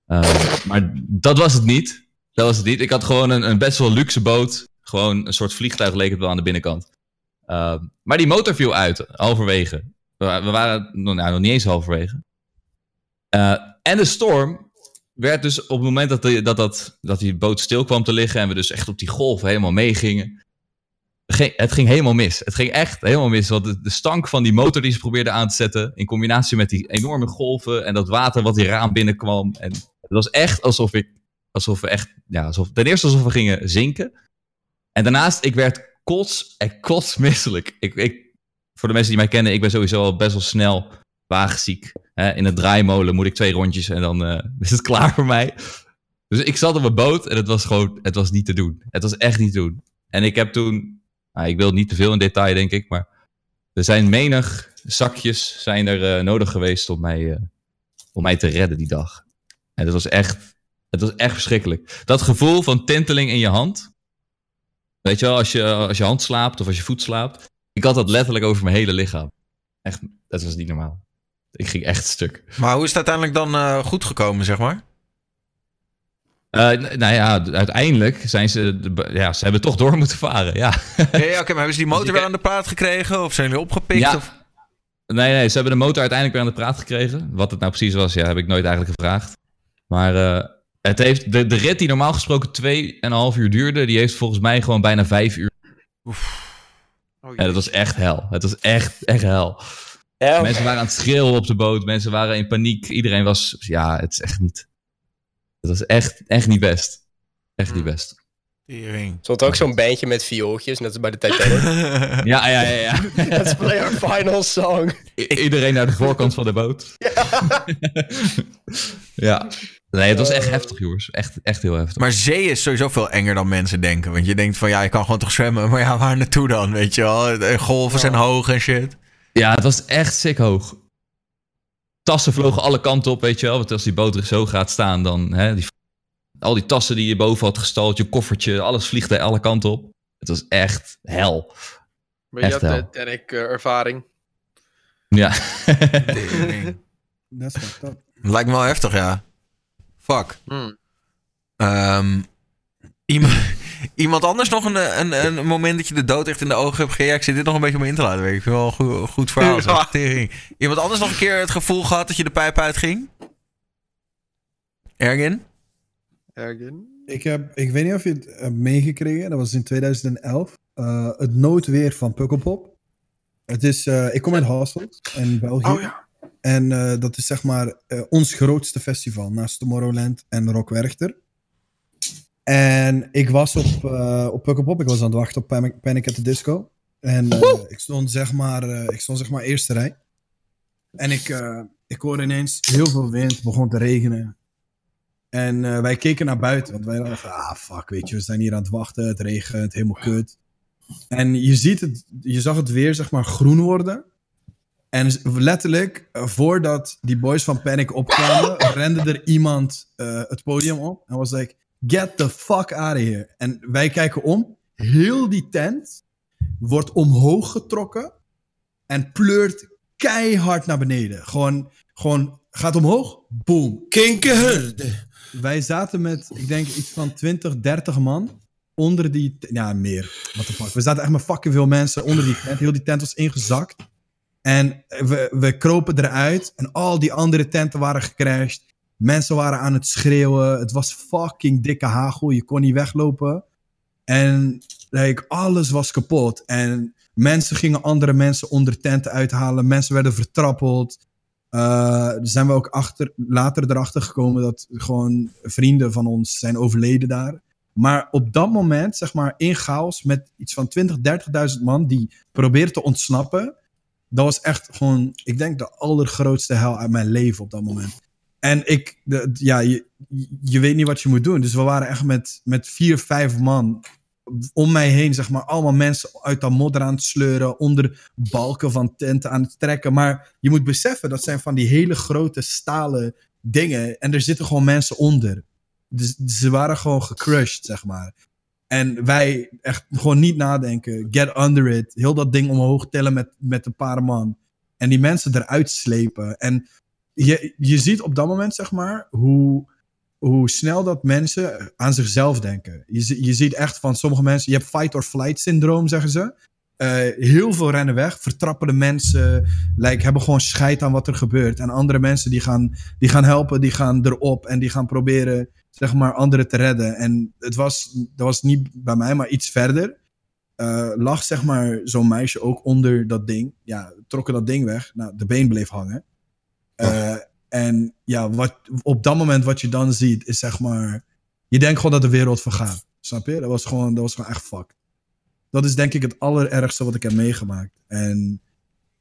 H: Eh, maar dat was het niet. Dat was het niet. Ik had gewoon een, een best wel luxe boot. Gewoon een soort vliegtuig leek het wel aan de binnenkant. Ehm, maar die motor viel uit, halverwege. We, wa- we waren nog- nou, nog niet eens halverwege. Eh, en de storm werd dus op het moment dat, de, dat, dat, dat die boot stil kwam te liggen... en we dus echt op die golf helemaal meegingen... Ging, het ging helemaal mis. Het ging echt helemaal mis. Want de, de stank van die motor die ze probeerden aan te zetten... in combinatie met die enorme golven... en dat water wat die raam binnenkwam... En het was echt alsof ik... Alsof we echt... Ja, alsof, ten eerste alsof we gingen zinken... En daarnaast, ik werd kots en kotsmisselijk. Ik, ik, voor de mensen die mij kennen, ik ben sowieso al best wel snel wagenziek. Hè, in het draaimolen moet ik twee rondjes en dan eh, is het klaar voor mij. Dus ik zat op mijn boot en het was gewoon, het was niet te doen. Het was echt niet te doen. En ik heb toen, nou, ik wil niet te veel in detail denk ik, maar er zijn menig zakjes zijn er eh, nodig geweest om mij, eh, om mij te redden die dag. En dat was echt, het was echt verschrikkelijk. Dat gevoel van tinteling in je hand, Weet je wel, als je, als je hand slaapt of als je voet slaapt. Ik had dat letterlijk over mijn hele lichaam. Echt, dat was niet normaal. Ik ging echt stuk.
A: Maar hoe is het uiteindelijk dan eh, goed gekomen, zeg maar?
H: Eh, n- nou ja, d- uiteindelijk zijn ze, de b- ja, ze hebben toch door moeten varen, ja.
A: Ja, ja, oké, maar hebben ze die motor weer aan de praat gekregen? Of zijn jullie opgepikt?
H: Dus Ja.
A: Of...
H: Nee, nee, ze hebben de motor uiteindelijk weer aan de praat gekregen. Wat het nou precies was, ja, heb ik nooit eigenlijk gevraagd. Maar eh, het heeft, de, de rit die normaal gesproken twee en een half uur duurde, die heeft volgens mij gewoon bijna vijf uur. ja, dat was echt hel. Het was echt, echt hel. Mensen waren aan het schreeuwen op de boot. Mensen waren in paniek. Iedereen was, ja, het is echt niet. Het was echt, echt niet best. Echt niet best.
B: Er stond ook zo'n bandje met viooltjes, net als bij de Titanic.
H: Ja, ja, ja, ja.
B: Let's play our final song.
H: I- iedereen naar de voorkant van de boot. Ja. Nee, het was
G: Eh.
H: echt heftig, jongens. Echt, echt heel heftig.
A: Maar zee is sowieso veel enger dan mensen denken. Want je denkt van, ja, je kan gewoon toch zwemmen. Maar ja, waar naartoe dan, weet je wel? De Golven zijn hoog en shit.
H: Ja, het was echt sick hoog. Tassen vlogen alle kanten op, weet je wel. Want als die boot er zo gaat staan, dan... Hè, die, al die tassen die je boven had gestald, je koffertje, alles vliegt er alle kanten op. Het was echt hel.
G: Maar je
H: Echt
G: had eh,
H: wel.
G: de Titanic-ervaring.
H: Ja.
C: Dat is fucked up.
A: Lijkt me wel heftig, ja. Fuck.
G: Hmm.
A: Ehm, iemand, iemand anders nog een, een, een moment dat je de dood echt in de ogen hebt gegeven? Ja, ik zit dit nog een beetje om in te laten werken. Ik vind het wel een goe- goed, verhaal. zeg.
G: Ja.
A: Tering. Iemand anders nog een keer het gevoel gehad dat je de pijp uitging? Ergin?
G: Ergin?
C: Ik, heb, ik weet niet of je het hebt meegekregen, dat was in 2011. eh, het noodweer van Pukkelpop. Het is, eh, ik kom uit Hasselt in België.
G: Oh ja.
C: En eh, dat is zeg maar eh, ons grootste festival naast Tomorrowland en Rock Werchter. En ik was op, eh op Pukkelpop, ik was aan het wachten op Panic, Panic at the Disco. En eh, ik, stond zeg maar, eh, ik stond zeg maar eerste rij. En ik, eh, ik hoorde ineens heel veel wind, het begon te regenen. En eh, wij keken naar buiten, want wij dachten, ah fuck, weet je, we zijn hier aan het wachten, het regent, helemaal kut. En je, ziet het, je zag het weer, zeg maar, groen worden. En z- letterlijk, eh, voordat die boys van Panic opkwamen, rende er iemand eh, het podium op en was like, get the fuck out of here. En wij kijken om, heel die tent wordt omhoog getrokken en pleurt keihard naar beneden. Gewoon, gewoon gaat omhoog, boom.
E: Kinkerhurde.
C: Wij zaten met, ik denk, iets van 20, 30 man onder die... t- Ja, meer. What the fuck. We zaten echt met fucking veel mensen onder die tent. Heel die tent was ingezakt. En we, we kropen eruit. En al die andere tenten waren gecrashed. Mensen waren aan het schreeuwen. Het was fucking dikke hagel. Je kon niet weglopen. En like, alles was kapot. En mensen gingen andere mensen onder tenten uithalen. Mensen werden vertrappeld. Eh, zijn we ook achter, later erachter gekomen dat gewoon vrienden van ons zijn overleden daar. Maar op dat moment, zeg maar, in chaos met iets van 20.000, 30.000 man die probeert te ontsnappen. Dat was echt gewoon, ik denk, de allergrootste hel uit mijn leven op dat moment. En ik, de- ja, je, je weet niet wat je moet doen. Dus we waren echt met, met vier, vijf man om mij heen, zeg maar, allemaal mensen uit dat modder aan het sleuren, onder balken van tenten aan het trekken. Maar je moet beseffen, dat zijn van die hele grote stalen dingen en er zitten gewoon mensen onder. Dus ze waren gewoon gecrushed, zeg maar. En wij echt gewoon niet nadenken. Get under it. Heel dat ding omhoog tillen met, met een paar man. En die mensen eruit slepen. En je, je ziet op dat moment, zeg maar, hoe, hoe snel dat mensen aan zichzelf denken. Je, zi- je ziet echt van sommige mensen, je hebt fight or flight syndroom, zeggen ze. eh, heel veel rennen weg, vertrappelen mensen, like, hebben gewoon scheid aan wat er gebeurt. En andere mensen die gaan, die gaan helpen, die gaan erop en die gaan proberen zeg maar, anderen te redden. En het was, dat was niet bij mij, maar iets verder. eh, lag zeg maar zo'n meisje ook onder dat ding. Ja, trokken dat ding weg. Nou, de been bleef hangen. Eh, en ja, wat, op dat moment wat je dan ziet, is zeg maar. Je denkt gewoon dat de wereld vergaat. Snap je? Dat was gewoon, dat was gewoon echt fucked. Dat is denk ik het allerergste wat ik heb meegemaakt. En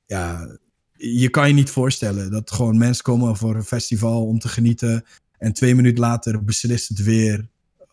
C: ja, je kan je niet voorstellen dat gewoon mensen komen voor een festival om te genieten. En twee minuten later beslist het weer.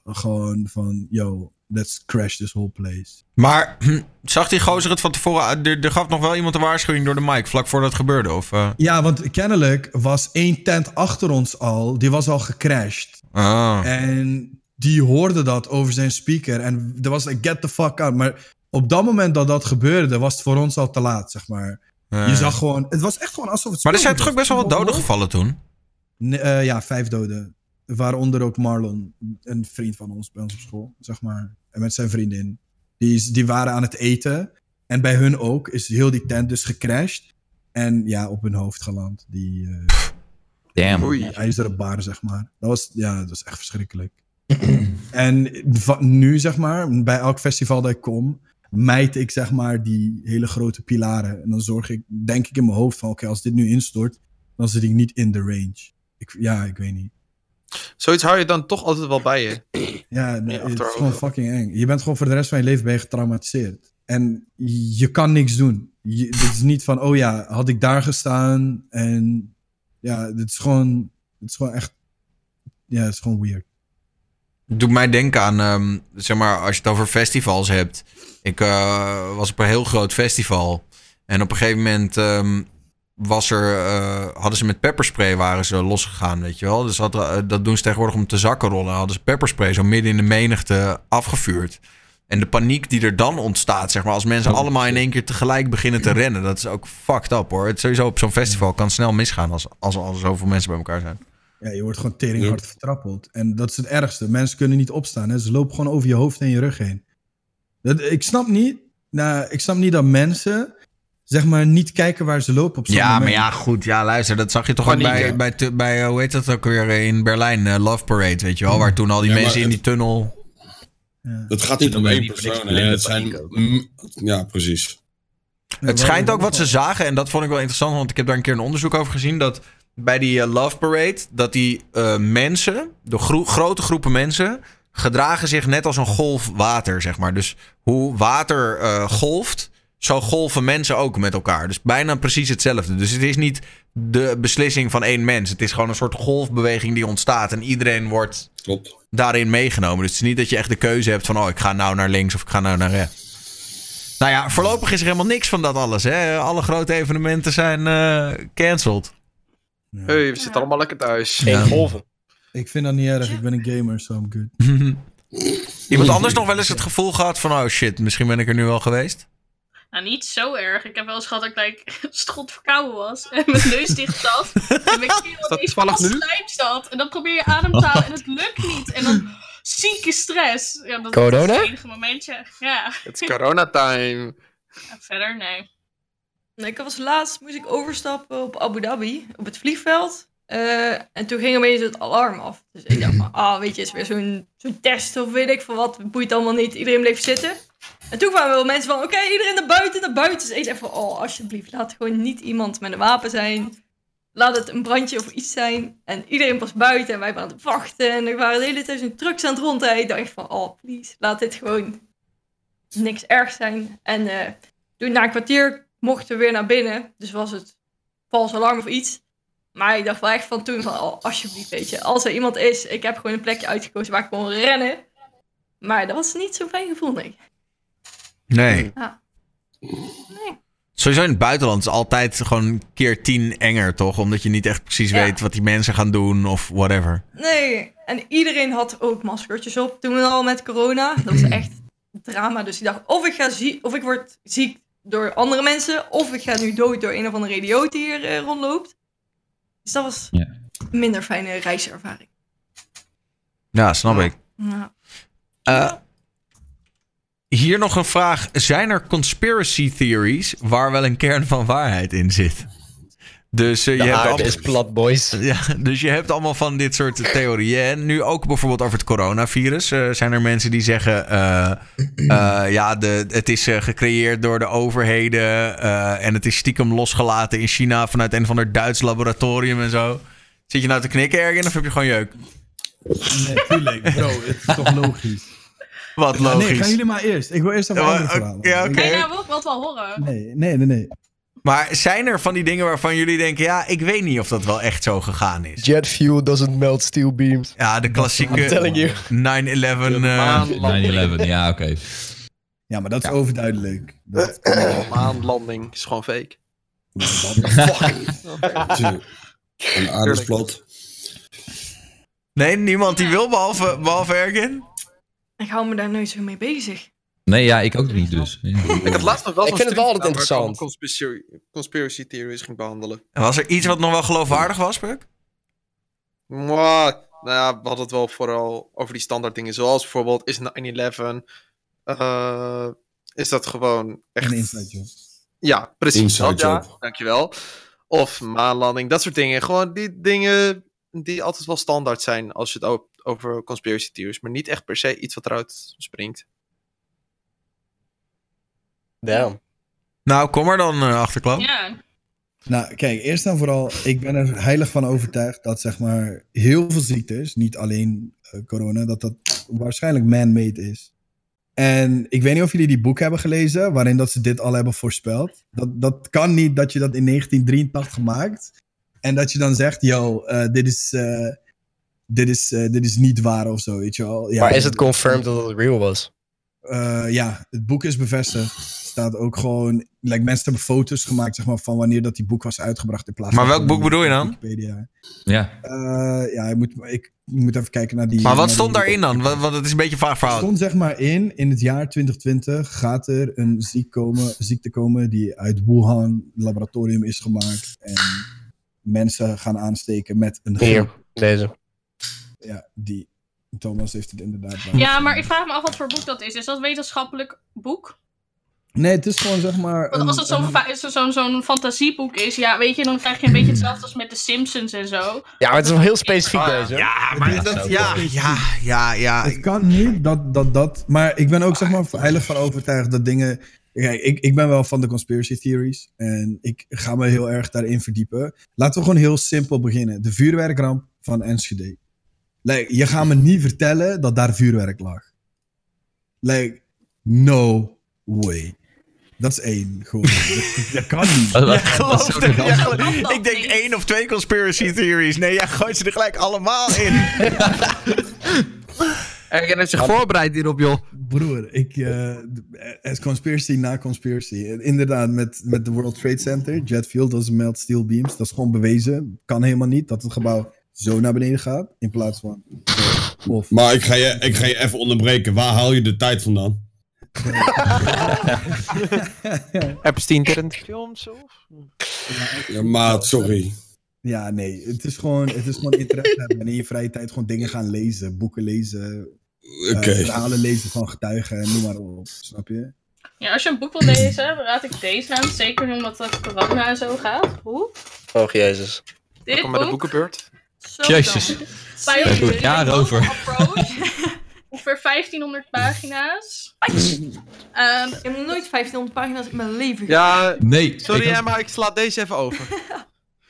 C: Gewoon van, yo, let's crash this whole place.
A: Maar hm, zag die gozer het van tevoren? uit? Er, er gaf nog wel iemand een waarschuwing door de mic vlak voordat het gebeurde. Of, eh?
C: Ja, want kennelijk was één tent achter ons al, die was al gecrashed.
A: Ah.
C: En die hoorde dat over zijn speaker. En er was een get the fuck out. Maar op dat moment dat dat gebeurde, was het voor ons al te laat, zeg maar.
A: Ja.
C: Je zag gewoon, het was echt gewoon alsof het.
A: maar er zijn
C: speelde
A: toch ook
C: was.
A: best wel wat doden gevallen toen?
C: Nee, eh, ja, vijf doden. Waaronder ook Marlon, een vriend van ons bij ons op school, zeg maar. En met zijn vriendin. Die, is- die waren aan het eten. En bij hun ook is heel die tent dus gecrashed. En ja, op hun hoofd geland. Die, eh,
H: Damn.
C: die ijzeren bar, zeg maar. Dat was, ja, dat was echt verschrikkelijk. en va- nu, zeg maar, bij elk festival dat ik kom, mijt ik zeg maar die hele grote pilaren. En dan zorg ik, denk ik in mijn hoofd van, oké, als dit nu instort, dan zit ik niet in de range. Ik, ja, ik weet niet.
G: Zoiets hou je dan toch altijd wel bij je.
C: Ja, nee, het is
G: achterhoofd.
C: gewoon fucking eng. Je bent gewoon voor de rest van je leven ben je getraumatiseerd. En je kan niks doen. Je, dit is niet van, oh ja, had ik daar gestaan en ja, dit is gewoon, dit is gewoon echt, ja, het is gewoon weird.
A: doet mij denken aan, ehm, zeg maar, als je het over festivals hebt. Ik eh, was op een heel groot festival. En op een gegeven moment ehm, was er, eh, hadden ze met pepperspray waren ze losgegaan, weet je wel. Dus had, eh, dat doen ze tegenwoordig om te zakken rollen. Hadden ze pepperspray zo midden in de menigte afgevuurd. En de paniek die er dan ontstaat, zeg maar, als mensen allemaal in één keer tegelijk beginnen te rennen, dat is ook fucked up hoor. Het is sowieso op zo'n festival kan snel misgaan als, als, als er zoveel mensen bij elkaar zijn.
C: Ja, je wordt gewoon teringhard vertrappeld. En dat is het ergste. Mensen kunnen niet opstaan. Hè? Ze lopen gewoon over je hoofd en je rug heen. Dat, ik snap niet. Nou, ik snap niet dat mensen zeg maar niet kijken waar ze lopen op zo'n
A: Ja, maar
C: moment.
A: ja, goed. Ja, luister, dat zag je toch ook
C: Paniek,
A: bij,
C: ja.
A: bij, tu- bij, eh, hoe heet dat ook weer, eh, in Berlijn, eh, Love Parade, weet je wel, waar toen al die
E: Mm. Ja, maar
A: mensen in
E: het-
A: die tunnel...
E: Dat gaat niet om
H: ben je
E: één
H: niet voor niks
E: persoon. hè.
H: blind
E: Het
H: op
E: zijn, mm, ja, precies.
A: Het schijnt ook wat ze zagen, en dat vond ik wel interessant, want ik heb daar een keer een onderzoek over gezien, dat bij die eh, Love Parade, dat die eh, mensen, de gro- grote groepen mensen, gedragen zich net als een golf water, zeg maar. Dus hoe water eh, golft, zo golven mensen ook met elkaar. Dus bijna precies hetzelfde. Dus het is niet de beslissing van één mens. Het is gewoon een soort golfbeweging die ontstaat en iedereen wordt
E: Klopt.
A: daarin meegenomen. Dus het is niet dat je echt de keuze hebt van... oh, ik ga nou naar links of ik ga nou naar rechts. Nou ja, voorlopig is er helemaal niks van dat alles. Hè? Alle grote evenementen zijn eh cancelled.
G: Hey, we zitten allemaal lekker thuis.
A: Geen Ja. golven.
C: Ik vind dat niet erg. Ik ben een gamer, so I'm good.
A: Iemand anders nog wel eens het gevoel gehad van... oh shit, misschien ben ik er nu wel geweest?
F: Nou, niet zo erg. Ik heb wel eens gehad dat ik like, strot verkouden was. En mijn neus dicht zat. En mijn keel ineens
G: toevallig
F: vast
G: nu?
F: slijm zat. En dan probeer je adem te halen en het lukt niet. En dan zieke stress. Ja, dat
G: Corona?
F: is het enige momentje. Ja.
G: Het is coronatime.
F: En verder, nee.
I: Nee, Ik was laatst, moest ik overstappen op Abu Dhabi, op het vliegveld. Eh, en toen ging opeens het alarm af. Dus ik dacht, van, ah, weet je, is weer zo'n zo'n test of weet ik veel wat. Boeit allemaal niet, iedereen bleef zitten. En toen kwamen wel mensen van, oké, iedereen naar buiten, naar buiten. Dus ik dacht van, oh, alsjeblieft, laat gewoon niet iemand met een wapen zijn. Laat het een brandje of iets zijn. En iedereen was buiten en wij waren aan het wachten. En er waren de hele tijd zo'n trucks aan het rondrijden. Ik dacht van, oh, please, laat dit gewoon niks erg zijn. En eh, toen na een kwartier mochten we weer naar binnen. Dus was het vals alarm of iets. Maar ik dacht wel echt van toen van, oh, alsjeblieft, weet je. Als er iemand is, ik heb gewoon een plekje uitgekozen waar ik kon rennen. Maar dat was niet zo'n fijn gevoel, Ah. nee.
A: Nee.
I: Ja.
A: Hmm. Sowieso in het buitenland is altijd gewoon keer tien enger, toch? Omdat je niet echt precies
I: Ja.
A: weet wat die mensen gaan doen of whatever.
I: Nee, en iedereen had ook maskertjes op toen al met corona. Dat was echt drama. Dus ik dacht, of ik, ga zie of ik word ziek door andere mensen... of ik ga nu dood door een of andere idioot die hier eh, rondloopt. Dus dat was een minder fijne reiservaring.
A: Ja, snap ik.
I: Ja.
A: Eh, Hier nog een vraag. Zijn er conspiracy theories waar wel een kern van waarheid in zit? Dus, eh,
B: De
A: je hebt
B: aarde
A: allemaal-
B: is plat, boys.
A: Ja, dus je hebt allemaal van dit soort theorieën. En nu ook bijvoorbeeld over het coronavirus. eh, zijn er mensen die zeggen: eh, eh, ja, de, het is eh, gecreëerd door de overheden. eh, en het is stiekem losgelaten in China vanuit een van ander Duits laboratorium en zo. Zit je nou te knikken, Ergen, of heb je gewoon jeuk?
C: Natuurlijk, bro. Het is toch logisch?
A: Wat
C: Ja,
A: logisch.
C: Nee, gaan jullie maar eerst. Ik wil eerst even
A: Ja, maar-
C: andere verhalen.
A: oké, ja, oké.
F: Ga je nou ook wat wel horen?
C: Nee, nee, nee. nee.
A: Maar zijn er van die dingen waarvan jullie denken: ja, ik weet niet of dat wel echt zo gegaan is?
B: Jet fuel doesn't melt steel beams.
A: Ja, de
B: I'm telling you.
A: klassieke 9-11. eh,
H: 9-11, ja, oké.
C: Ja, maar dat is overduidelijk. Dat,
G: Maanlanding is gewoon fake.
E: Een aardesplat.
A: nee, niemand die wil behalve, behalve Ergen.
I: Ik hou me daar nooit zo mee bezig.
H: Nee, ja, ik ook niet dus. Ja.
G: Ik had laatst nog wel
B: Ik
G: zo'n
B: vind het wel
G: stream
B: altijd
G: gedaan waar ik allemaal Conspiracy, conspiracy theories ging behandelen.
A: Was er iets wat nog wel geloofwaardig was, Puk?
G: Mwah. Nou ja, we hadden het wel vooral over die standaard dingen. Zoals bijvoorbeeld, is 9-11... eh, is dat gewoon echt...
C: Een insight, job.
G: Ja, precies.
E: Inside
G: dat, ja.
E: job.
G: Dankjewel. Of maanlanding, dat soort dingen. Gewoon die dingen die altijd wel standaard zijn als je het o- over conspiracy theories. Maar niet echt per se iets wat eruit springt.
B: Damn.
A: Nou, kom maar dan, eh, achterklap.
F: Ja,
C: Nou, kijk, eerst en vooral, ik ben er heilig van overtuigd dat zeg maar heel veel ziektes, niet alleen eh, corona, dat dat waarschijnlijk man-made is. En ik weet niet of jullie die boek hebben gelezen, waarin dat ze dit al hebben voorspeld. Dat, dat kan niet dat je dat in 1983 maakt en dat je dan zegt, yo, eh, dit, is, eh, dit, is, eh, dit is niet waar of zo, weet je wel. Ja,
B: Maar is het confirmed dat het real was?
C: eh, ja, het boek is bevestigd. Staat ook gewoon. Like, mensen hebben foto's gemaakt zeg maar, van wanneer dat die boek was uitgebracht. In plaats
A: Maar
C: van
A: welk boek bedoel je dan?
C: Wikipedia.
H: Ja.
C: Eh, ja, ik moet, ik moet even kijken naar die.
A: Maar
C: naar
A: wat
C: die-
A: stond daarin dan? Wa- Want het is een beetje een vaag
C: Er
A: verhaal.
C: stond zeg maar in, in het jaar 2020 gaat er een ziek komen, ziekte komen die uit Wuhan laboratorium is gemaakt. En mensen gaan aansteken met een
B: Hier,
C: griep.
B: deze.
C: Ja, die. Thomas heeft het inderdaad. bij.
F: ja, maar ik vraag me af wat voor boek dat is. Is dat een wetenschappelijk boek?
C: Nee, het is gewoon zeg maar.
F: Want als
C: een-
F: het zo'n
C: een-
F: fa- is er zo'n zo'n fantasieboek is, ja, weet je, dan krijg je een beetje hetzelfde als met de Simpsons en zo.
B: Ja, maar het is wel heel specifiek
G: Ah,
B: deze.
A: Ja, maar dat, ja, ja, ja, ja.
C: Het kan niet dat, dat dat. Maar ik ben ook zeg maar heilig van overtuigd dat dingen. Kijk, ik, ik ben wel van de conspiracy theories. En ik ga me heel erg daarin verdiepen. Laten we gewoon heel simpel beginnen. De vuurwerkramp van Enschede. Like, je gaat me niet vertellen dat daar vuurwerk lag. Like, no way. Dat is één. Gewoon. dat, dat kan niet.
H: Wat- wat-
A: Geloof
F: Ja,
A: het, ja,
F: geloof
A: geloof-
F: dat
A: Ik denk
F: niet.
A: één of twee conspiracy theories. Nee, jij gooit ze er gelijk allemaal in.
G: Ergen heeft zich voorbereid hierop, joh.
C: Broer, ik, eh, het is conspiracy na conspiracy. En Inderdaad, met, met de World Trade Center, jet fuel, dat is melt steel beams. Dat is gewoon bewezen. Kan helemaal niet dat het gebouw zo naar beneden gaat in plaats van. Of.
E: Maar ik ga, je, ik ga je even onderbreken. Waar haal je de tijd vandaan?
G: Epstein Terrent Films, of?
E: Ja, maat, sorry.
C: Ja, nee, het is gewoon, het is gewoon interesse hebben. En in je vrije tijd gewoon dingen gaan lezen, boeken lezen,
E: Oké.
C: eh, verhalen lezen van getuigen en noem maar op. Snap je?
F: Ja, als je een boek wil lezen, raad ik deze aan. Zeker nu omdat het corona en zo gaat. Hoe?
B: Oh, jezus.
F: Dit
G: Kom bij de
F: boek.
G: boekenbeurt.
I: Zo
H: Jezus.
I: dan.
F: Bij
H: Daar doe ik jaren over.
F: Approach. Ongeveer 1500 pagina's. Ehm,
I: Ik heb nog nooit 1500 pagina's in mijn leven gelezen.
G: Ja,
H: Nee.
G: sorry
H: ik had-
G: Emma, ik sla deze even over.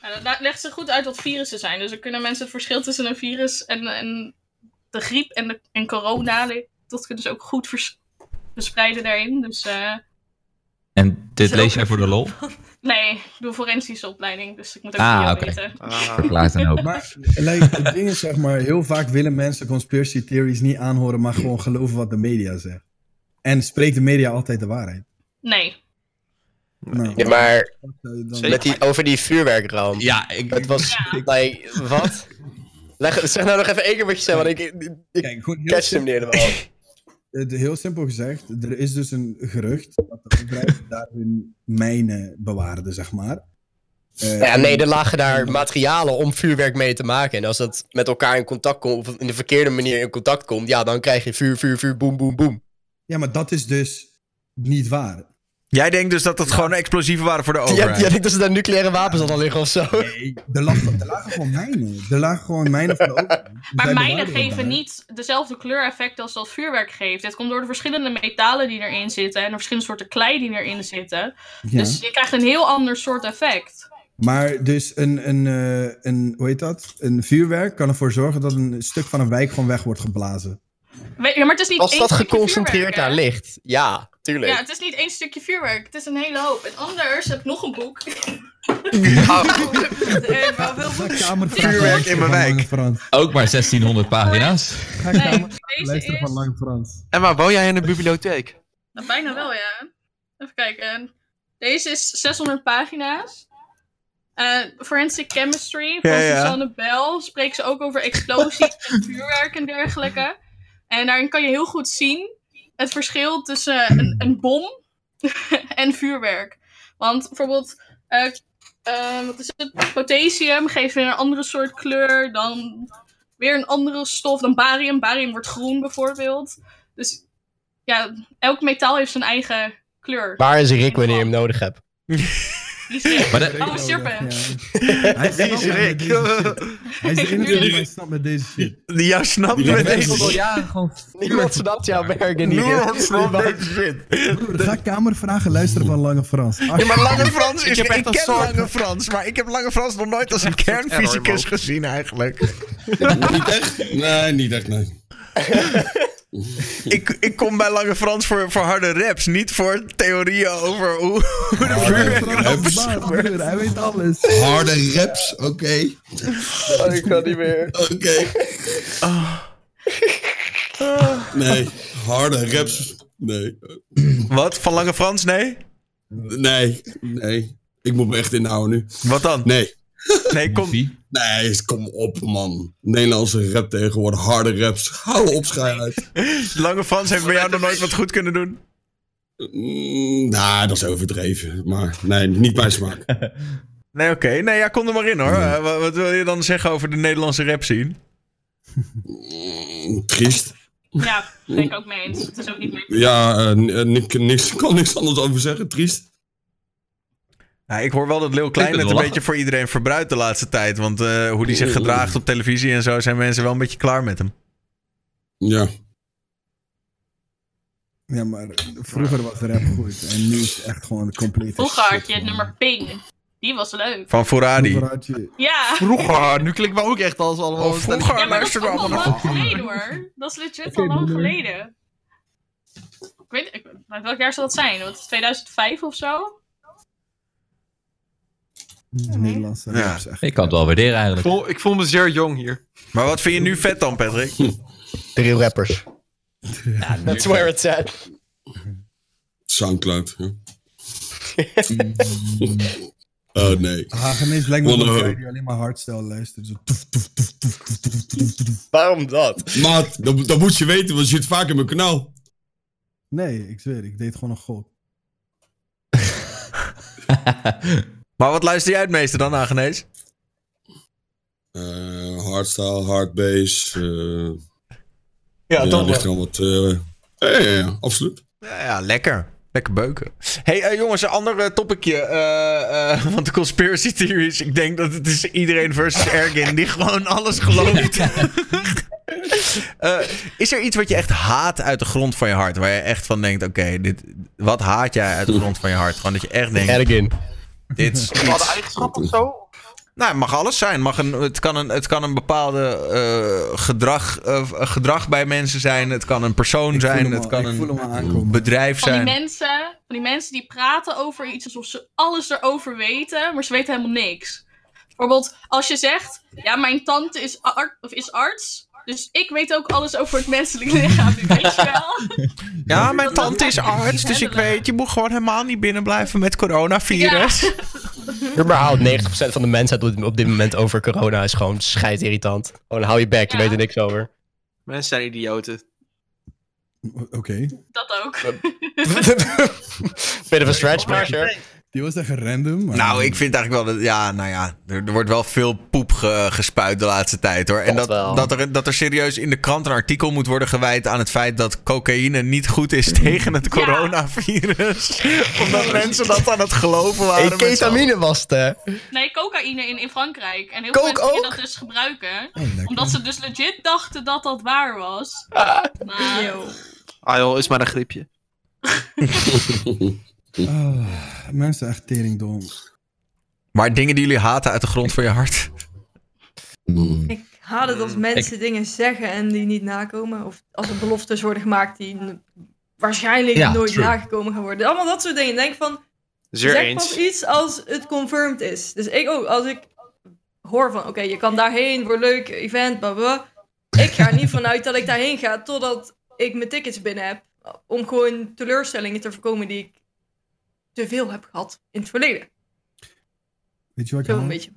F: nou, dat legt ze goed uit wat virussen zijn. Dus dan kunnen mensen het verschil tussen een virus en, en de griep en, de, en corona. Dat kunnen ze ook goed vers- verspreiden daarin. Dus eh,
H: En dit lees jij voor de lol?
F: nee, ik doe forensische opleiding. Dus ik moet ook
H: Ah,
F: video
H: oké.
F: weten.
G: Ah,
H: Klaar dan ook.
C: Maar like, het ding is, zeg maar, heel vaak willen mensen conspiracy theories niet aanhoren, maar gewoon geloven wat de media zegt. En spreekt de media altijd de waarheid?
F: Nee.
C: Nou,
B: Ja, maar
C: wat zou je dan-
G: Zeker.
B: met die, over die vuurwerkramp.
H: Ja, ik...
B: Het was, like, wat? Leg, zeg nou nog even één keer wat je zei, want ik, ik, ik
C: Kijk, gewoon heel,
B: catch hem niet
C: sim-
B: helemaal.
C: het- heel simpel gezegd, er is dus een gerucht dat de bedrijven daar hun mijnen bewaarden, zeg maar. Eh,
B: Ja, nee, er lagen daar materialen om vuurwerk mee te maken. En als dat met elkaar in contact komt, of in de verkeerde manier in contact komt, ja, dan krijg je vuur, vuur, vuur, boem, boem, boem.
C: Ja, maar dat is dus niet waar.
A: Jij denkt dus dat dat gewoon explosieven waren voor de
B: Jij
A: overheid?
B: jij denkt dat ze daar dus nucleaire wapens aan liggen of zo?
C: Er lagen, er lagen gewoon mijnen. Er lagen gewoon mijnen voor de open.
F: Maar
C: Zij
F: mijnen
C: bewaren dat
F: geven
C: daar.
F: niet dezelfde kleureffect als dat vuurwerk geeft. Het komt door de verschillende metalen die erin zitten en de verschillende soorten klei die erin zitten.
C: Ja.
F: Dus je krijgt een heel ander soort effect.
C: Maar dus een, een, eh, een, hoe heet dat? Een vuurwerk kan ervoor zorgen dat een stuk van een wijk gewoon weg wordt geblazen.
F: We- ja, maar het is niet
B: Als
F: één
B: dat
F: stukje
B: geconcentreerd
F: vuurwerk, hè?
B: daar ligt. Ja, tuurlijk.
F: Ja, het is niet één stukje vuurwerk. Het is een hele hoop. En anders heb ik nog een boek.
I: Eh, wel veel boeken.
A: Vuurwerk in mijn wijk.
H: Ook maar 1600 pagina's.
F: Nee, deze
J: Luister van
F: is...
J: Lang Frans.
G: Emma, woon jij in een bibliotheek?
F: Nou, bijna wel, ja. Even kijken. Deze is 600 pagina's. Eh, Forensic Chemistry van
A: Ja, ja.
F: Susanne Bell spreekt ze ook over explosies en vuurwerk en dergelijke. En daarin kan je heel goed zien het verschil tussen een, een bom en vuurwerk. Want bijvoorbeeld, eh, eh, wat is het? Potassium geeft weer een andere soort kleur dan weer een andere stof dan barium. Barium wordt groen bijvoorbeeld. Dus ja, elk metaal heeft zijn eigen kleur.
B: Waar is Rick wanneer je hem nodig hebt?
F: Die zegt,
H: Maar dat-
F: oh, serpent.
J: Hij snapt
G: is
J: mij met
G: Rick?
J: deze shit. Hij is de enige die mij snapt met deze shit.
A: Die jou snapt met deze shit.
H: Ja, gewoon.
B: Niemand snapt jouw werken niet.
A: Niemand snapt deze shit.
J: Broer, ga kamervragen luisteren van Lange Frans. Ach,
A: Ja, maar Lange Frans is...
G: Ik
A: Ik,
G: heb echt een
A: ken
G: soort-
A: Lange Frans, maar ik heb Lange Frans nog nooit als een kernfysicus
G: error
A: gezien eigenlijk.
E: Niet echt? Nee, niet echt, nee.
A: Ik, ik kom bij Lange Frans voor, voor harde raps, niet voor theorieën over hoe, hoe de
J: Lange
A: vuurwerk...
J: Frans is de baas, broer. Hij weet alles.
E: Harde raps, oké.
B: Oh, ik kan niet meer. Ah.
E: Oké.
J: Ah.
E: Nee, harde raps. Nee.
A: Wat? Van Lange Frans? Nee?
E: Nee, nee. Ik moet me echt inhouden nu.
A: Wat dan?
E: Nee.
A: Nee, kom.
E: Nee, kom op, man. Nederlandse rap tegenwoordig, harde raps. Hou op, schijn uit.
A: Lange Frans heeft bij jou nog nooit wat goed kunnen doen.
E: Mm, nou, dat is overdreven. Maar nee, niet mijn smaak.
A: Nee, oké. Nee, ja, kom er maar in hoor. Eh, wa- wat wil je dan zeggen over de Nederlandse rap scene?
E: Mm, triest.
F: Ja, ben ik ook mee eens. Het is ook niet meer.
E: Ja, eh, n- eh, ik niks, ik kan niks anders over zeggen. Triest.
A: Ja, ik hoor wel dat Lil Klein
H: het
A: het een
H: wel lachen.
A: beetje voor iedereen verbruikt de laatste tijd. Want eh, hoe die zich gedraagt op televisie en zo zijn mensen wel een beetje klaar met hem.
E: Ja.
J: Ja, maar vroeger was rap goed. En nu is het echt gewoon een complete
F: Vroeger had je
J: shit,
F: het
J: man.
F: nummer Ping. Die was leuk.
A: Van Foradi.
J: Vroeger had je-
F: Ja.
G: Vroeger, nu klinkt me ook echt als allemaal...
A: Of Oh, vroeger
F: Ja, maar dat is
A: luisterden we
F: ook al
A: allemaal nog.
F: lang geleden hoor. Dat is legit al lang geleden. Ik weet ik, maar welk jaar zal dat zijn? Wat, 2005 of zo?
J: Nederlandse
A: Ja.
J: rap is echt...
H: Ik kan het wel waarderen
G: Ik
H: eigenlijk.
G: voel, ik voel me zeer jong hier.
A: Maar wat vind je nu vet dan, Patrick?
H: Hm.
B: Drie rappers. That's where it's at.
E: Soundcloud. Hè? oh nee.
C: Ah,
J: Hagenees lijkt me
E: Wonder
J: dat
E: Who.
J: jij die alleen maar hardstyle luistert. Zo toef, toef, toef, toef, toef, toef, toef, toef.
B: Waarom dat?
E: Maat, dat, dat moet je weten, want je zit vaak in mijn kanaal.
J: Nee, ik zweer, ik deed gewoon een gok.
A: Maar wat luister jij het meeste dan, Agnes?
E: Eh, hardstyle, hardbase. eh
B: Ja,
E: ja,
B: toch
E: ligt er al wat. eh, ja, ja, ja, absoluut.
A: Ja, ja, lekker. Lekker beuken. hey, eh, jongens, een ander eh, topicje. eh, eh, want de conspiracy theories, ik denk dat het is iedereen versus Ergin die gewoon alles gelooft. Eh, is er iets wat je echt haat uit de grond van je hart? Waar je echt van denkt, oké, dit, wat haat jij uit de grond van je hart? Gewoon dat je echt denkt,
B: Ergin.
A: dit is
G: We hadden
A: iets...
G: eigenschap of zo?
A: Nou, het mag alles zijn. Mag een, het, kan een, het kan een bepaalde eh, gedrag, eh, gedrag bij mensen zijn. Het kan een persoon
J: Ik voel
A: zijn.
J: hem
A: Het
J: al-
A: kan
J: ik voel hem
A: een
J: al aankomen.
A: bedrijf
F: Van die,
A: zijn.
F: mensen, van die mensen die praten over iets alsof ze alles erover weten, maar ze weten helemaal niks. Bijvoorbeeld, als je zegt: Ja, mijn tante is, ar- of is arts. Dus ik weet ook alles over het menselijk lichaam, nu, weet je wel?
A: Ja, mijn
F: dat
A: tante
F: mag
A: is
F: je
A: arts,
F: niet
A: dus ik
F: hebben.
A: weet, je moet gewoon helemaal niet binnen blijven met coronavirus.
B: Überhaupt 90% van de mensheid op- op dit moment over corona is gewoon scheidirritant. Gewoon hou je bek, je
F: Ja.
B: weet er niks over.
G: Mensen zijn idioten.
J: Oké.
F: Dat ook.
B: Bit of a stretch, maar sure.
C: Die was echt random. Maar
A: Nou, ik vind eigenlijk wel dat. Ja, nou ja. Er, er wordt wel veel poep ge- gespuit de laatste tijd hoor. En
B: Dat
A: dat,
B: wel.
A: dat, er, dat er serieus in de krant een artikel moet worden gewijd aan het feit dat cocaïne niet goed is tegen het coronavirus. Omdat mensen dat aan het geloven waren.
B: Hey,
A: met z'n
B: ketamine was het, hè?
F: Nee, cocaïne in, in Frankrijk. En heel
B: Coke
F: veel mensen die
B: ook?
F: dat dus gebruiken. omdat ze dus legit dachten dat dat waar was. Maar
G: Ah joh, is maar een griepje.
C: Ah, mensen echt teringdom.
A: Maar dingen die jullie haten uit de grond van je hart.
G: Mm.
I: Ik haat het als mensen dingen zeggen en die niet nakomen. Of als er beloftes worden gemaakt die n- waarschijnlijk
G: Ja,
I: nooit
G: true.
I: nagekomen gaan worden. Allemaal dat soort dingen. Ik Denk van,
G: Zeer
I: zeg
G: eens.
I: pas iets als het confirmed is. Dus ik ook, als ik hoor van, oké, je kan daarheen, wordt leuk, event, blablabla. Ik ga er niet vanuit dat ik daarheen ga totdat ik mijn tickets binnen heb. Om gewoon teleurstellingen te voorkomen die ik te veel heb gehad in het verleden.
C: Weet je wat ik
I: Zo een
C: haat?
I: beetje.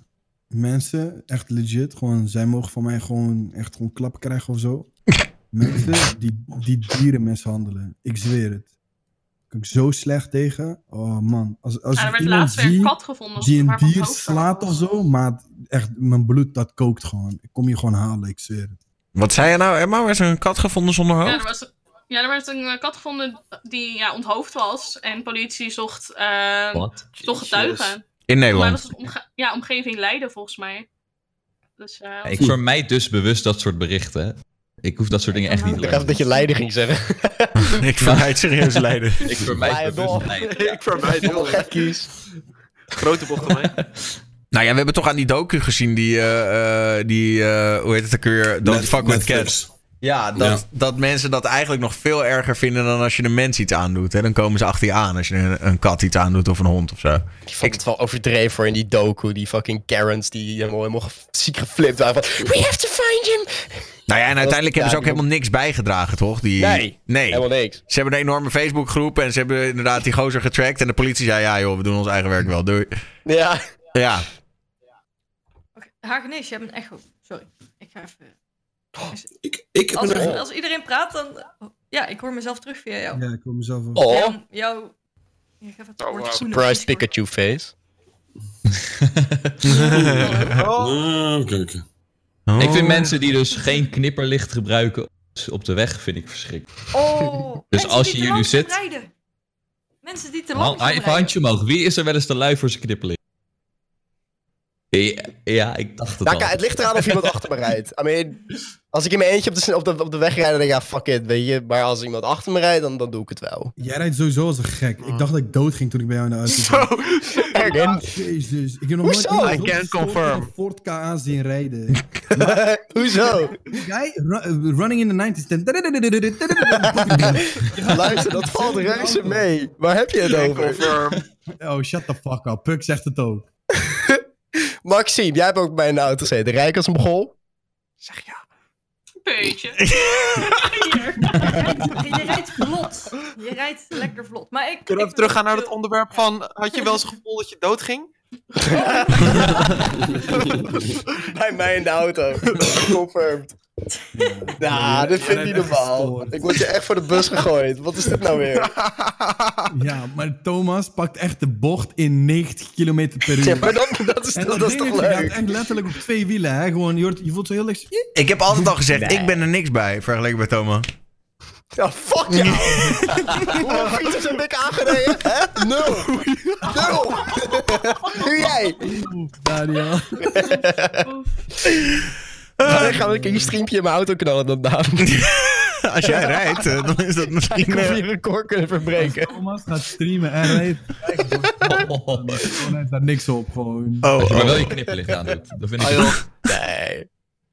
C: Mensen, echt legit, gewoon, zij mogen van mij gewoon echt gewoon klappen krijgen of zo. Mensen die, die dieren mishandelen. Ik zweer het. Kan ik zo slecht tegen. Oh man. Als, als
F: Ja, er
C: ik
F: werd
C: iemand
F: laatst weer een
C: zie
F: kat gevonden
C: die een
F: waarvan het
C: dier
F: hoofd
C: slaat of zo, maar echt, mijn bloed dat kookt gewoon. Ik kom je gewoon halen, ik zweer het.
A: Wat zei je nou, Emma? Werd er een kat gevonden zonder
F: Ja,
A: hoofd?
F: er was, ja, er werd een eh, kat gevonden die ja, onthoofd was. En politie zocht, eh,
A: Wat?
F: zocht getuigen.
A: In
F: Maar
A: Nederland.
F: dat was het omge- ja, omgeving Leiden volgens mij. Dus, eh,
H: Ik vermijd dus bewust dat soort berichten. Ik hoef dat soort dingen echt niet te
B: Ik dacht dat je Leiden ging zeggen.
A: ik vermijd serieus Leiden.
H: Ik vermijd bewust Leiden.
G: Ik vermijd heel erg. Grote bocht omheen.
A: Nou ja, we hebben toch aan die docu gezien die, eh, eh, die eh, hoe heet het ook weer? Don't
E: Net-
A: fuck with
E: Netflix.
A: cats. Ja, dat, dat mensen dat eigenlijk nog veel erger vinden dan als je een mens iets aandoet. Hè? Dan komen ze achter je aan als je een, een kat iets aandoet of een hond of zo.
B: Ik vond het wel overdreven voor in die doku. Die fucking Karens die helemaal, helemaal ge- ziek geflipt waren. Van, We have to find him!
A: Nou ja, en uiteindelijk
B: ja,
A: hebben ze ook
B: die-
A: helemaal niks bijgedragen, toch? Die,
B: Nee,
A: nee.
B: Helemaal niks.
A: Ze hebben een enorme Facebookgroep en ze hebben inderdaad die gozer getrackt. En de politie zei, ja joh, we doen ons eigen werk wel, doei.
B: Ja.
A: Ja,
I: Oké, Hagenees, je hebt een echo. oh, Sorry. Ik ga even...
E: Ik, ik heb
I: Als,
E: een echo.
I: als iedereen praat, dan... Ja, ik hoor mezelf terug via jou.
C: Ja, ik kom mezelf wel.
B: Oh,
I: Jou... jou... Ik ga even het woord zoenen.
B: surprise Pikachu face. Oh,
E: Ah, oké, oké.
H: Ik vind mensen die dus geen knipperlicht gebruiken op de weg, vind ik verschrikkelijk.
I: Oh, mensen
H: als
I: die
H: je
I: te
H: hier nu
I: langzaam
H: zit-
I: rijden. Mensen die te
H: Man,
I: lang
H: ah, even handje omhoog. Wie is er wel eens te lui voor zijn knipperlicht? Ja, ja, ik dacht het
B: Nou,
H: al.
B: kijk, het ligt eraan of iemand achter me rijdt. I mean, als ik in mijn eentje op de, sn- op de, op de weg rijd, dan denk ik, ja, fuck it, weet je. Maar als iemand achter me rijdt, dan, dan doe ik het wel.
C: Jij rijdt sowieso als een gek. Ik dacht dat ik dood ging toen ik bij jou in de auto zat.
J: Oh,
C: Jezus, ik heb nog nooit
B: Hoezo?
C: iemand
B: I
C: zo
G: can
C: gestoord
G: confirm.
C: van een Ford Ka zien rijden.
B: Hoezo?
C: Guy, ru- eh, running in the 90s.
B: Luister, dat valt reuze mee. Waar heb je het over?
G: Confirm.
C: Oh, shut the fuck up. Puck zegt het ook.
B: Maxime, jij hebt ook bij een auto gezeten. Rijk als een begol?
G: Zeg ja.
F: Peutje.
I: Je rijdt vlot. Je rijdt lekker vlot. Maar ik...
G: Kunnen we
I: ik-
G: even teruggaan naar het
I: ik-
G: onderwerp van... Had je wel eens het gevoel dat je doodging?
B: Bij mij in de auto. Confirmed. Nou, dit vind ik niet normaal.
C: gestoord.
B: Ik word je echt voor de bus gegooid. Wat is dit nou weer?
C: Ja, maar Thomas pakt echt de bocht in 90 km per
B: Ja,
C: uur.
B: maar dat, dat, is,
C: En
B: dat is toch
C: dingetje
B: leuk?
C: gaat echt letterlijk op twee wielen. Hè? Gewoon, je, hoort- je voelt zo heel licht.
A: ik heb altijd al gezegd,
B: Nee.
A: ik ben er niks bij, vergeleken met Thomas.
B: Ja, fuck jou! Hoeveel fietsers heb ik aangereden? Hè? Nul! Nul! Nu jij!
C: Oeh, Daniel.
B: Dan Eh, gaan we een keer een streampje in mijn auto knallen dan Daan.
A: Als jij rijdt, eh, dan is dat misschien...
B: Ik
A: eh,
B: heb je record kunnen verbreken.
C: Thomas gaat streamen en rijdt. Gewoon, hij heeft daar niks op. Gewoon.
A: Oh,
H: Als je
A: oh.
H: maar wel je knipperlicht aan doet. Dat vind ik
G: Ah joh,
B: Nee.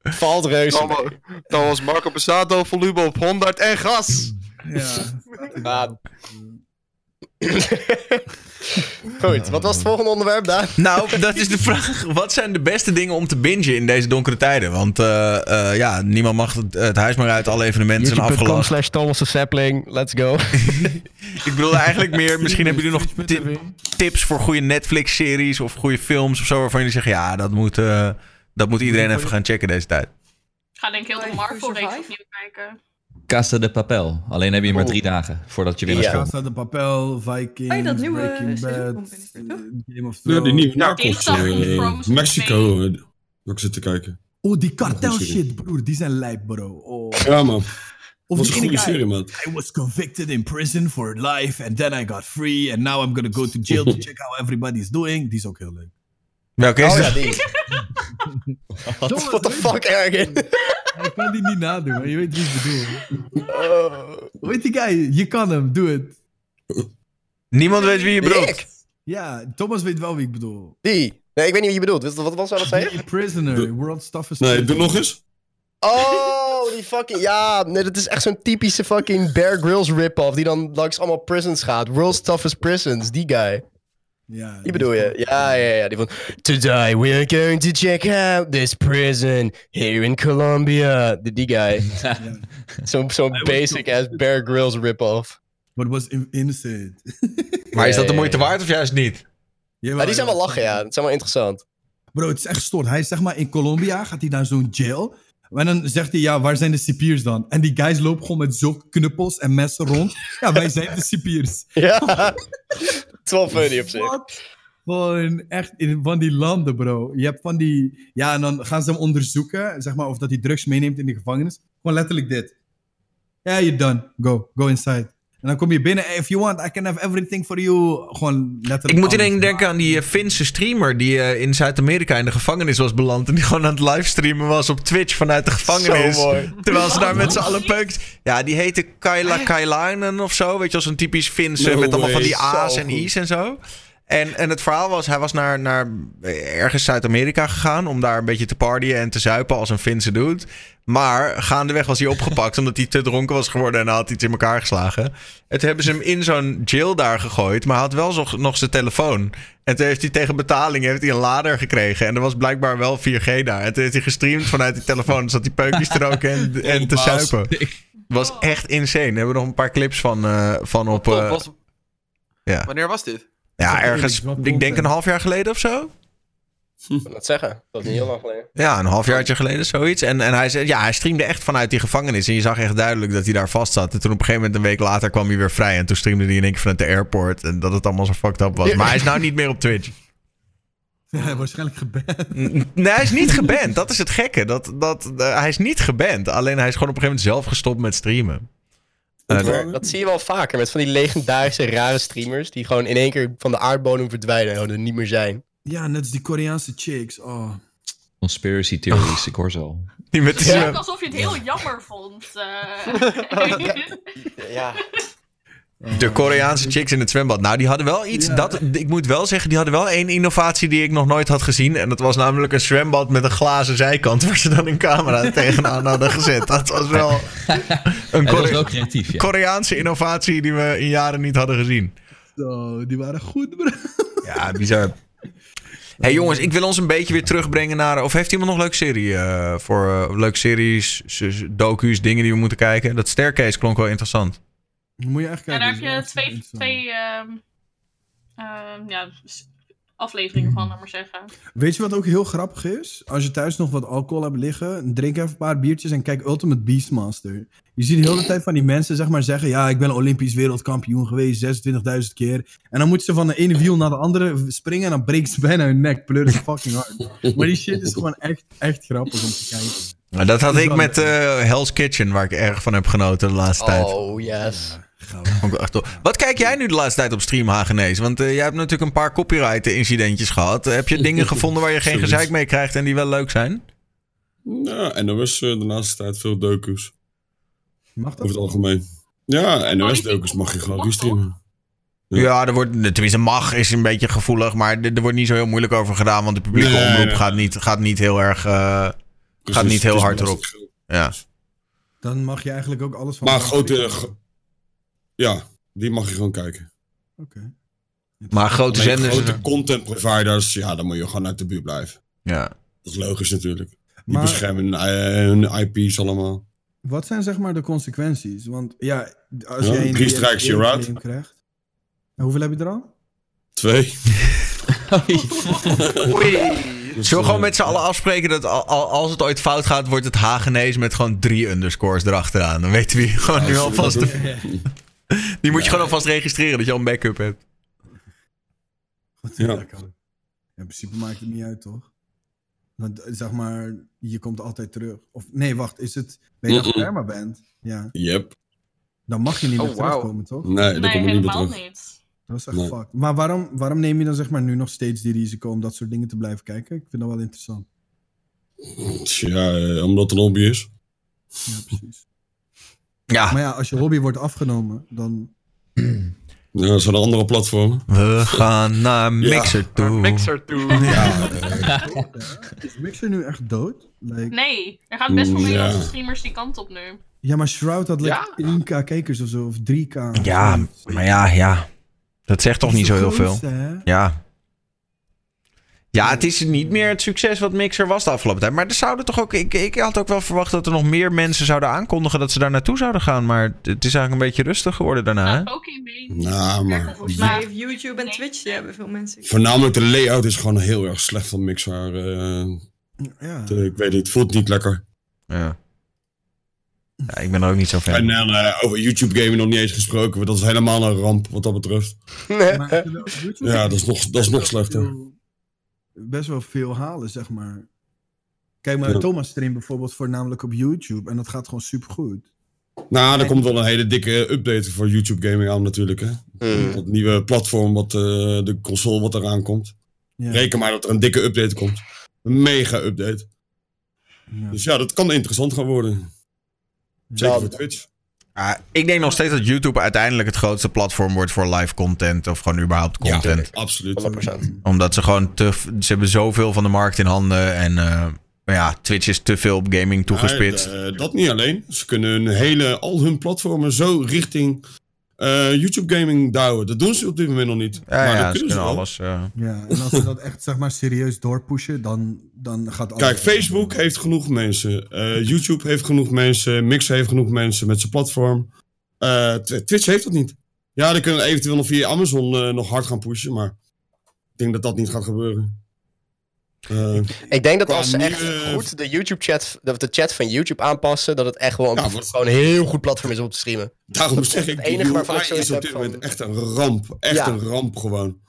B: Valt reuze mee.
G: dan, dan was Marco Passato volume op 100 en gas.
C: Ja.
B: Daan. Goed, wat was het volgende onderwerp, Daan?
A: Nou, dat is de vraag. Wat zijn de beste dingen om te bingen in deze donkere tijden? Want eh, eh, ja, niemand mag het, het huis meer uit. Alle evenementen zijn
B: YouTube.com
A: afgelast.
B: slash Thomas de Sapling. Let's go.
A: Ik bedoel eigenlijk meer, misschien hebben jullie nog ti- tips voor goede Netflix-series of goede films of zo. Waarvan jullie zeggen, ja, dat moet, eh, dat moet iedereen even gaan checken deze tijd.
F: Ik ga denk ik heel de
I: Drive to
F: Marvel reeks
I: Survive?
F: opnieuw kijken.
H: Casa de Papel. Alleen heb je
B: Oh.
H: maar drie dagen voordat je weer naar school moet.
L: Casa de Papel, Vikings,
J: Oh, dat nieuwe
L: Breaking
J: seizoen
L: Bad,
J: komt
L: Game of
E: Ja,
L: Thrones.
E: die nieuwe Narcos.
F: Dinsdag in
E: eh,
F: Thrones
E: Mexico. eh, Waar ik zit te kijken.
C: Oh, die kartel
E: Goeie serie.
C: shit, broer. Die zijn lijp, bro. Oh.
E: Ja, man.
C: Of
E: was
C: die
E: een goede
C: ene guy.
E: serie, man.
C: I was convicted in prison for life and then I got free and now I'm gonna go to jail to check how everybody's doing. Die is ook heel leuk.
A: Welke is
B: Oh ja,
A: dat?
B: die. What the fuck, Ergen?
C: Ik kan die niet nadoen, maar je weet wie ik bedoel.
B: Oh.
C: Hoe heet die guy? Je kan hem, doe het.
A: Niemand weet wie je bedoelt.
B: Ik?
C: Ja, Thomas weet wel wie ik bedoel.
B: Die? Nee, ik weet niet wie je bedoelt. Wat wat was dat zei? je?
C: Die prisoner, World Stuff is...
E: Nee, doe nog eens.
B: Oh, die fucking... Ja, nee, dat is echt zo'n typische fucking Bear Grylls rip-off... die dan langs allemaal prisons gaat. World's Toughest Prisons, die guy.
C: Ja,
B: Die bedoel je? Ja, ja, ja. Die van... Today we are going to check out this prison here in Colombia. Die, die guy. Zo'n zo'n basic-ass Bear Grylls rip-off.
C: But was in- innocent.
A: Maar is
B: Ja,
A: dat de
B: ja,
A: moeite
B: ja.
A: waard of juist niet?
C: Jawel,
B: Ja, die zijn wel
C: jawel.
B: lachen, ja. Dat zijn wel interessant.
C: Bro, het is echt stoort. Hij is zeg maar in Colombia, gaat hij naar zo'n jail. En dan zegt hij, ja, waar zijn de cipiers dan? En die guys lopen gewoon met zulke knuppels en messen rond. Ja, wij zijn de cipiers.
B: Ja. Het is wel funny op zich.
C: Wat? Gewoon echt in van die landen, bro. Je hebt van die... Ja, en dan gaan ze hem onderzoeken, zeg maar, of dat hij drugs meeneemt in de gevangenis. Gewoon letterlijk dit. Ja, you're done. Go. Go inside. En dan kom je binnen. If you want, I can have everything for you. Gewoon letterlijk
A: Ik moet
C: alles.
A: ineens denken aan die eh, Finse streamer die eh, in Zuid-Amerika in de gevangenis was beland. En die gewoon aan het livestreamen was op Twitch vanuit de gevangenis.
B: Zo mooi.
A: Terwijl ze daar met z'n allen peukt. Ja, die heette Kaila Kailainen of zo. Weet je, als een typisch Finse.
E: No
A: met allemaal van
E: way,
A: die A's
B: zo
A: en
B: goed.
A: I's en zo. En, en het verhaal was, hij was naar, naar eh, ergens Zuid-Amerika gegaan om daar een beetje te partyen en te zuipen als een Finse dude. Maar gaandeweg was hij opgepakt omdat hij te dronken was geworden en hij had iets in elkaar geslagen. En toen hebben ze hem in zo'n jail daar gegooid, maar hij had wel zo- nog zijn telefoon. En toen heeft hij tegen betaling heeft hij een lader gekregen en er was blijkbaar wel 4G daar. En toen heeft hij gestreamd vanuit die telefoon, dus zat hij peukjes te roken en, en te
E: Oh, baas.
A: zuipen. Was echt insane. Daar hebben we nog een paar clips van, eh, van op...
G: Top,
A: eh,
G: was-
A: ja.
G: Wanneer was dit?
A: ja,
C: Wat
A: ergens,
C: eerlijk, wat
A: ik denk
C: content.
A: een half jaar geleden of zo.
G: Hm.
B: Ik kan dat zeggen. Dat is niet heel lang geleden.
A: Ja, een halfjaartje geleden, zoiets. En, en hij, zei, ja, hij streamde echt vanuit die gevangenis. En je zag echt duidelijk dat hij daar vast zat. En toen op een gegeven moment, een week later, kwam hij weer vrij. En toen streamde hij in één keer vanuit de airport. En dat het allemaal zo fucked up was. Maar hij is nou niet meer op Twitch.
C: Ja, waarschijnlijk geband.
A: Nee, hij is niet geband. Dat is het gekke. Dat, dat, eh, hij is niet geband. Alleen hij is gewoon op een gegeven moment zelf gestopt met streamen. Eh,
B: Maar dat zie je wel vaker met van die legendarische rare streamers die gewoon in één keer van de aardbodem verdwijnen en gewoon er niet meer zijn.
C: Ja, net als die Koreaanse chicks. Oh.
H: Conspiracy theories, ik hoor ze al.
A: die met de
F: Het is
A: zwem-
C: eh,
F: ook alsof je het heel jammer vond. eh.
B: Ja.
A: De Koreaanse chicks in het zwembad. Nou, die hadden wel iets.
C: Ja.
A: Dat, ik moet wel zeggen, die hadden wel één innovatie die ik nog nooit had gezien. En dat was namelijk een zwembad met een glazen zijkant. Waar ze dan een camera tegenaan hadden gezet. Dat was wel een
H: En dat
A: Kore-
H: is wel creatief, ja.
A: Koreaanse innovatie die we in jaren niet hadden gezien.
C: Zo, Oh, die waren goed, bro.
A: Ja, bizar. hey, jongens, ik wil ons een beetje weer terugbrengen naar. Of heeft iemand nog leuke serie eh, voor eh, leuke series, s- s- docu's, dingen die we moeten kijken? Dat staircase klonk wel interessant.
C: Moet je echt
F: Ja,
C: kijken.
F: daar
C: dat
F: heb je
C: is wel
F: twee,
C: interessant.
F: twee ehm, ehm, ja, s- afleveringen van, laat maar zeggen.
C: Weet je wat ook heel grappig is? Als je thuis nog wat alcohol hebt liggen, drink even een paar biertjes en kijk Ultimate Beastmaster. Je ziet de hele tijd van die mensen zeg maar zeggen, ja, ik ben Olympisch wereldkampioen geweest, 26.000 keer. En dan moeten ze van de ene wiel naar de andere springen en dan breekt ze bijna hun nek. Pleur is fucking hard. Maar die shit is gewoon echt, echt grappig om te kijken.
A: Nou, dat had
C: Dat is
A: ik
C: wel
A: met eh, Hell's Kitchen, waar ik erg van heb genoten de laatste tijd.
B: Oh yes.
A: Vond ik wel echt tof. Wat kijk jij nu de laatste tijd op stream, Hagenees? Want eh, jij hebt natuurlijk een paar copyright-incidentjes gehad. heb je dingen gevonden waar je geen
E: Zoiets.
A: gezeik mee krijgt en die wel leuk zijn?
E: Ja, NOS eh, de laatste tijd veel docus.
C: Mag dat?
E: Over het algemeen. Ja, NOS-docus
F: Politiek.
E: mag je gewoon
F: Mag
E: restreamen. Ja.
A: Ja, er wordt, tenminste mag is een beetje gevoelig, maar er er wordt niet zo heel moeilijk over gedaan, want de publieke
E: Nee,
A: omroep
E: nee.
A: Gaat, niet, gaat niet heel erg... eh,
E: Dus
A: Gaat
E: het
A: niet heel
E: het is
A: hard
E: belasting geld.
A: ja.
C: Dan mag je eigenlijk ook alles van...
E: Maar eh, grote... ge- Ja, die mag je gewoon kijken.
C: Oké.
A: Maar grote
E: Alleen
A: zenders...
E: grote content providers, ja, dan moet je gewoon uit de buurt blijven.
A: Ja.
E: Dat is logisch natuurlijk. Die
C: Maar-
E: beschermen hun, eh, hun IP's allemaal.
C: Wat zijn zeg maar de consequenties? Want ja, als
E: Ja,
C: jij... een
E: drie strikes,
C: DSA
E: you're out.
C: claim krijgt- En hoeveel heb je er al?
E: Twee.
G: Oei.
A: Zullen we gewoon met z'n allen afspreken dat al- al- als het ooit fout gaat, wordt het Hagenees met gewoon drie underscores erachteraan. Dan weten we hier gewoon nu alvast. de- Die moet je gewoon alvast registreren, dat je al een backup hebt.
E: Ja.
C: In principe maakt het niet uit, toch? Want eh, zeg maar, je komt altijd terug. Of nee, wacht, is het. Ben je
E: Mm-mm.
C: dat perma bent? Ja.
E: Yep.
C: Dan mag je niet
J: Oh,
C: meer
J: wauw.
C: terugkomen, toch?
E: Nee, daar
F: Nee,
E: kom ik niet meer
F: helemaal
E: terug.
F: niet.
C: Dat is echt
E: Nee.
C: fucked. Maar waarom, waarom neem je dan zeg maar nu nog steeds die risico om dat soort dingen te blijven kijken? Ik vind dat wel interessant.
E: Tja, eh, omdat het een hobby is.
C: Ja, precies.
A: Ja,
E: Ah.
C: Maar ja, als je hobby wordt afgenomen, dan...
E: Ja, dat zijn er andere platformen.
A: we gaan naar Mixer
J: Naar
A: toe.
J: Mixer toe.
C: Is Mixer nu echt dood? Like-
F: Nee, er gaat best wel
E: Ja.
F: veel Nederlandse streamers die kant op nu.
C: Ja, maar Shroud had like
J: Ja?
C: 1k kijkers of zo, of 3k. of
A: Ja,
C: zoiets.
A: maar ja, ja. Dat zegt toch
C: Dat
A: niet
C: is
A: zo
C: de
A: heel veel.
C: grootste, hè?
A: Ja. Ja, het is niet meer het succes wat Mixer was de afgelopen tijd. Maar er zouden toch ook. Ik, ik had ook wel verwacht dat er nog meer mensen zouden aankondigen dat ze daar naartoe zouden gaan. Maar het is eigenlijk een beetje rustig geworden daarna. Hè?
F: Nou, Pokemon.
E: Nou, maar...
I: Volgens mij heeft YouTube en Twitch, die hebben veel mensen.
E: Voornamelijk de layout is gewoon heel erg slecht van Mixar. eh,
C: Ja.
E: het, eh, ik weet niet, het voelt niet lekker.
A: Ja. ja. Ik ben er ook niet zo fan.
E: En
A: van.
E: dan eh, over YouTube gaming nog niet eens gesproken. want Dat is helemaal een ramp wat dat betreft.
C: Maar YouTube
E: Ja, dat is nog, dat is nog slechter.
C: best wel veel halen, zeg maar. Kijk maar,
E: Ja.
C: Thomas streamt bijvoorbeeld voornamelijk op YouTube. En dat gaat gewoon supergoed.
E: Nou, er komt wel een hele dikke update voor YouTube gaming aan natuurlijk. Hè? Dat nieuwe platform, wat, eh, de console wat eraan komt.
C: Ja.
E: Reken maar dat er een dikke update komt. Een mega update.
C: Ja.
E: Dus ja, dat kan interessant gaan worden. Zeker
B: Ja.
E: voor Twitch.
A: Ah, ik denk nog steeds dat YouTube uiteindelijk het grootste platform wordt voor live content. Of gewoon überhaupt content.
E: Absoluut.
B: 100%.
A: Omdat ze gewoon te. f- Ze hebben zoveel van de markt in handen. En eh, maar ja, Twitch is te veel op gaming toegespitst.
E: Maar, eh, dat niet alleen. Ze kunnen hun hele, al hun platformen zo richting eh, YouTube gaming duwen. Dat doen ze op dit moment nog niet.
A: Ja,
E: maar
A: ja,
E: dat
A: ze
E: kunnen ze
A: kunnen
E: wel.
A: alles. eh,
C: Ja, en als ze dat echt zeg maar serieus doorpushen, dan, dan gaat alles...
E: Kijk, Facebook heeft genoeg mensen. Eh, YouTube heeft genoeg mensen. Mix heeft genoeg mensen met zijn platform. Eh, Tw- Twitch heeft dat niet. Ja, dan kunnen we eventueel nog via Amazon eh, nog hard gaan pushen. Maar ik denk dat dat niet gaat gebeuren. Eh,
B: Ik denk dat
E: Qua
B: als ze echt
A: eh,
E: nieuwe-
B: goed de YouTube-chat, dat de chat van YouTube aanpassen, dat het echt wel een,
E: Ja, want-
B: gewoon een heel goed platform is om te streamen.
E: daarom zeg ik,
B: het
E: de
B: enige waarvan ik
E: UI
B: zoiets
E: is op
B: heb
E: dit
B: van-
E: moment echt een ramp. Echt
B: Ja.
E: een ramp gewoon.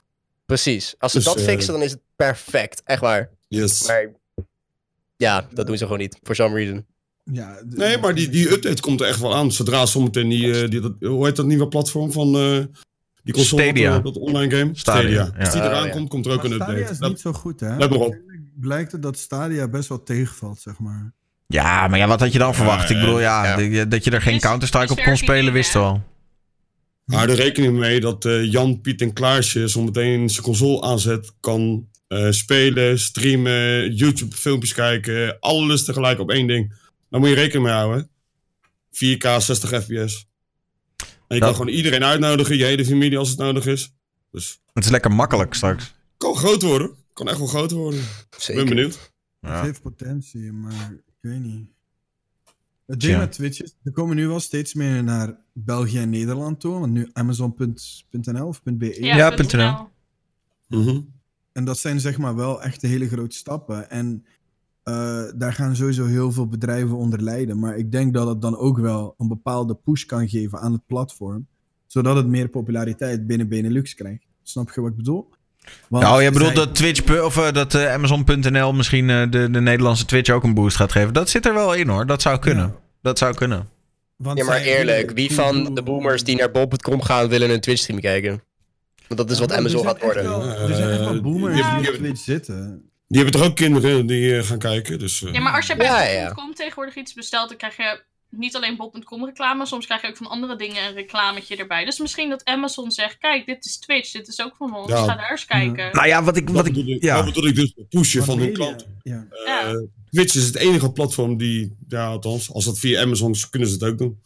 B: Precies. Als ze
E: Dus,
B: dat
E: eh,
B: fixen, dan is het perfect. Echt waar.
E: Yes.
B: Maar ja, dat doen ze gewoon niet. For some reason.
C: Ja, d-
E: Nee, maar die, die update komt er echt wel aan. Zodra zometeen die, eh, die dat, hoe heet dat nieuwe platform van eh, die console,
A: Stadia.
E: Dat, dat online game?
A: Stadia, ja.
E: Als die eraan
B: Oh, ja.
E: komt, komt er ook
C: maar
E: een update.
C: Stadia is
E: Dat-
C: niet zo goed, hè?
E: Let maar op.
C: Uiteindelijk Blijkt het dat Stadia best wel tegenvalt, zeg maar.
A: Ja, maar ja, wat had je dan verwacht?
E: ja,
A: Ik bedoel, ja,
B: ja.
A: dat je- dat je er geen
F: Is-
A: Counter-Strike
F: is eh?
A: op
F: er
A: kon
F: geen
A: spelen,
F: idee,
A: wist
F: hè?
A: wel.
E: Maar de rekening mee dat eh, Jan, Piet en Klaasje zometeen zijn console aanzet, kan eh, spelen, streamen, YouTube filmpjes kijken, alles tegelijk op één ding. Daar moet je rekening mee houden. 4K, 60 fps. En je
A: Ja.
E: kan gewoon iedereen uitnodigen, je hele familie als het nodig is. Dus
A: Het is lekker makkelijk straks.
E: kan groot worden. Kan echt wel groot worden. Ik ben
B: Zeker.
E: benieuwd.
A: Ja.
C: Het heeft potentie, maar ik weet niet. Het
A: Tja.
C: ding met Twitch is, er komen nu wel steeds meer naar België en Nederland toe. Want nu Amazon.nl of E. .be.
F: Ja,
A: Ja,
F: punt
A: .nl.
F: NL.
E: Mhm.
C: En dat zijn zeg maar wel echt de hele grote stappen. En eh, daar gaan sowieso heel veel bedrijven onder lijden. Maar ik denk dat het dan ook wel een bepaalde push kan geven aan het platform. Zodat het meer populariteit binnen Benelux krijgt. Snap je wat ik bedoel? Want
A: Nou, jij bedoelt
C: zij-
A: dat Twitch pu- of eh, dat eh, Amazon.nl misschien eh, de, de Nederlandse Twitch ook een boost gaat geven. Dat zit er wel in hoor. Dat zou kunnen. Dat zou kunnen.
C: want
B: Ja, maar
C: zij-
B: eerlijk. Wie van de boomers die naar bol.com gaan, willen een Twitch-stream kijken? Want dat is wat
C: Ja, maar er
B: Amazon
C: zijn
B: gaat worden.
C: echt wel- Er zijn echt wel
E: Eh,
C: boomers
E: die-
C: die
E: die-
C: op Twitch zitten.
E: Die hebben toch ook kinderen die eh, gaan kijken. Dus, eh,
F: Ja, maar als je bij
B: Ja, ja.
F: bol.com tegenwoordig iets bestelt, dan krijg je niet alleen bol.com reclame, soms krijg je ook van andere dingen een reclametje erbij. Dus misschien dat Amazon zegt, kijk, dit is Twitch, dit is ook van ons,
E: Ja.
F: Dus ga daar eens kijken.
A: Nou ja, wat ik.
E: dat,
A: Wat ik
E: bedoel ik,
A: ja.
E: dat bedoel ik dus met pushen
C: Want
E: van hun
C: media-
E: klanten.
C: Ja.
E: Eh,
F: Ja.
E: Twitch is het enige platform die, ja, althans, als dat via Amazon is, kunnen ze het ook doen.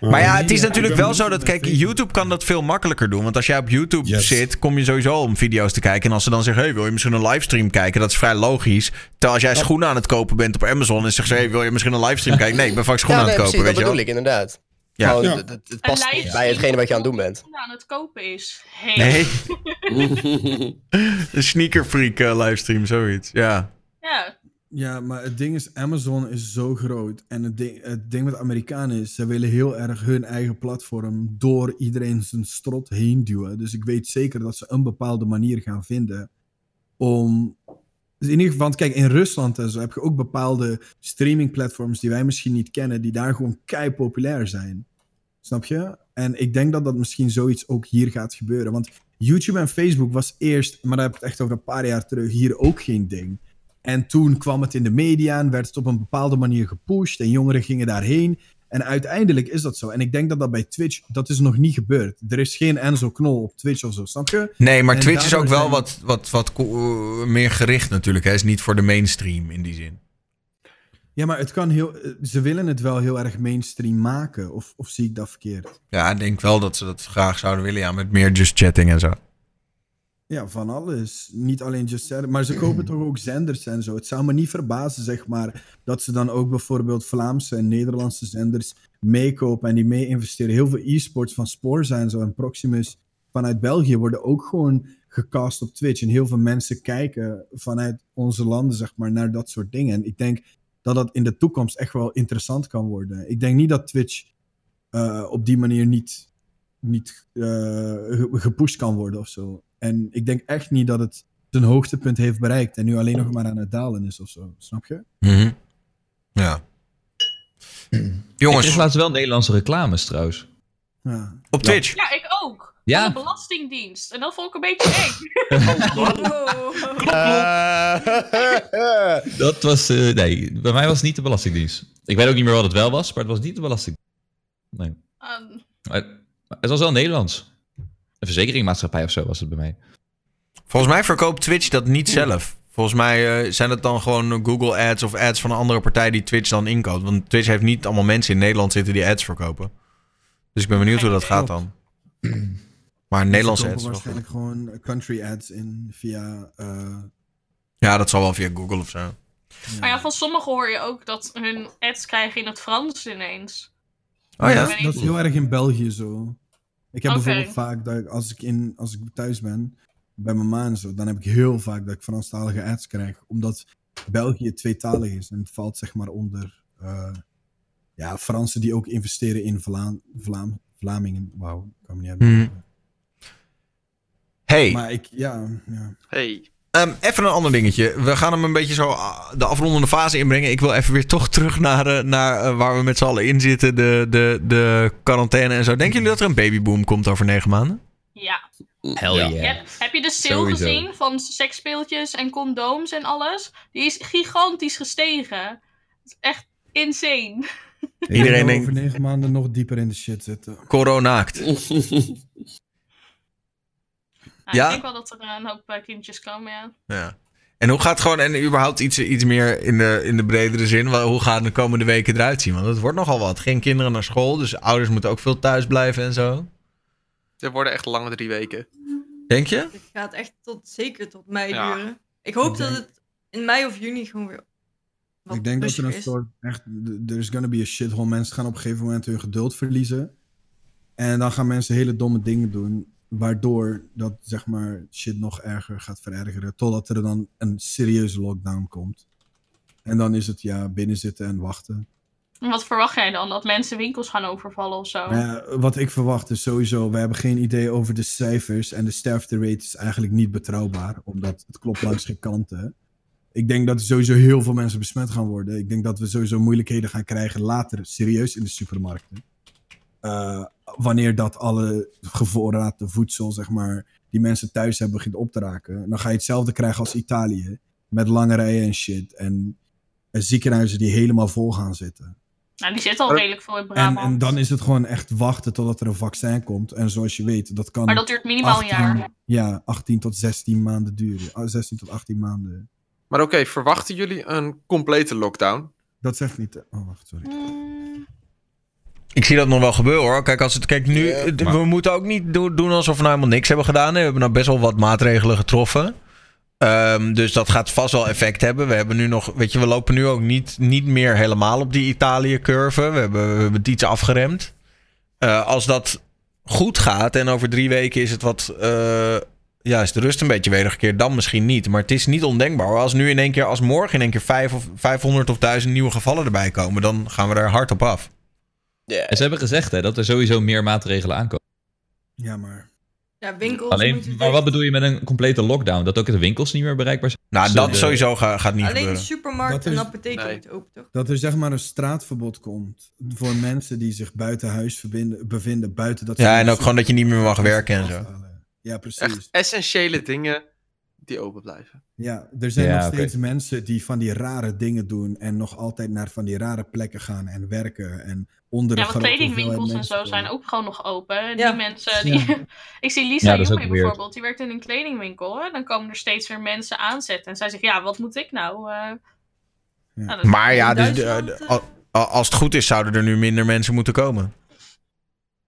E: Eh,
A: maar ja,
C: media-
A: het is natuurlijk
C: ik ben
A: wel zo
C: benieuwd
A: dat.
C: naar
A: Kijk,
C: Facebook.
A: YouTube kan dat veel makkelijker doen. Want als jij op YouTube
E: Yes.
A: zit, kom je sowieso om video's te kijken. En als ze dan zeggen: hey, wil je misschien een livestream kijken? Dat is vrij logisch. Terwijl als jij schoenen aan het kopen bent op Amazon en zegt ze: hey, wil je misschien een livestream kijken? Nee, ik ben vaak schoenen
B: Ja,
A: aan
B: nee,
A: het
B: precies.
A: kopen.
B: Dat
A: Weet je
B: bedoel
A: wel?
B: ik Oh, inderdaad.
A: Ja.
B: Gewoon,
A: Ja.
B: Het, het- het
F: Een
B: past
F: lijst
B: niet bij hetgene wat je aan het doen bent.
F: Hoe aan het kopen is. Hey.
A: Nee. Een sneakerfreak eh, livestream, zoiets. Ja.
F: ja.
C: Ja, maar het ding is, Amazon is zo groot. En het ding, het ding met Amerikanen is, ze willen heel erg hun eigen platform door iedereen zijn strot heen duwen. Dus ik weet zeker dat ze een bepaalde manier gaan vinden om... Dus in ieder geval, want kijk, in Rusland en zo heb je ook bepaalde streamingplatforms die wij misschien niet kennen, die daar gewoon kei populair zijn. Snap je? En ik denk dat dat misschien zoiets ook hier gaat gebeuren. Want YouTube en Facebook was eerst, maar daar heb ik het echt over een paar jaar terug, hier ook geen ding. En toen kwam het in de media en werd het op een bepaalde manier gepusht. En jongeren gingen daarheen. En uiteindelijk is dat zo. En ik denk dat dat bij Twitch, dat is nog niet gebeurd. Er is geen Enzo Knol op Twitch of zo, snap je?
A: Nee, maar
C: En
A: Twitch is ook
C: daardoor
A: wel
C: zijn-
A: wat, wat, wat ko- eh, meer gericht natuurlijk. Hij is niet voor de mainstream in die zin.
C: Ja, maar het kan heel... eh, Ze willen het wel heel erg mainstream maken. Of, of zie ik dat verkeerd?
A: Ja, ik denk wel dat ze dat graag zouden willen. Ja, met meer just chatting en zo.
C: Ja, van alles. Niet alleen Just Chat, maar ze kopen toch ook zenders en zo. Het zou me niet verbazen, zeg maar, dat ze dan ook bijvoorbeeld Vlaamse en Nederlandse zenders meekopen en die mee investeren. Heel veel e-sports van Spoor zijn zo en Proximus vanuit België worden ook gewoon gecast op Twitch. En heel veel mensen kijken vanuit onze landen, zeg maar, naar dat soort dingen. En ik denk dat dat in de toekomst echt wel interessant kan worden. Ik denk niet dat Twitch eh, op die manier niet niet eh, ge- gepusht kan worden of zo. En ik denk echt niet dat het zijn hoogtepunt heeft bereikt en nu alleen nog maar aan het dalen is of zo. Snap je?
A: Mhm. Ja.
H: Mm-hmm. Ik
A: Jongens,
H: kreeg laatst wel Nederlandse reclames trouwens.
C: Ja.
A: op Twitch.
F: ja, ik ook.
H: Ja.
F: Van de Belastingdienst. En dat vond ik een beetje eng. Wow.
H: Dat was, eh, nee, bij mij was het niet de Belastingdienst. Ik weet ook niet meer wat het wel was, maar het was niet de Belastingdienst. Nee.
F: Ehm,
H: Maar- maar het was wel Nederlands. Een verzekeringmaatschappij of zo was het bij mij.
A: Volgens mij verkoopt Twitch dat niet zelf. Volgens mij eh, zijn dat dan gewoon Google Ads of ads van een andere partij die Twitch dan inkoopt. Want Twitch heeft niet allemaal mensen in Nederland zitten die ads verkopen. Dus ik ben benieuwd hoe dat gaat dan. Maar Nederlandse
C: Ze kopen
A: ads. is wel goed.
C: waarschijnlijk gewoon country ads in via. eh,
A: Ja, dat zal wel via Google of zo.
F: maar ja, van sommigen hoor je ook dat hun ads krijgen in het Frans ineens.
A: Oh ja.
C: dat is- Dat is heel erg in België zo. Ik heb
F: Oké.
C: bijvoorbeeld vaak dat ik, als ik, in, als ik thuis ben, bij mijn ma en zo, dan heb ik heel vaak dat ik Franstalige ads krijg. Omdat België tweetalig is en valt zeg maar onder eh, ja, Fransen die ook investeren in Vlaam, Vlaam, Vlamingen. Wauw, ik kan me niet hebben.
A: Hmm. Hey,
C: Maar ik, ja, ja.
G: Hey.
A: Ehm, even een ander dingetje. We gaan hem een beetje zo ah, de afrondende fase inbrengen. Ik wil even weer toch terug naar, eh, naar eh, waar we met z'n allen in zitten. De, de, de quarantaine en zo. Denken jullie dat er een babyboom komt over negen maanden?
F: Ja.
H: Hell
G: Ja.
H: yeah.
F: Heb- Heb je de sale
H: Sowieso.
F: gezien van seksspeeltjes en condooms en alles? Die is gigantisch gestegen. Het is echt insane. Nou,
A: Iedereen
C: Ik wil
A: denkt-
C: over negen maanden nog dieper in de shit zitten.
A: Coronaakt.
F: Nou,
A: Ja.
F: Ik denk wel dat er eh, een hoop eh, kindjes komen, ja.
A: Ja. En hoe gaat gewoon, en überhaupt iets, iets meer in de, in de bredere zin, wel, hoe gaan de komende weken eruit zien? Want het wordt nogal wat. Geen kinderen naar school, dus ouders moeten ook veel thuis blijven en zo.
G: Dit worden echt lange drie weken.
A: Denk je?
I: Het gaat echt tot, zeker tot mei
G: Ja.
I: duren. Ik hoop
C: Ik
I: dat
C: denk-
I: het in mei of juni gewoon weer wat
C: ik denk dat er
I: rustiger
C: een
I: is.
C: soort echt, there's gonna be a shithole. Mensen gaan op een gegeven moment hun geduld verliezen. En dan gaan mensen hele domme dingen doen. Waardoor dat zeg maar shit nog erger gaat verergeren. Totdat er dan een serieuze lockdown komt. En dan is het ja, binnenzitten en wachten.
F: En Wat verwacht jij dan? Dat mensen winkels gaan overvallen of zo?
C: Maar ja, wat ik verwacht is sowieso, we hebben geen idee over de cijfers. En de sterfterate is eigenlijk niet betrouwbaar. Omdat het klopt langs geen kanten. Ik denk dat er sowieso heel veel mensen besmet gaan worden. Ik denk dat we sowieso moeilijkheden gaan krijgen later, serieus in de supermarkten. Eh, wanneer dat alle gevoorraadde voedsel, zeg maar, die mensen thuis hebben, begint op te raken. Dan ga je hetzelfde krijgen als Italië. Met lange rijen en shit. En eh, ziekenhuizen die helemaal vol gaan zitten.
F: Nou, die zitten al
G: Maar-
F: redelijk veel in
C: En,
F: Brabant.
C: en dan is het gewoon echt wachten totdat er een vaccin komt. En zoals je weet, dat kan
F: Maar dat duurt minimaal een
C: 18
F: jaar.
C: Ja, 18 tot 16 maanden duren. Ah, 16 tot 18 maanden.
G: Maar oké, verwachten jullie een complete lockdown?
C: Dat zegt niet. eh, Oh, wacht, sorry.
A: Ik zie dat nog wel gebeuren hoor. Kijk, als het, kijk nu, het- we moeten ook niet do- doen alsof we nou helemaal niks hebben gedaan. hè. We hebben nou best wel wat maatregelen getroffen. Ehm, dus dat gaat vast wel effect hebben. We hebben nu nog, weet je, we lopen nu ook niet, niet meer helemaal op die Italië-curve. We hebben, we hebben het iets afgeremd. eh, als dat goed gaat en over drie weken is het wat. eh, ja, is de rust een beetje wedergekeerd, dan misschien niet. Maar het is niet ondenkbaar. hoor. Als nu in één keer, als morgen in één keer vijf of 500 of 1000 nieuwe gevallen erbij komen, dan gaan we daar hard op af.
H: En ze hebben gezegd hè, dat er sowieso meer maatregelen aankomen.
C: Ja, maar.
I: Ja, winkels.
H: Alleen,
I: moeten
H: maar wat bedoel je met een complete lockdown? Dat ook de winkels niet meer bereikbaar zijn?
A: Nou,
H: Ze-
A: dat sowieso ga- gaat niet
I: Alleen de
A: gebeuren.
I: supermarkt
C: Dat
I: en
C: is-
I: apotheek
G: Nee.
I: moeten open, toch?
C: Dat er zeg maar een straatverbod komt voor mensen die zich buiten huis verbinden, bevinden, buiten dat. ze-
A: Ja, en ook gewoon dat je niet meer mag werken en zo.
C: Ja, precies.
G: Echt essentiële dingen die open blijven.
C: Ja, er zijn
H: Ja,
C: nog
H: oké.
C: steeds mensen die van die rare dingen doen en nog altijd naar van die rare plekken gaan en werken en onder de
F: Ja, want
C: grote
F: kledingwinkels en
C: hoeveelheid
F: zo
C: mensen
F: zijn
C: komen.
F: ook gewoon nog open. Die
I: Ja.
F: mensen, die... ik zie Lisa
H: Ja, dat is
F: Jonge
H: ook weird.
F: bijvoorbeeld, die werkt in een kledingwinkel. Hè? Dan komen er steeds weer mensen aanzetten. En zij zegt, ja, wat moet ik nou? eh? Nou, dat-
A: Maar ja, dus,
I: Duitsland,
A: de- de-
I: eh,
A: al- al- als het goed is, zouden er nu minder mensen moeten komen.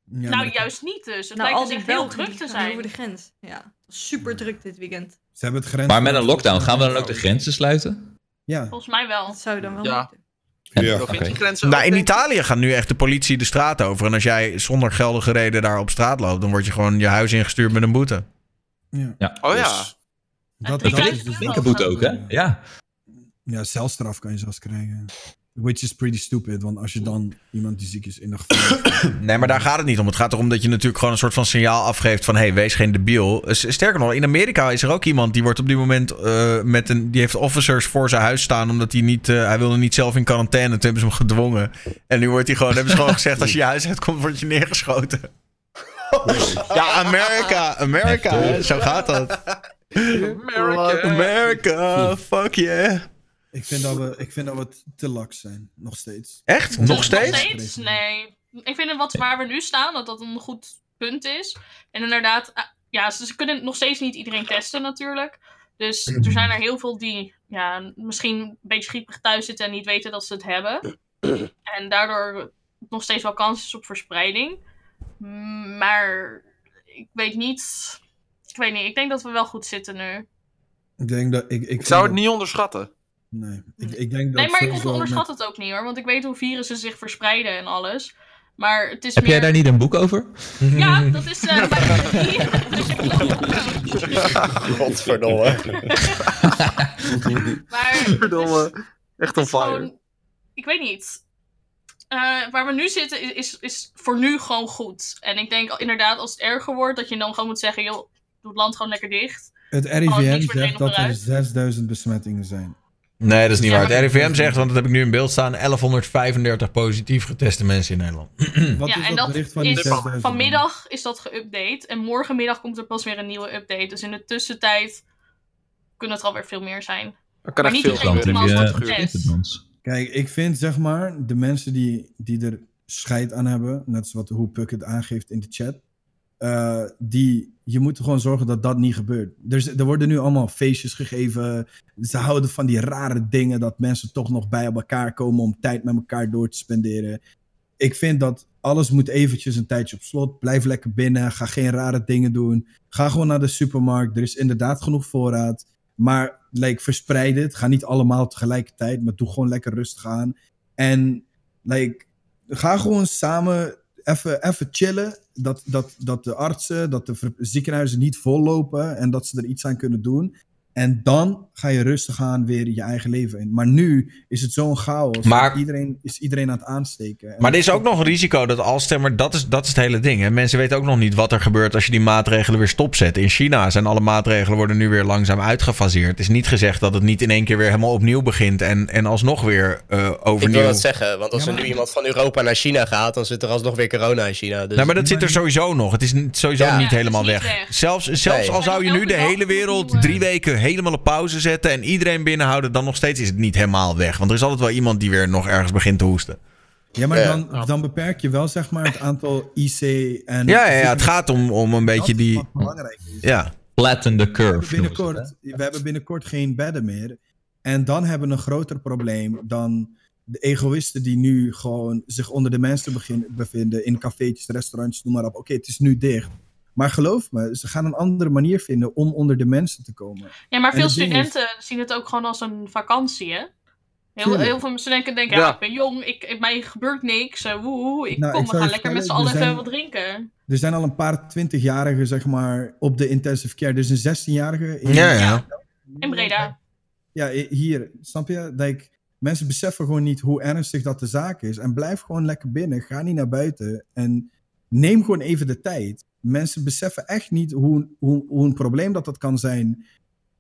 C: Ja,
F: nou,
C: maar
F: juist niet dus. Het
I: nou,
F: lijkt
I: al
F: dus
I: die
F: echt heel
I: Belgen
F: druk
I: die
F: te
I: gaan over
F: zijn.
I: de grens. Ja, super druk dit weekend.
C: Ze hebben het grens.
H: Maar met een lockdown gaan we dan ook de grenzen sluiten?
C: Ja.
F: Volgens mij wel.
I: Dat zou dan wel
G: Ja.
I: moeten.
E: Ja.
H: oké.
G: Provinciegrenzen
A: Nou, in
G: ook, denk ik.
A: Italië gaat nu echt de politie de straat over. En als jij zonder geldige reden daar op straat loopt, dan word je gewoon je huis ingestuurd met een boete.
C: Ja.
G: Oh
C: Dus- Dat,
G: ja.
A: Dus
F: Ja,
H: Een
C: dat
F: krijg
H: flinke,
C: is
F: je
C: dus
F: wel.
H: flinke boete ook, hè? Ja.
C: Ja, celstraf kan je zelfs krijgen. Which is pretty stupid, want als je dan iemand die ziek is in de gevangenis...
A: Nee, maar daar gaat het niet om. Het gaat erom dat je natuurlijk gewoon een soort van signaal afgeeft van... hé, hey, wees geen debiel. Eh, S- Sterker nog, in Amerika is er ook iemand die wordt op dit moment... eh, met een, die heeft officers voor zijn huis staan omdat hij niet... eh, hij wilde niet zelf in quarantaine, toen hebben ze hem gedwongen. En nu wordt hij gewoon, hebben ze gewoon gezegd... als je je huis uitkomt, word je neergeschoten. ja, Amerika, Amerika, hè, zo gaat dat.
G: America.
A: Amerika, fuck yeah.
C: ik, vind dat we, ik vind dat we t- te laks zijn, nog steeds.
A: Echt? Nog
F: Nog
A: steeds?
F: steeds? Nee. Ik vind het wat waar we nu staan, dat dat een goed punt is. En inderdaad, ah, ja, ze, ze kunnen nog steeds niet iedereen testen natuurlijk. Dus er zijn er heel veel die ja, misschien een beetje griepig thuis zitten en niet weten dat ze het hebben. En daardoor nog steeds wel kans is op verspreiding. Mm, Maar ik weet niet. Ik weet niet. Ik denk dat we wel goed zitten nu.
C: Ik denk dat... Ik, ik,
G: Ik zou het
C: vind
G: niet onderschatten.
C: dat- Nee, ik, ik denk dat...
F: Nee, maar ik
C: sowieso
F: onderschat
C: met-
F: het ook niet hoor. Want ik weet hoe virussen zich verspreiden en alles. Maar het is
H: Heb
F: meer...
H: jij daar niet een boek over?
F: Ja, dat is eh mijn theorie. Dus ik geloof het wel.
B: Godverdomme.
F: Maar het is
G: Verdomme. Echt on fire.
F: gewoon- ik weet niet. Eh, waar we nu zitten is, is, is voor nu gewoon goed. En ik denk inderdaad als het erger wordt, dat je dan gewoon moet zeggen, joh, doe het land gewoon lekker dicht.
C: Het
F: Oh, het
C: RIVM
F: is meteen
C: zegt dat er
F: onderuit.
C: 6000 besmettingen zijn.
A: Nee, dat is niet
F: Ja,
A: waar. Het
F: maar-
A: RIVM zegt, want dat heb ik nu in beeld staan... 1135 positief geteste mensen in Nederland.
C: Wat
F: ja,
C: is dat
F: en dat
C: bericht van die
F: is
C: 6000?
F: vanmiddag is dat geüpdate. En morgenmiddag komt er pas weer een nieuwe update. Dus in de tussentijd kunnen het alweer veel meer zijn.
G: Er kan
F: Maar
G: echt
F: niet
G: veel
F: iedereen
H: Dan
G: gebeuren.
H: heb
F: iemand
H: je
F: dat
H: eh,
F: getest.
H: interlands.
C: Kijk, ik vind zeg maar de mensen die, die er scheid aan hebben, net zoals wat, hoe Puck het aangeeft in de chat, eh, die, je moet gewoon zorgen dat dat niet gebeurt. Er, z- er worden nu allemaal feestjes gegeven. Ze houden van die rare dingen dat mensen toch nog bij elkaar komen om tijd met elkaar door te spenderen. Ik vind dat alles moet eventjes een tijdje op slot. Blijf lekker binnen. Ga geen rare dingen doen. Ga gewoon naar de supermarkt. Er is inderdaad genoeg voorraad. Maar like, verspreid het. Ga niet allemaal tegelijkertijd, maar doe gewoon lekker rustig aan. En like, ga gewoon samen even, even chillen. Dat, dat, dat de artsen, dat de ver- ziekenhuizen niet vollopen en dat ze er iets aan kunnen doen. En dan ga je rustig aan weer je eigen leven in. Maar nu is het zo'n chaos.
A: Maar-
C: iedereen, is iedereen aan het aansteken. En
A: Maar er is ook nog een risico dat als stemmer, dat is, dat is het hele ding. Hè? Mensen weten ook nog niet wat er gebeurt als je die maatregelen weer stopzet. In China zijn alle maatregelen worden nu weer langzaam uitgefaseerd. Het is niet gezegd dat het niet in één keer weer helemaal opnieuw begint en, en alsnog weer eh
B: Ik
A: overnieuw.
B: wil dat zeggen, want als
C: Ja,
B: er nu
C: maar-
B: iemand van Europa naar China gaat, dan zit er alsnog weer corona in China. Dus
A: nou, maar dat zit er sowieso nog. Het is niet- sowieso
B: Ja.
A: niet
F: Ja,
A: helemaal
F: het is
A: weg.
F: niet weg.
A: Zelfs, zelfs
B: Nee.
A: al zou je nu de hele
F: eh.
A: wereld drie weken helemaal op pauze zetten en iedereen binnenhouden, dan nog steeds is het niet helemaal weg. Want er is altijd wel iemand die weer nog ergens begint te hoesten.
C: ja, maar
B: Ja.
C: dan, dan beperk je wel zeg maar, het aantal IC en...
A: Ja, ja, ja het gaat om, om een beetje
C: Dat is
A: die.
C: wat belangrijk is.
A: Ja.
H: Flatten the
C: We hebben
H: curve. noemen ze
C: binnenkort, we hebben binnenkort geen bedden meer. En dan hebben we een groter probleem dan de egoïsten die nu gewoon zich onder de mensen begin- bevinden. In cafeetjes, restaurantjes, noem maar op. Oké, het is nu dicht. Maar geloof me, ze gaan een andere manier vinden om onder de mensen te komen.
F: Ja, maar
C: En
F: veel
C: het ding is-
F: studenten zien het ook gewoon als een vakantie, hè? Heel,
C: Tuurlijk.
F: heel veel mensen denken, denken
C: Ja.
F: ja. ik ben jong, ik, ik- mij gebeurt niks, eh, woehoe, ik
C: Nou,
F: kom,
C: ik
F: we
C: zou
F: gaan
C: je
F: lekker met z'n
C: vertellen,
F: allen
C: we
F: even
C: zijn-
F: wat drinken.
C: Er zijn al een paar twintigjarigen, zeg maar, op de intensive care. Dus een 16-jarige. in-
A: Ja, ja.
F: In Breda.
C: Ja, i- hier, snap je? Like, mensen beseffen gewoon niet hoe ernstig dat de zaak is. En blijf gewoon lekker binnen. Ga niet naar buiten. En neem gewoon even de tijd. Mensen beseffen echt niet hoe, hoe, hoe een probleem dat dat kan zijn.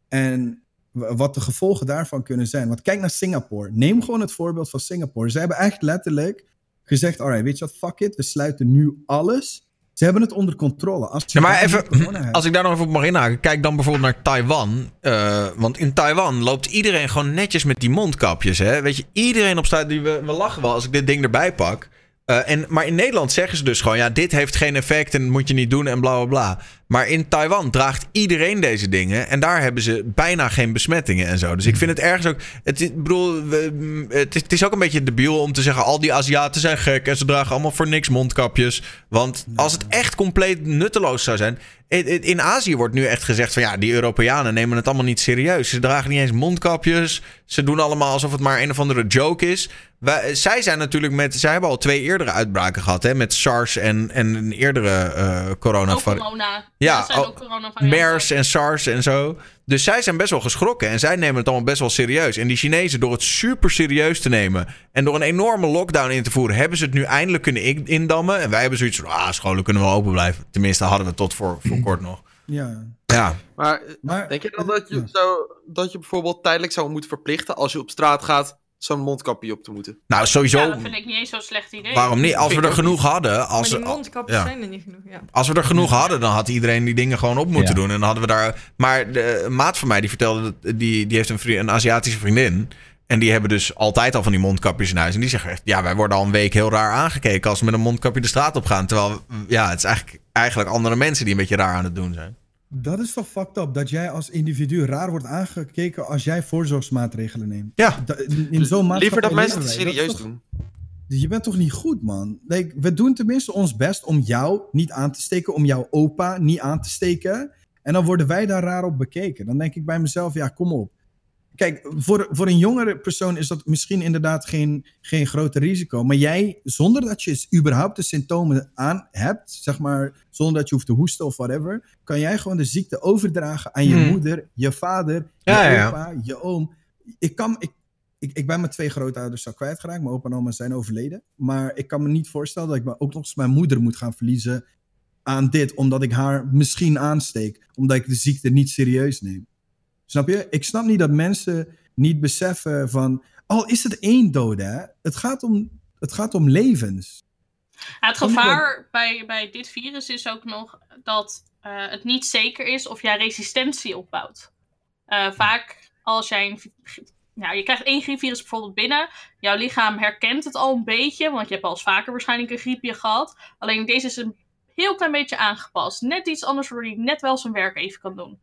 C: En w- wat de gevolgen daarvan kunnen zijn. Want kijk naar Singapore. Neem gewoon het voorbeeld van Singapore. Ze hebben echt letterlijk gezegd... alright, weet je wat, fuck it. We sluiten nu alles. Ze hebben het onder controle. Als ze
A: Ja, maar
C: daar niet
A: even,
C: corona hebben-
A: Hm. als ik daar nog even op mag inhaken, kijk dan bijvoorbeeld naar Taiwan. Eh, want in Taiwan loopt iedereen gewoon netjes met die mondkapjes. Hè? Weet je, iedereen op straat, die we, we lachen wel als ik dit ding erbij pak. Eh, en, maar in Nederland zeggen ze dus gewoon, ja, dit heeft geen effect en dat moet je niet doen en bla bla bla. Maar in Taiwan draagt iedereen deze dingen en daar hebben ze bijna geen besmettingen en zo. Dus ik vind het ergens ook, het, is- ik bedoel, we- mm, het, is, het is ook een beetje debiel om te zeggen, al die Aziaten zijn gek en ze dragen allemaal voor niks mondkapjes. Want als het echt compleet nutteloos zou zijn, in, in- in Azië wordt nu echt gezegd van ja, die Europeanen nemen het allemaal niet serieus. Ze dragen niet eens mondkapjes. Ze doen allemaal alsof het maar een of andere joke is. Wij- zij zijn natuurlijk met. Zij hebben al twee eerdere uitbraken gehad, hè? Met SARS en, en een eerdere eh corona.
F: Ook corona. Ja,
A: Ja,
F: er zijn
A: oh,
F: ook coronavarianten.
A: MERS en SARS en zo. Dus zij zijn best wel geschrokken en zij nemen het allemaal best wel serieus. En die Chinezen, door het super serieus te nemen en door een enorme lockdown in te voeren, hebben ze het nu eindelijk kunnen in- indammen. En wij hebben zoiets van, ah, scholen kunnen wel open blijven. Tenminste, hadden we tot voor, voor kort nog.
C: Ja.
A: Ja.
G: Maar, eh, denk je dan dat je, zou, dat je bijvoorbeeld tijdelijk zou moeten verplichten als je op straat gaat zo'n mondkapje op te moeten?
A: Nou, sowieso.
F: Ja, dat vind ik niet eens zo'n slecht idee.
A: Waarom niet? Als we
G: Vind ik
A: er
G: ook
A: genoeg hadden. Als,
I: maar die
A: al-
I: mondkapjes
A: ja.
I: zijn er niet genoeg, ja.
A: Als we er genoeg hadden, dan had iedereen die dingen gewoon op moeten doen. En dan hadden we daar. Maar de een maat van mij die vertelde. Dat, die, die heeft een, vri- een Aziatische vriendin. En die hebben dus altijd al van die mondkapjes in huis. En die zeggen echt: Ja, wij worden al een week heel raar aangekeken. als we met een mondkapje de straat op gaan. Terwijl, ja, het is eigenlijk, eigenlijk andere mensen die een beetje raar aan het doen zijn.
C: Dat is toch fucked up dat jij als individu raar wordt aangekeken als jij voorzorgsmaatregelen neemt.
A: Ja.
C: in in zo'n maatschappij
G: Liever dat mensen
C: leven
G: het
C: Oh, wij. Dat is
G: serieus
C: toch-
G: doen.
C: Dus Je bent toch niet goed, man? Like, we doen tenminste ons best om jou niet aan te steken, om jouw opa niet aan te steken. En dan worden wij daar raar op bekeken. Dan denk ik bij mezelf, ja, kom op. Kijk, voor, voor een jongere persoon is dat misschien inderdaad geen, geen grote risico. Maar jij, zonder dat je eens überhaupt de symptomen aan hebt, zeg maar, zonder dat je hoeft te hoesten of whatever, kan jij gewoon de ziekte overdragen aan je
A: Hmm.
C: moeder, je vader,
A: Ja,
C: je
A: ja.
C: opa, je oom. Ik, kan, ik, ik, ik ben mijn twee grootouders al kwijtgeraakt. Mijn opa en oma zijn overleden. Maar ik kan me niet voorstellen dat ik me ook nog eens mijn moeder moet gaan verliezen aan dit, omdat ik haar misschien aansteek, omdat ik de ziekte niet serieus neem. Snap je? Ik snap niet dat mensen niet beseffen van, al is het één dode, hè? Het gaat om, het gaat om levens.
F: Ja, het gevaar bij, bij dit virus is ook nog dat eh, het niet zeker is of jij resistentie opbouwt. Eh, vaak als jij een. vi- Nou, je krijgt één griepvirus bijvoorbeeld binnen. Jouw lichaam herkent het al een beetje, want je hebt al eens vaker waarschijnlijk een griepje gehad. Alleen deze is een heel klein beetje aangepast. Net iets anders waardoor hij net wel zijn werk even kan doen.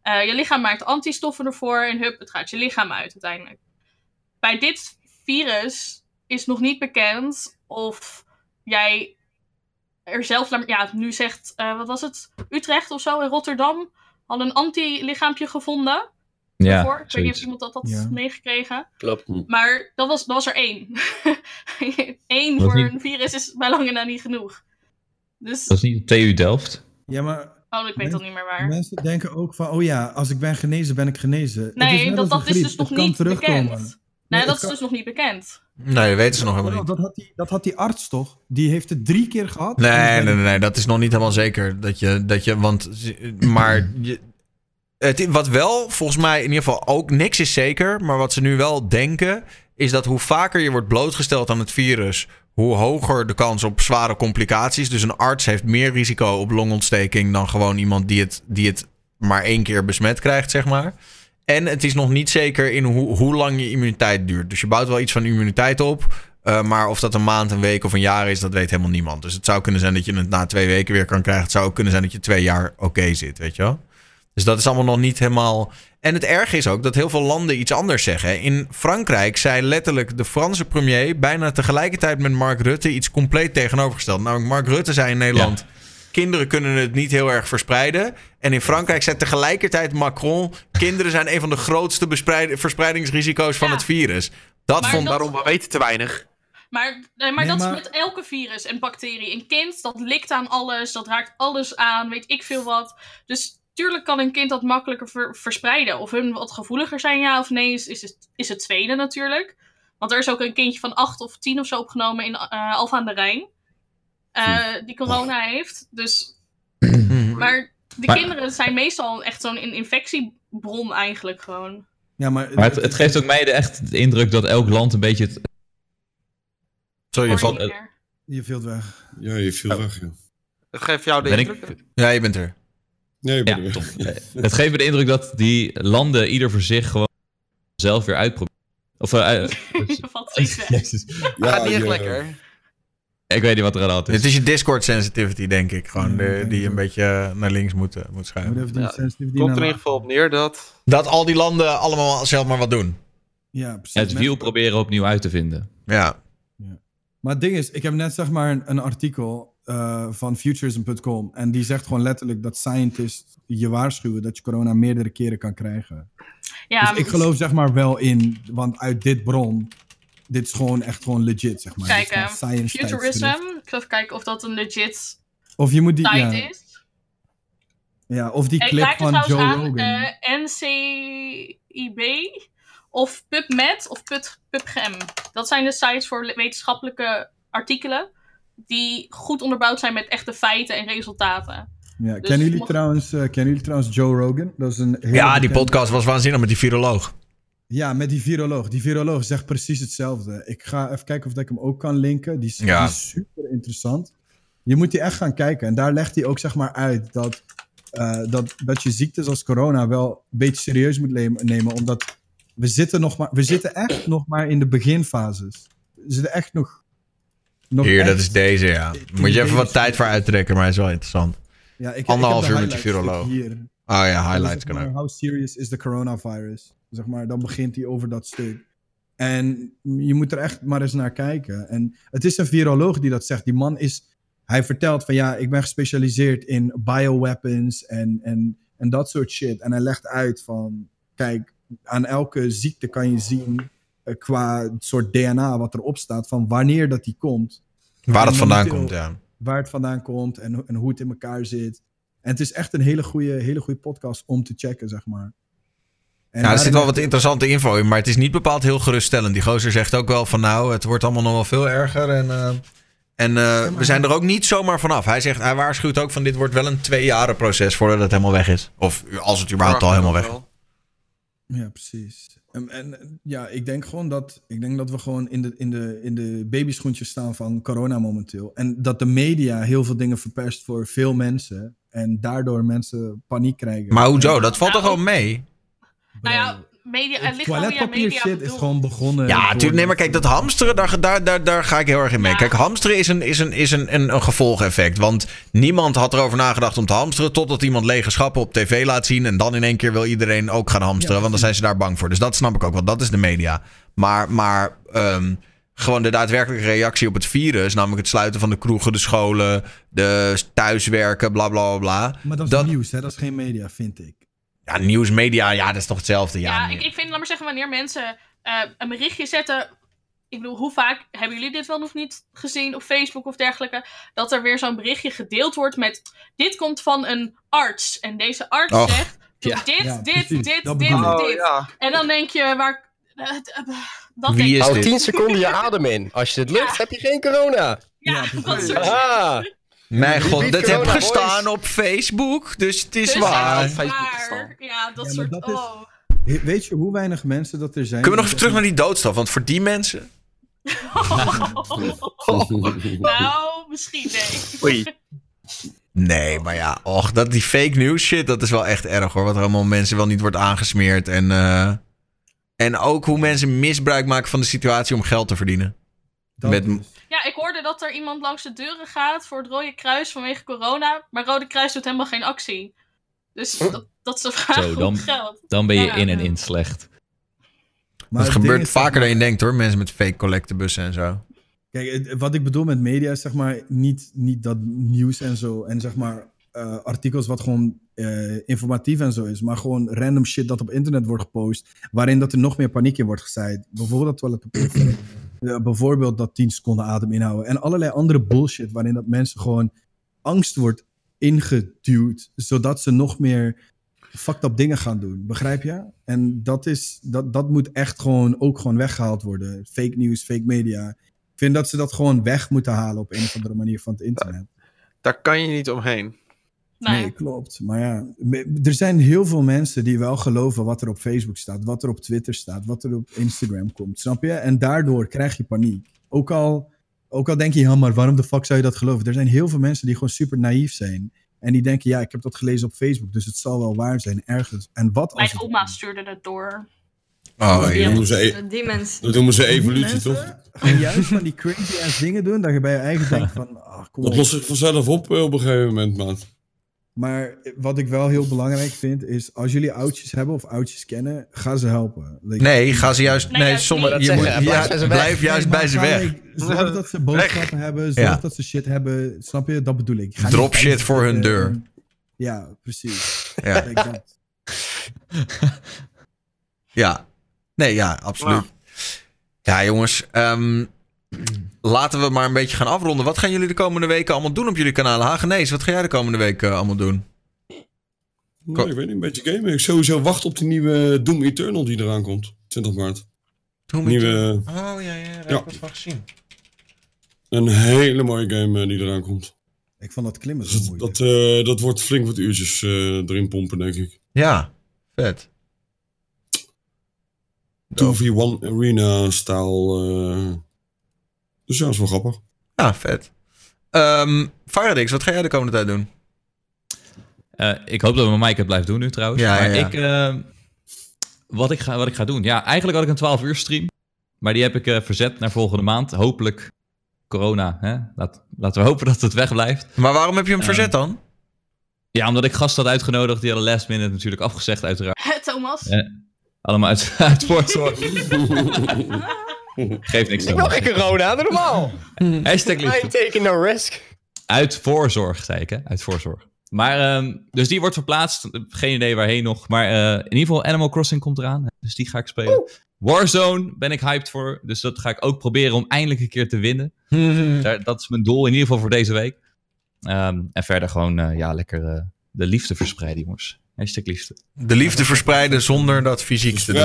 F: Eh, je lichaam maakt antistoffen ervoor en hup, het gaat je lichaam uit uiteindelijk. Bij dit virus is nog niet bekend of jij er zelf... naar- Ja, nu zegt, eh, wat was het? Utrecht of zo in Rotterdam hadden een antilichaampje gevonden.
H: Ja,
F: daarvoor. Ik weet niet
H: zoiets.
F: of iemand dat had
H: Ja.
F: meegekregen.
H: Klopt.
F: Maar dat was, dat was er één. Eén
H: Was
F: voor
H: niet-
F: een virus is bij lange na niet genoeg. Dus,
H: Dat is niet op TU Delft.
C: Ja, maar
F: oh, ik weet dat niet meer waar.
C: mensen denken ook van, oh ja, als ik ben genezen, ben ik genezen. Het
F: Nee,
C: is net
F: dat-
C: als
F: dat
C: een
F: is
C: griep.
F: dus nog
C: Het kan
F: niet
C: terugkomen.
F: bekend.
C: Nee,
F: Nee,
C: het
F: dat is
C: kan-
F: dus nog niet bekend.
A: Nee, dat weten ze nog helemaal niet.
C: Dat had, die, dat had die arts toch? Die heeft het drie keer gehad.
A: Nee, nee, nee, nee, dat is nog niet helemaal zeker. Dat je, dat je want, maar je, het, wat wel, volgens mij in ieder geval ook, niks is zeker. Maar wat ze nu wel denken, is dat hoe vaker je wordt blootgesteld aan het virus, hoe hoger de kans op zware complicaties. Dus een arts heeft meer risico op longontsteking dan gewoon iemand die het, die het maar één keer besmet krijgt, zeg maar. En het is nog niet zeker in hoe, hoe lang je immuniteit duurt. Dus je bouwt wel iets van immuniteit op. eh, maar of dat een maand, een week of een jaar is, dat weet helemaal niemand. Dus het zou kunnen zijn dat je het na twee weken weer kan krijgen. Het zou ook kunnen zijn dat je twee jaar oké zit, weet je wel. Dus dat is allemaal nog niet helemaal. En het erg is ook dat heel veel landen iets anders zeggen. In Frankrijk zei letterlijk de Franse premier bijna tegelijkertijd met Mark Rutte iets compleet tegenovergesteld. Namelijk, Mark Rutte zei in Nederland. Kinderen kunnen het niet heel erg verspreiden. En in Frankrijk zei tegelijkertijd Macron: kinderen zijn een van de grootste bespreid- verspreidingsrisico's van het virus. Dat
F: Maar
A: vond
F: dat-
G: Daarom, we weten te weinig.
F: Maar, nee, maar
M: Nee,
F: dat
M: maar-
F: is met elke virus en bacterie. Een kind dat likt aan alles, dat raakt alles aan, weet ik veel wat. Dus tuurlijk kan een kind dat makkelijker ver- verspreiden. Of hun wat gevoeliger zijn, ja of nee, is, is, het, is het tweede natuurlijk. Want er is ook een kindje van acht of tien of zo opgenomen in eh Alphen aan de Rijn. eh, die corona heeft. Dus, maar de
H: Maar-
F: kinderen zijn meestal echt zo'n in- infectiebron eigenlijk gewoon.
C: Ja, maar,
H: Maar het, het geeft ook mij de, echt de indruk dat elk land een beetje... Het,
A: Zo, je valt.
F: Ordinair.
C: je viel weg.
J: Ja, je viel weg, ja.
G: Dat geeft jou de
H: Oh. Ben ik-
G: indruk. hè?
A: Ja, je bent er.
J: Nee, je bent
H: Ja,
J: er weer.
H: het geeft me de indruk dat die landen ieder voor zich gewoon zelf weer uitproberen. Of, eh, eh,
F: Je valt steeds weg.
H: Jezus.
J: Ja,
G: Gaat niet echt
J: je-
G: lekker.
H: ik weet niet wat er aan de hand is.
A: Dit is je Discord sensitivity, denk ik. Gewoon
C: Ja,
A: de-
C: ik
A: die
C: denk
A: een beetje naar links moet, eh, moet
C: Moet
A: schuiven.
C: even die
G: Ja,
C: sensitivity
G: Komt er in
C: naar-
G: ieder geval op neer dat...
A: Dat al die landen allemaal zelf maar wat doen.
C: Ja, precies.
H: Het
C: Met-
H: wiel proberen opnieuw uit te vinden.
A: Ja.
C: Maar het ding is, ik heb net zeg maar een, een artikel eh, van futurism.com. En die zegt gewoon letterlijk dat scientists je waarschuwen dat je corona meerdere keren kan krijgen.
F: Ja,
C: dus ik geloof zeg maar wel in, want uit dit bron, dit is gewoon echt gewoon legit zeg maar.
F: Kijk,
C: Dit staat
F: eh,
C: science tijdschrift.
F: Futurism. Ik zal even kijken of dat een legit
C: Of je moet die,
F: tijd
C: ja,
F: is.
C: ja, of die
F: Ik
C: clip
F: raak er
C: van
F: trouwens
C: Joe
F: aan
C: Rogan.
F: eh, NCIB of PubMed of Pub- PubChem. Dat zijn de sites voor le- wetenschappelijke artikelen die goed onderbouwd zijn met echte feiten en resultaten.
C: ja.
F: dus
C: kennen, jullie
F: mag-
C: trouwens, eh, kennen jullie trouwens Joe Rogan? Dat is een hele
A: ja, die
C: bekende-
A: podcast was waanzinnig met die viroloog.
C: Ja, met die viroloog. Die viroloog zegt precies hetzelfde. Ik ga even kijken of dat ik hem ook kan linken. Die is,
A: Ja.
C: die is super interessant. Je moet die echt gaan kijken. En daar legt hij ook zeg maar uit dat, eh, dat, dat je ziektes als corona wel een beetje serieus moet le- nemen. Omdat we zitten, nog maar, we zitten echt nog maar in de beginfases. We zitten echt nog... nog
A: Hier, dat
C: echt-
A: is deze, ja. Moet je even wat tijd voor uittrekken, maar hij is wel interessant.
C: Ja, ik- ik, heb
A: anderhalf
C: de
A: uur met die
C: highlights
A: viroloog.
C: Hier.
A: Oh ja,
C: Dat is
A: highlights
C: zeg
A: kan
C: maar
A: ook.
C: How serious is the coronavirus? Zeg maar, dan begint hij over dat stuk. En je moet er echt maar eens naar kijken. En het is een viroloog die dat zegt. Die man is, hij vertelt van ja, ik ben gespecialiseerd in bioweapons en, en, en dat soort shit. En hij legt uit van, kijk, aan elke ziekte kan je zien eh, qua soort DNA wat erop staat van wanneer dat die komt
A: Waar dat
C: En
A: vandaan
C: momenteel-
A: komt, ja.
C: waar het vandaan komt en, ho- en hoe het in elkaar zit. En het is echt een hele goede, hele goede podcast om te checken, zeg maar. En
A: Ja, er zit wel
C: daarin-
A: wat interessante info in, maar het is niet bepaald heel geruststellend. Die gozer zegt ook wel van nou, het wordt allemaal nog wel veel erger. En, eh, en eh, we zijn er ook niet zomaar vanaf. Hij zegt, hij waarschuwt ook van dit wordt wel een twee jaren proces voordat het helemaal weg is. Of als het überhaupt al helemaal weg is.
C: Ja, precies. En, en ja, ik denk gewoon dat, ik denk dat we gewoon in de, in, de, in de babyschoentjes staan van corona momenteel. En dat de media heel veel dingen verperst voor veel mensen. En daardoor mensen paniek krijgen.
A: Maar hoezo? Dat valt toch
F: Nou,
A: gewoon mee?
F: Nou ja, media, het ligt aan hoe je aan
C: toiletpapier
F: media
C: shit is
F: bedoelt.
C: gewoon eh, begonnen.
A: Ja,
C: door-
A: natuurlijk. Nee, maar kijk, dat hamsteren, daar, daar, daar, daar ga ik heel erg in mee.
F: Ja.
A: Kijk, hamsteren is, een, is, een, is een, een, een gevolgeffect. Want niemand had erover nagedacht om te hamsteren. Totdat iemand lege schappen op tv laat zien. En dan in één keer wil iedereen ook gaan hamsteren. want dan zijn ze daar bang voor. Dus dat snap ik ook, want dat is de media. Maar, maar ehm, gewoon de daadwerkelijke reactie op het virus. Namelijk het sluiten van de kroegen, de scholen, de thuiswerken, bla bla bla. bla.
C: Maar dat is
A: dat-
C: nieuws, hè? Dat is geen media, vind ik.
A: Ja, nieuwsmedia, ja, dat is toch hetzelfde. Ja,
F: Ja, ik, ik vind, laat maar zeggen, wanneer mensen eh, een berichtje zetten. Ik bedoel, hoe vaak hebben jullie dit wel of niet gezien op Facebook of dergelijke? Dat er weer zo'n berichtje gedeeld wordt met: Dit komt van een arts. En deze arts
A: Och,
F: zegt: Doe
B: ja.
F: dit,
C: Ja,
F: dit,
C: precies.
F: dit, dit,
C: Dat
F: dit,
C: bedoel
G: Oh ja.
F: En dan denk je: waar. eh, Dat
A: Wie
F: denk ik.
A: is
B: Hou
A: dit?
B: 10 seconden je adem in. Als je het lukt, heb je geen corona.
F: Ja, dat soort
B: Aha.
A: Mijn god,
B: Wie
A: dat heb
B: corona
A: gestaan
B: boys?
A: op Facebook. Dus het is
F: Dus
A: waar.
F: dat is
G: Facebook
F: waar.
G: staan.
F: Ja, dat
C: Ja,
F: soort.
C: maar dat is-
F: oh.
C: He- Weet je hoe weinig mensen dat er zijn?
A: Kunnen
C: die
A: we nog even terug naar
C: zeggen-
A: die doodstraf? Want voor die mensen.
F: nou, misschien nee.
A: Nee, maar ja, och, dat, die fake news shit, dat is wel echt erg hoor. Wat er allemaal mensen wel niet wordt aangesmeerd. En, eh, en ook hoe mensen misbruik maken van de situatie om geld te verdienen.
C: Dat
A: met-
C: dus.
F: Ja, ik hoorde dat er iemand langs de deuren gaat voor het Rode Kruis vanwege corona. Maar Rode Kruis doet helemaal geen actie. Dus dat, dat is de vraag
H: Zo,
F: hoe
H: dan-
F: het geld.
H: Dan ben je
F: Ja.
H: in en in slecht.
C: Maar het
A: dat
C: ding
A: gebeurt
C: is, zeg
A: vaker dan
C: maar-
A: je denkt hoor. Mensen met fake collectebussen en zo.
C: Kijk, het- wat ik bedoel met media is zeg maar niet, niet dat nieuws en zo. En zeg maar eh, artikels wat gewoon eh, informatief en zo is. Maar gewoon random shit dat op internet wordt gepost. Waarin dat er nog meer paniek in wordt gezaaid. Bijvoorbeeld dat toiletpapier. Eh, bijvoorbeeld dat 10 seconden adem inhouden. En allerlei andere bullshit waarin dat mensen gewoon angst wordt ingeduwd. Zodat ze nog meer fucked up dingen gaan doen. Begrijp je? En dat, is, dat, dat moet echt gewoon ook gewoon weggehaald worden. Fake news, fake media. Ik vind dat ze dat gewoon weg moeten halen op een of andere manier van het internet.
G: Daar kan je niet omheen.
C: Nee, klopt. Maar ja, me- er zijn heel veel mensen die wel geloven wat er op Facebook staat, wat er op Twitter staat, wat er op Instagram komt. Snap je? En daardoor krijg je paniek. Ook al, ook al denk je, ja, maar waarom de fuck zou je dat geloven? Er zijn heel veel mensen die gewoon super naïef zijn. En die denken, ja, ik heb dat gelezen op Facebook, dus het zal wel waar zijn ergens. En wat als.
F: Mijn oma stuurde dat door.
E: Oh,
I: Ah,
F: ja.
E: noemen
C: e-
E: ze,
I: Die mensen.
E: dat noemen ze evolutie, toch?
C: Gewoon juist van die crazy ass dingen doen, dat je bij je eigen denkt van, ah, kom
E: Dat
C: op.
E: lost zich vanzelf op eh, op een gegeven moment, maat.
C: Maar wat ik wel heel belangrijk vind, is als jullie oudjes hebben of oudjes kennen, ga ze helpen. Like-
A: Nee, ga ze juist.
F: Nee,
A: Nee,
F: juist
A: sommige.
F: niet.
A: Je
B: Dat
A: moet,
B: zeggen, blijf bij
A: ja,
B: ze weg.
A: blijf juist
C: Nee, maar
A: bij ze
C: ga
A: weg.
C: ik- Zorg dat ze boodschappen hebben, zorg
A: Ja.
C: dat ze shit hebben. Snap je? Dat bedoel ik. Ga niet
A: Drop shit
C: buiten
A: voor hun
C: zitten.
A: deur.
C: eh, Ja, precies.
A: Ja.
C: Like dat.
A: Ja. Nee, ja, absoluut. Ja, jongens. ehm, laten we maar een beetje gaan afronden. Wat gaan jullie de komende weken allemaal doen op jullie kanalen? Hagenees, wat ga jij de komende weken eh, allemaal doen?
E: Nee,
A: Ko-
E: ik weet niet, een beetje gamen. Ik sowieso wacht op die nieuwe Doom Eternal die eraan komt. 20 maart.
A: Doe met-
E: Nieuwe,
A: Oh ja, ja, daar heb
E: Ja.
A: ik wat van gezien.
E: een hele mooie game eh, die eraan komt.
C: Ik vond dat klimmen
E: Dus
C: zo
E: dat,
C: moeilijk.
E: dat, eh, dat wordt flink wat uurtjes eh, erin pompen, denk ik.
A: Ja, vet.
E: 2v1 arena-stijl. eh. Dus ja, dat is wel grappig.
A: Ja, vet. Ehm Faradix, wat ga jij de komende tijd doen?
H: Eh, ik hoop dat mijn mic het blijft doen nu trouwens.
A: Ja, ja,
H: maar
A: ja.
H: Ik, eh, wat, ik ga, wat ik ga doen. Ja, eigenlijk had ik een 12 uur stream. Maar die heb ik eh, verzet naar volgende maand. Hopelijk corona. Hè? Laat, laten we hopen dat het wegblijft. Ehm,
A: Maar waarom heb je hem verzet dan?
H: Ja, omdat ik gasten had uitgenodigd. Die hadden last minute natuurlijk afgezegd uiteraard.
F: Thomas.
H: Ja. Allemaal uit, uit voorzorg. Geeft niks.
B: Ik wil
H: Thomas.
B: geen corona, doe normaal.
H: Hashtag liefde.
B: I'm taking no risk.
H: Uit voorzorg, zei ik, hè? Uit voorzorg. Maar, ehm, dus die wordt verplaatst. Geen idee waarheen nog. Maar eh, in ieder geval Animal Crossing komt eraan. Dus die ga ik spelen. Warzone ben ik hyped voor. Dus dat ga ik ook proberen om eindelijk een keer te winnen. Daar, dat is mijn doel in ieder geval voor deze week. Ehm, en verder gewoon, eh, ja, lekker eh, de liefde verspreiden, jongens. Hashtag liefde.
A: De liefde verspreiden zonder dat fysiek te doen.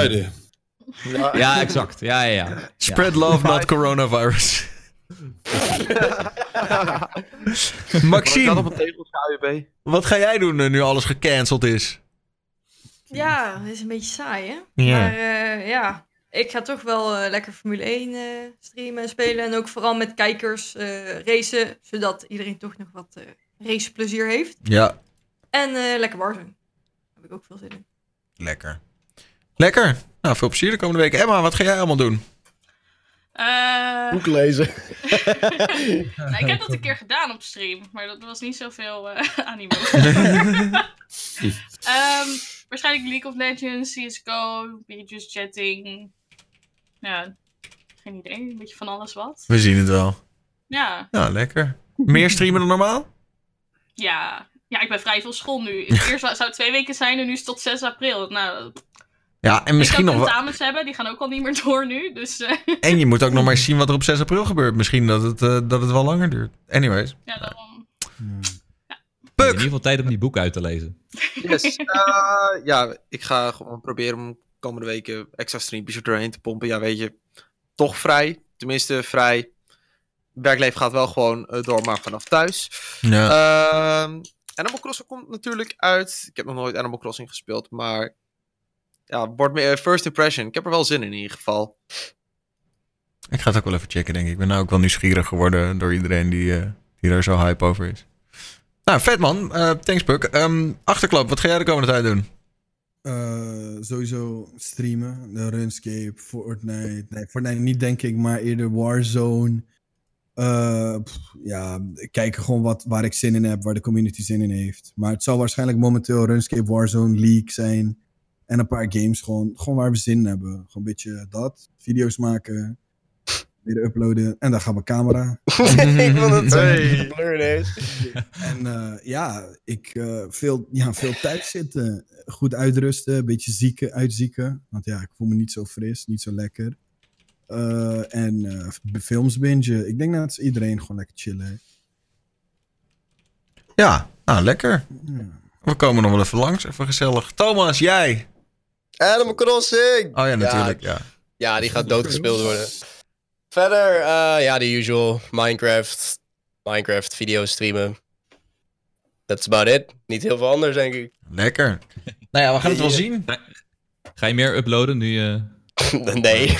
E: Vrijdag.
H: Ja, exact. Ja, ja, ja.
A: Spread love, not coronavirus.
G: Dat op
A: Maxime,
G: een tegel KUB.
A: wat ga jij doen eh, nu alles gecanceld is?
I: Ja, dat is een beetje saai, hè?
A: Ja.
I: Maar eh, ja, ik ga toch wel eh, lekker Formule 1 eh, streamen en spelen. En ook vooral met kijkers eh, racen, zodat iedereen toch nog wat eh raceplezier heeft.
A: Ja,
I: En eh, lekker Warzone. Daar heb ik ook veel zin in.
A: lekker. Lekker. Nou, veel plezier de komende week. Emma, wat ga jij allemaal doen?
F: Eh,
B: Boek lezen.
F: nou, ik heb dat een keer gedaan op stream, maar dat was niet zoveel eh animo. Ehm, waarschijnlijk League of Legends, CSGO, een beetje just chatting. Ja, geen idee, een beetje van alles wat.
A: We zien het wel.
F: Ja,
A: Nou, lekker. Meer streamen dan normaal?
F: ja. Ja, ik ben vrij veel school nu. Eerst zou het twee weken zijn en nu is het tot 6 april. Nou,
A: Ja, en misschien
F: ik kan
A: nog wel.
F: tentamens hebben, die gaan ook al niet meer door nu. Dus eh,
A: En je moet ook nog maar eens zien wat er op 6 april gebeurt. Misschien dat het, eh, dat het wel langer duurt. Anyways.
F: ja, daarom.
H: In
A: Puk!
H: ieder geval tijd om die boek uit te lezen.
G: Yes. eh, ja, ik ga gewoon proberen om komende weken extra streampjes er doorheen te pompen. Ja, weet je, toch vrij. Tenminste, vrij. Werkleven gaat wel gewoon eh, door, maar vanaf thuis.
A: Ja.
G: Ehm, Animal Crossing komt natuurlijk uit. Ik heb nog nooit Animal Crossing gespeeld, maar... Ja, wordt meer eh, first impression. Ik heb er wel zin in, in ieder geval.
A: Ik ga het ook wel even checken, denk ik. Ik ben nou ook wel nieuwsgierig geworden door iedereen die, eh, die daar zo hype over is. Nou, vet man. Eh, thanks, Puk. Ehm, achterklap, wat ga jij de komende tijd doen?
C: Eh, sowieso streamen. De Runscape, Fortnite. Nee, Fortnite niet, denk ik, maar eerder Warzone. Eh, pff, ja, kijken gewoon wat, waar ik zin in heb, waar de community zin in heeft. Maar het zal waarschijnlijk momenteel Runscape, Warzone, League zijn. En een paar games gewoon, gewoon waar we zin in hebben. Gewoon een beetje dat. Video's maken. weer uploaden. En daar gaat mijn camera.
B: ik vond het zo geblurred is.
C: En eh, ja, ik eh, veel, ja, veel thuis zitten. Goed uitrusten, een beetje zieken, uitzieken. Want ja, ik voel me niet zo fris, niet zo lekker. Eh, en eh, films bingen. Ik denk dat iedereen gewoon lekker chillen.
A: Ja, nou lekker.
C: Ja.
A: We komen nog wel even langs, even gezellig. Thomas, jij?
B: Animal Crossing!
A: Oh ja, natuurlijk. Ja.
B: Ja, die gaat doodgespeeld worden. Verder, eh, ja, de usual. Minecraft. Minecraft, video streamen. That's about it. Niet heel veel anders, denk ik.
A: Lekker. Nou ja, we gaan het wel zien.
H: Ga je meer uploaden nu eh? je...
B: nee.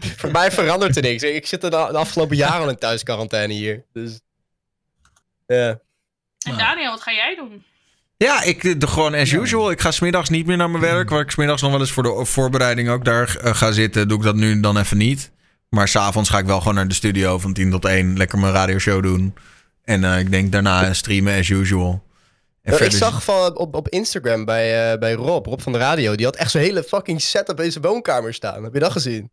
B: Voor mij verandert er niks. Ik zit er de de afgelopen jaren al in thuisquarantaine hier. Dus. Ja.
F: En Daniel, wat ga jij doen?
A: Ja, ik eh, doe gewoon as usual. Ik ga smiddags niet meer naar mijn werk. Waar ik smiddags nog wel eens voor de voorbereiding ook daar eh, ga zitten, doe ik dat nu dan even niet. Maar s'avonds ga ik wel gewoon naar de studio van 10 tot 1. Lekker mijn radioshow doen. En eh, ik denk daarna streamen as usual. En
B: Nou, ik
A: verder- dus-
B: zag van, op, op Instagram bij, eh, bij Rob, Rob van de Radio, die had echt zo'n hele fucking setup in zijn woonkamer staan. Heb je dat gezien?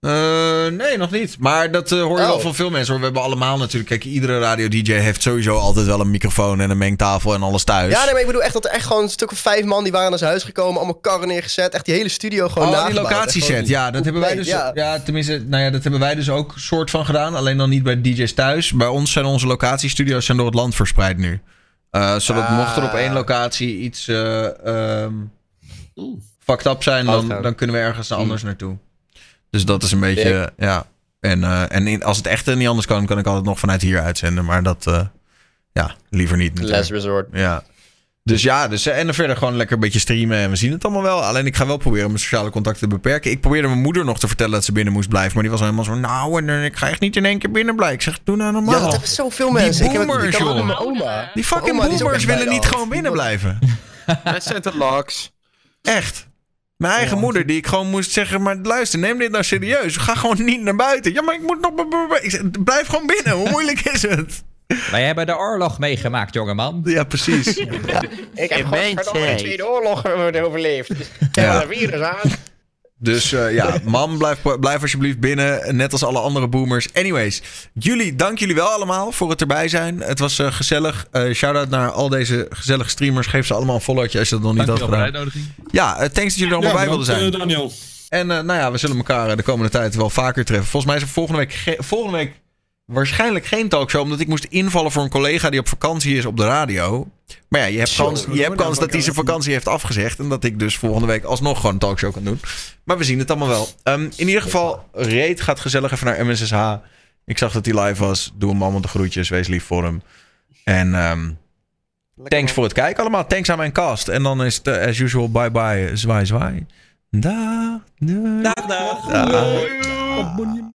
A: Eh, nee, nog niet. Maar dat eh, hoor je
B: Oh.
A: wel van veel mensen. Hoor. We hebben allemaal natuurlijk... Kijk, iedere radio-dj heeft sowieso altijd wel een microfoon en een mengtafel en alles thuis.
B: Ja, nee, maar ik bedoel echt dat er echt gewoon een stuk of vijf man die waren naar zijn huis gekomen, allemaal karren neergezet, echt die hele studio gewoon
A: Oh, die
B: nagebouwd. Echt
A: locatieset,
B: gewoon
A: ja, dat hebben wij dus.
B: compleet,
A: Ja.
B: ja.
A: tenminste, nou ja, dat hebben wij dus ook soort van gedaan. Alleen dan niet bij DJ's thuis. Bij ons zijn onze locatiestudio's zijn door het land verspreid nu. Eh, zodat
B: Ah.
A: mocht er op één locatie iets eh ehm, fucked up zijn, dan,
B: Fout gaan.
A: dan kunnen we ergens naar anders naartoe. Dus dat is een beetje,
B: Dik.
A: ja. En, eh, en in- als het echt eh, niet anders kan, kan ik altijd nog vanuit hier uitzenden. Maar dat, eh, ja, liever niet. natuurlijk.
B: Last resort.
A: Ja. Dus ja, dus, eh, en dan verder gewoon lekker een beetje streamen en we zien het allemaal wel. Alleen ik ga wel proberen mijn sociale contacten te beperken. Ik probeerde mijn moeder nog te vertellen dat ze binnen moest blijven. Maar die was helemaal zo, nou, en, eh, ik ga echt niet in één keer binnen blijven. Ik zeg, doe nou
B: Ja,
A: normaal.
B: dat hebben zoveel mensen. ik heb het, ik
A: boomers,
B: heb het met mijn
F: joh.
B: oma.
A: die fucking
B: Oma, die is ook
A: boomers
B: echt
A: willen
B: bij de
A: niet
B: hand.
A: gewoon binnen blijven.
G: Mensen zijn te lax.
A: Echt. Mijn eigen moeder, die ik gewoon moest zeggen, maar luister, neem dit nou serieus. Ga gewoon niet naar buiten. Ja, maar ik moet nog... Ik zeg, blijf gewoon binnen, hoe moeilijk is het?
H: Wij hebben de oorlog meegemaakt, jongeman.
A: Ja, precies.
B: Ik heb gewoon verdomme de Tweede Oorlog overleefd. Ik heb
A: Ja.
B: een virus aan.
A: Dus eh, ja, mam, blijf, blijf alsjeblieft binnen. Net als alle andere boomers. Anyways, jullie, dank jullie wel allemaal voor het erbij zijn. Het was eh, gezellig. Eh Shout-out naar al deze gezellige streamers. Geef ze allemaal een followtje als je dat nog niet
H: Dankjewel voor
A: had
H: de
A: gedaan.
H: uitnodiging.
A: Ja, eh, thanks dat jullie er allemaal bij wilden
E: bedankt,
A: zijn.
E: eh, Daniel.
A: En eh, nou ja, we zullen elkaar eh, de komende tijd wel vaker treffen. Volgens mij is er volgende week, ge- volgende week waarschijnlijk geen talkshow. Omdat ik moest invallen voor een collega die op vakantie is op de radio. Maar ja, je hebt kans, je hebt kans dat hij zijn vakantie heeft afgezegd. En dat ik dus volgende week alsnog gewoon een talkshow kan doen. Maar we zien het allemaal wel. Ehm, in ieder geval, Reet gaat gezellig even naar MSSH. Ik zag dat hij live was. Doe hem allemaal de groetjes. Wees lief voor hem. En ehm, thanks voor het kijken allemaal. Thanks aan mijn cast. En dan is het eh, as usual bye bye. Zwaai zwaai. Dag. Dag. dag.
C: Abonneer-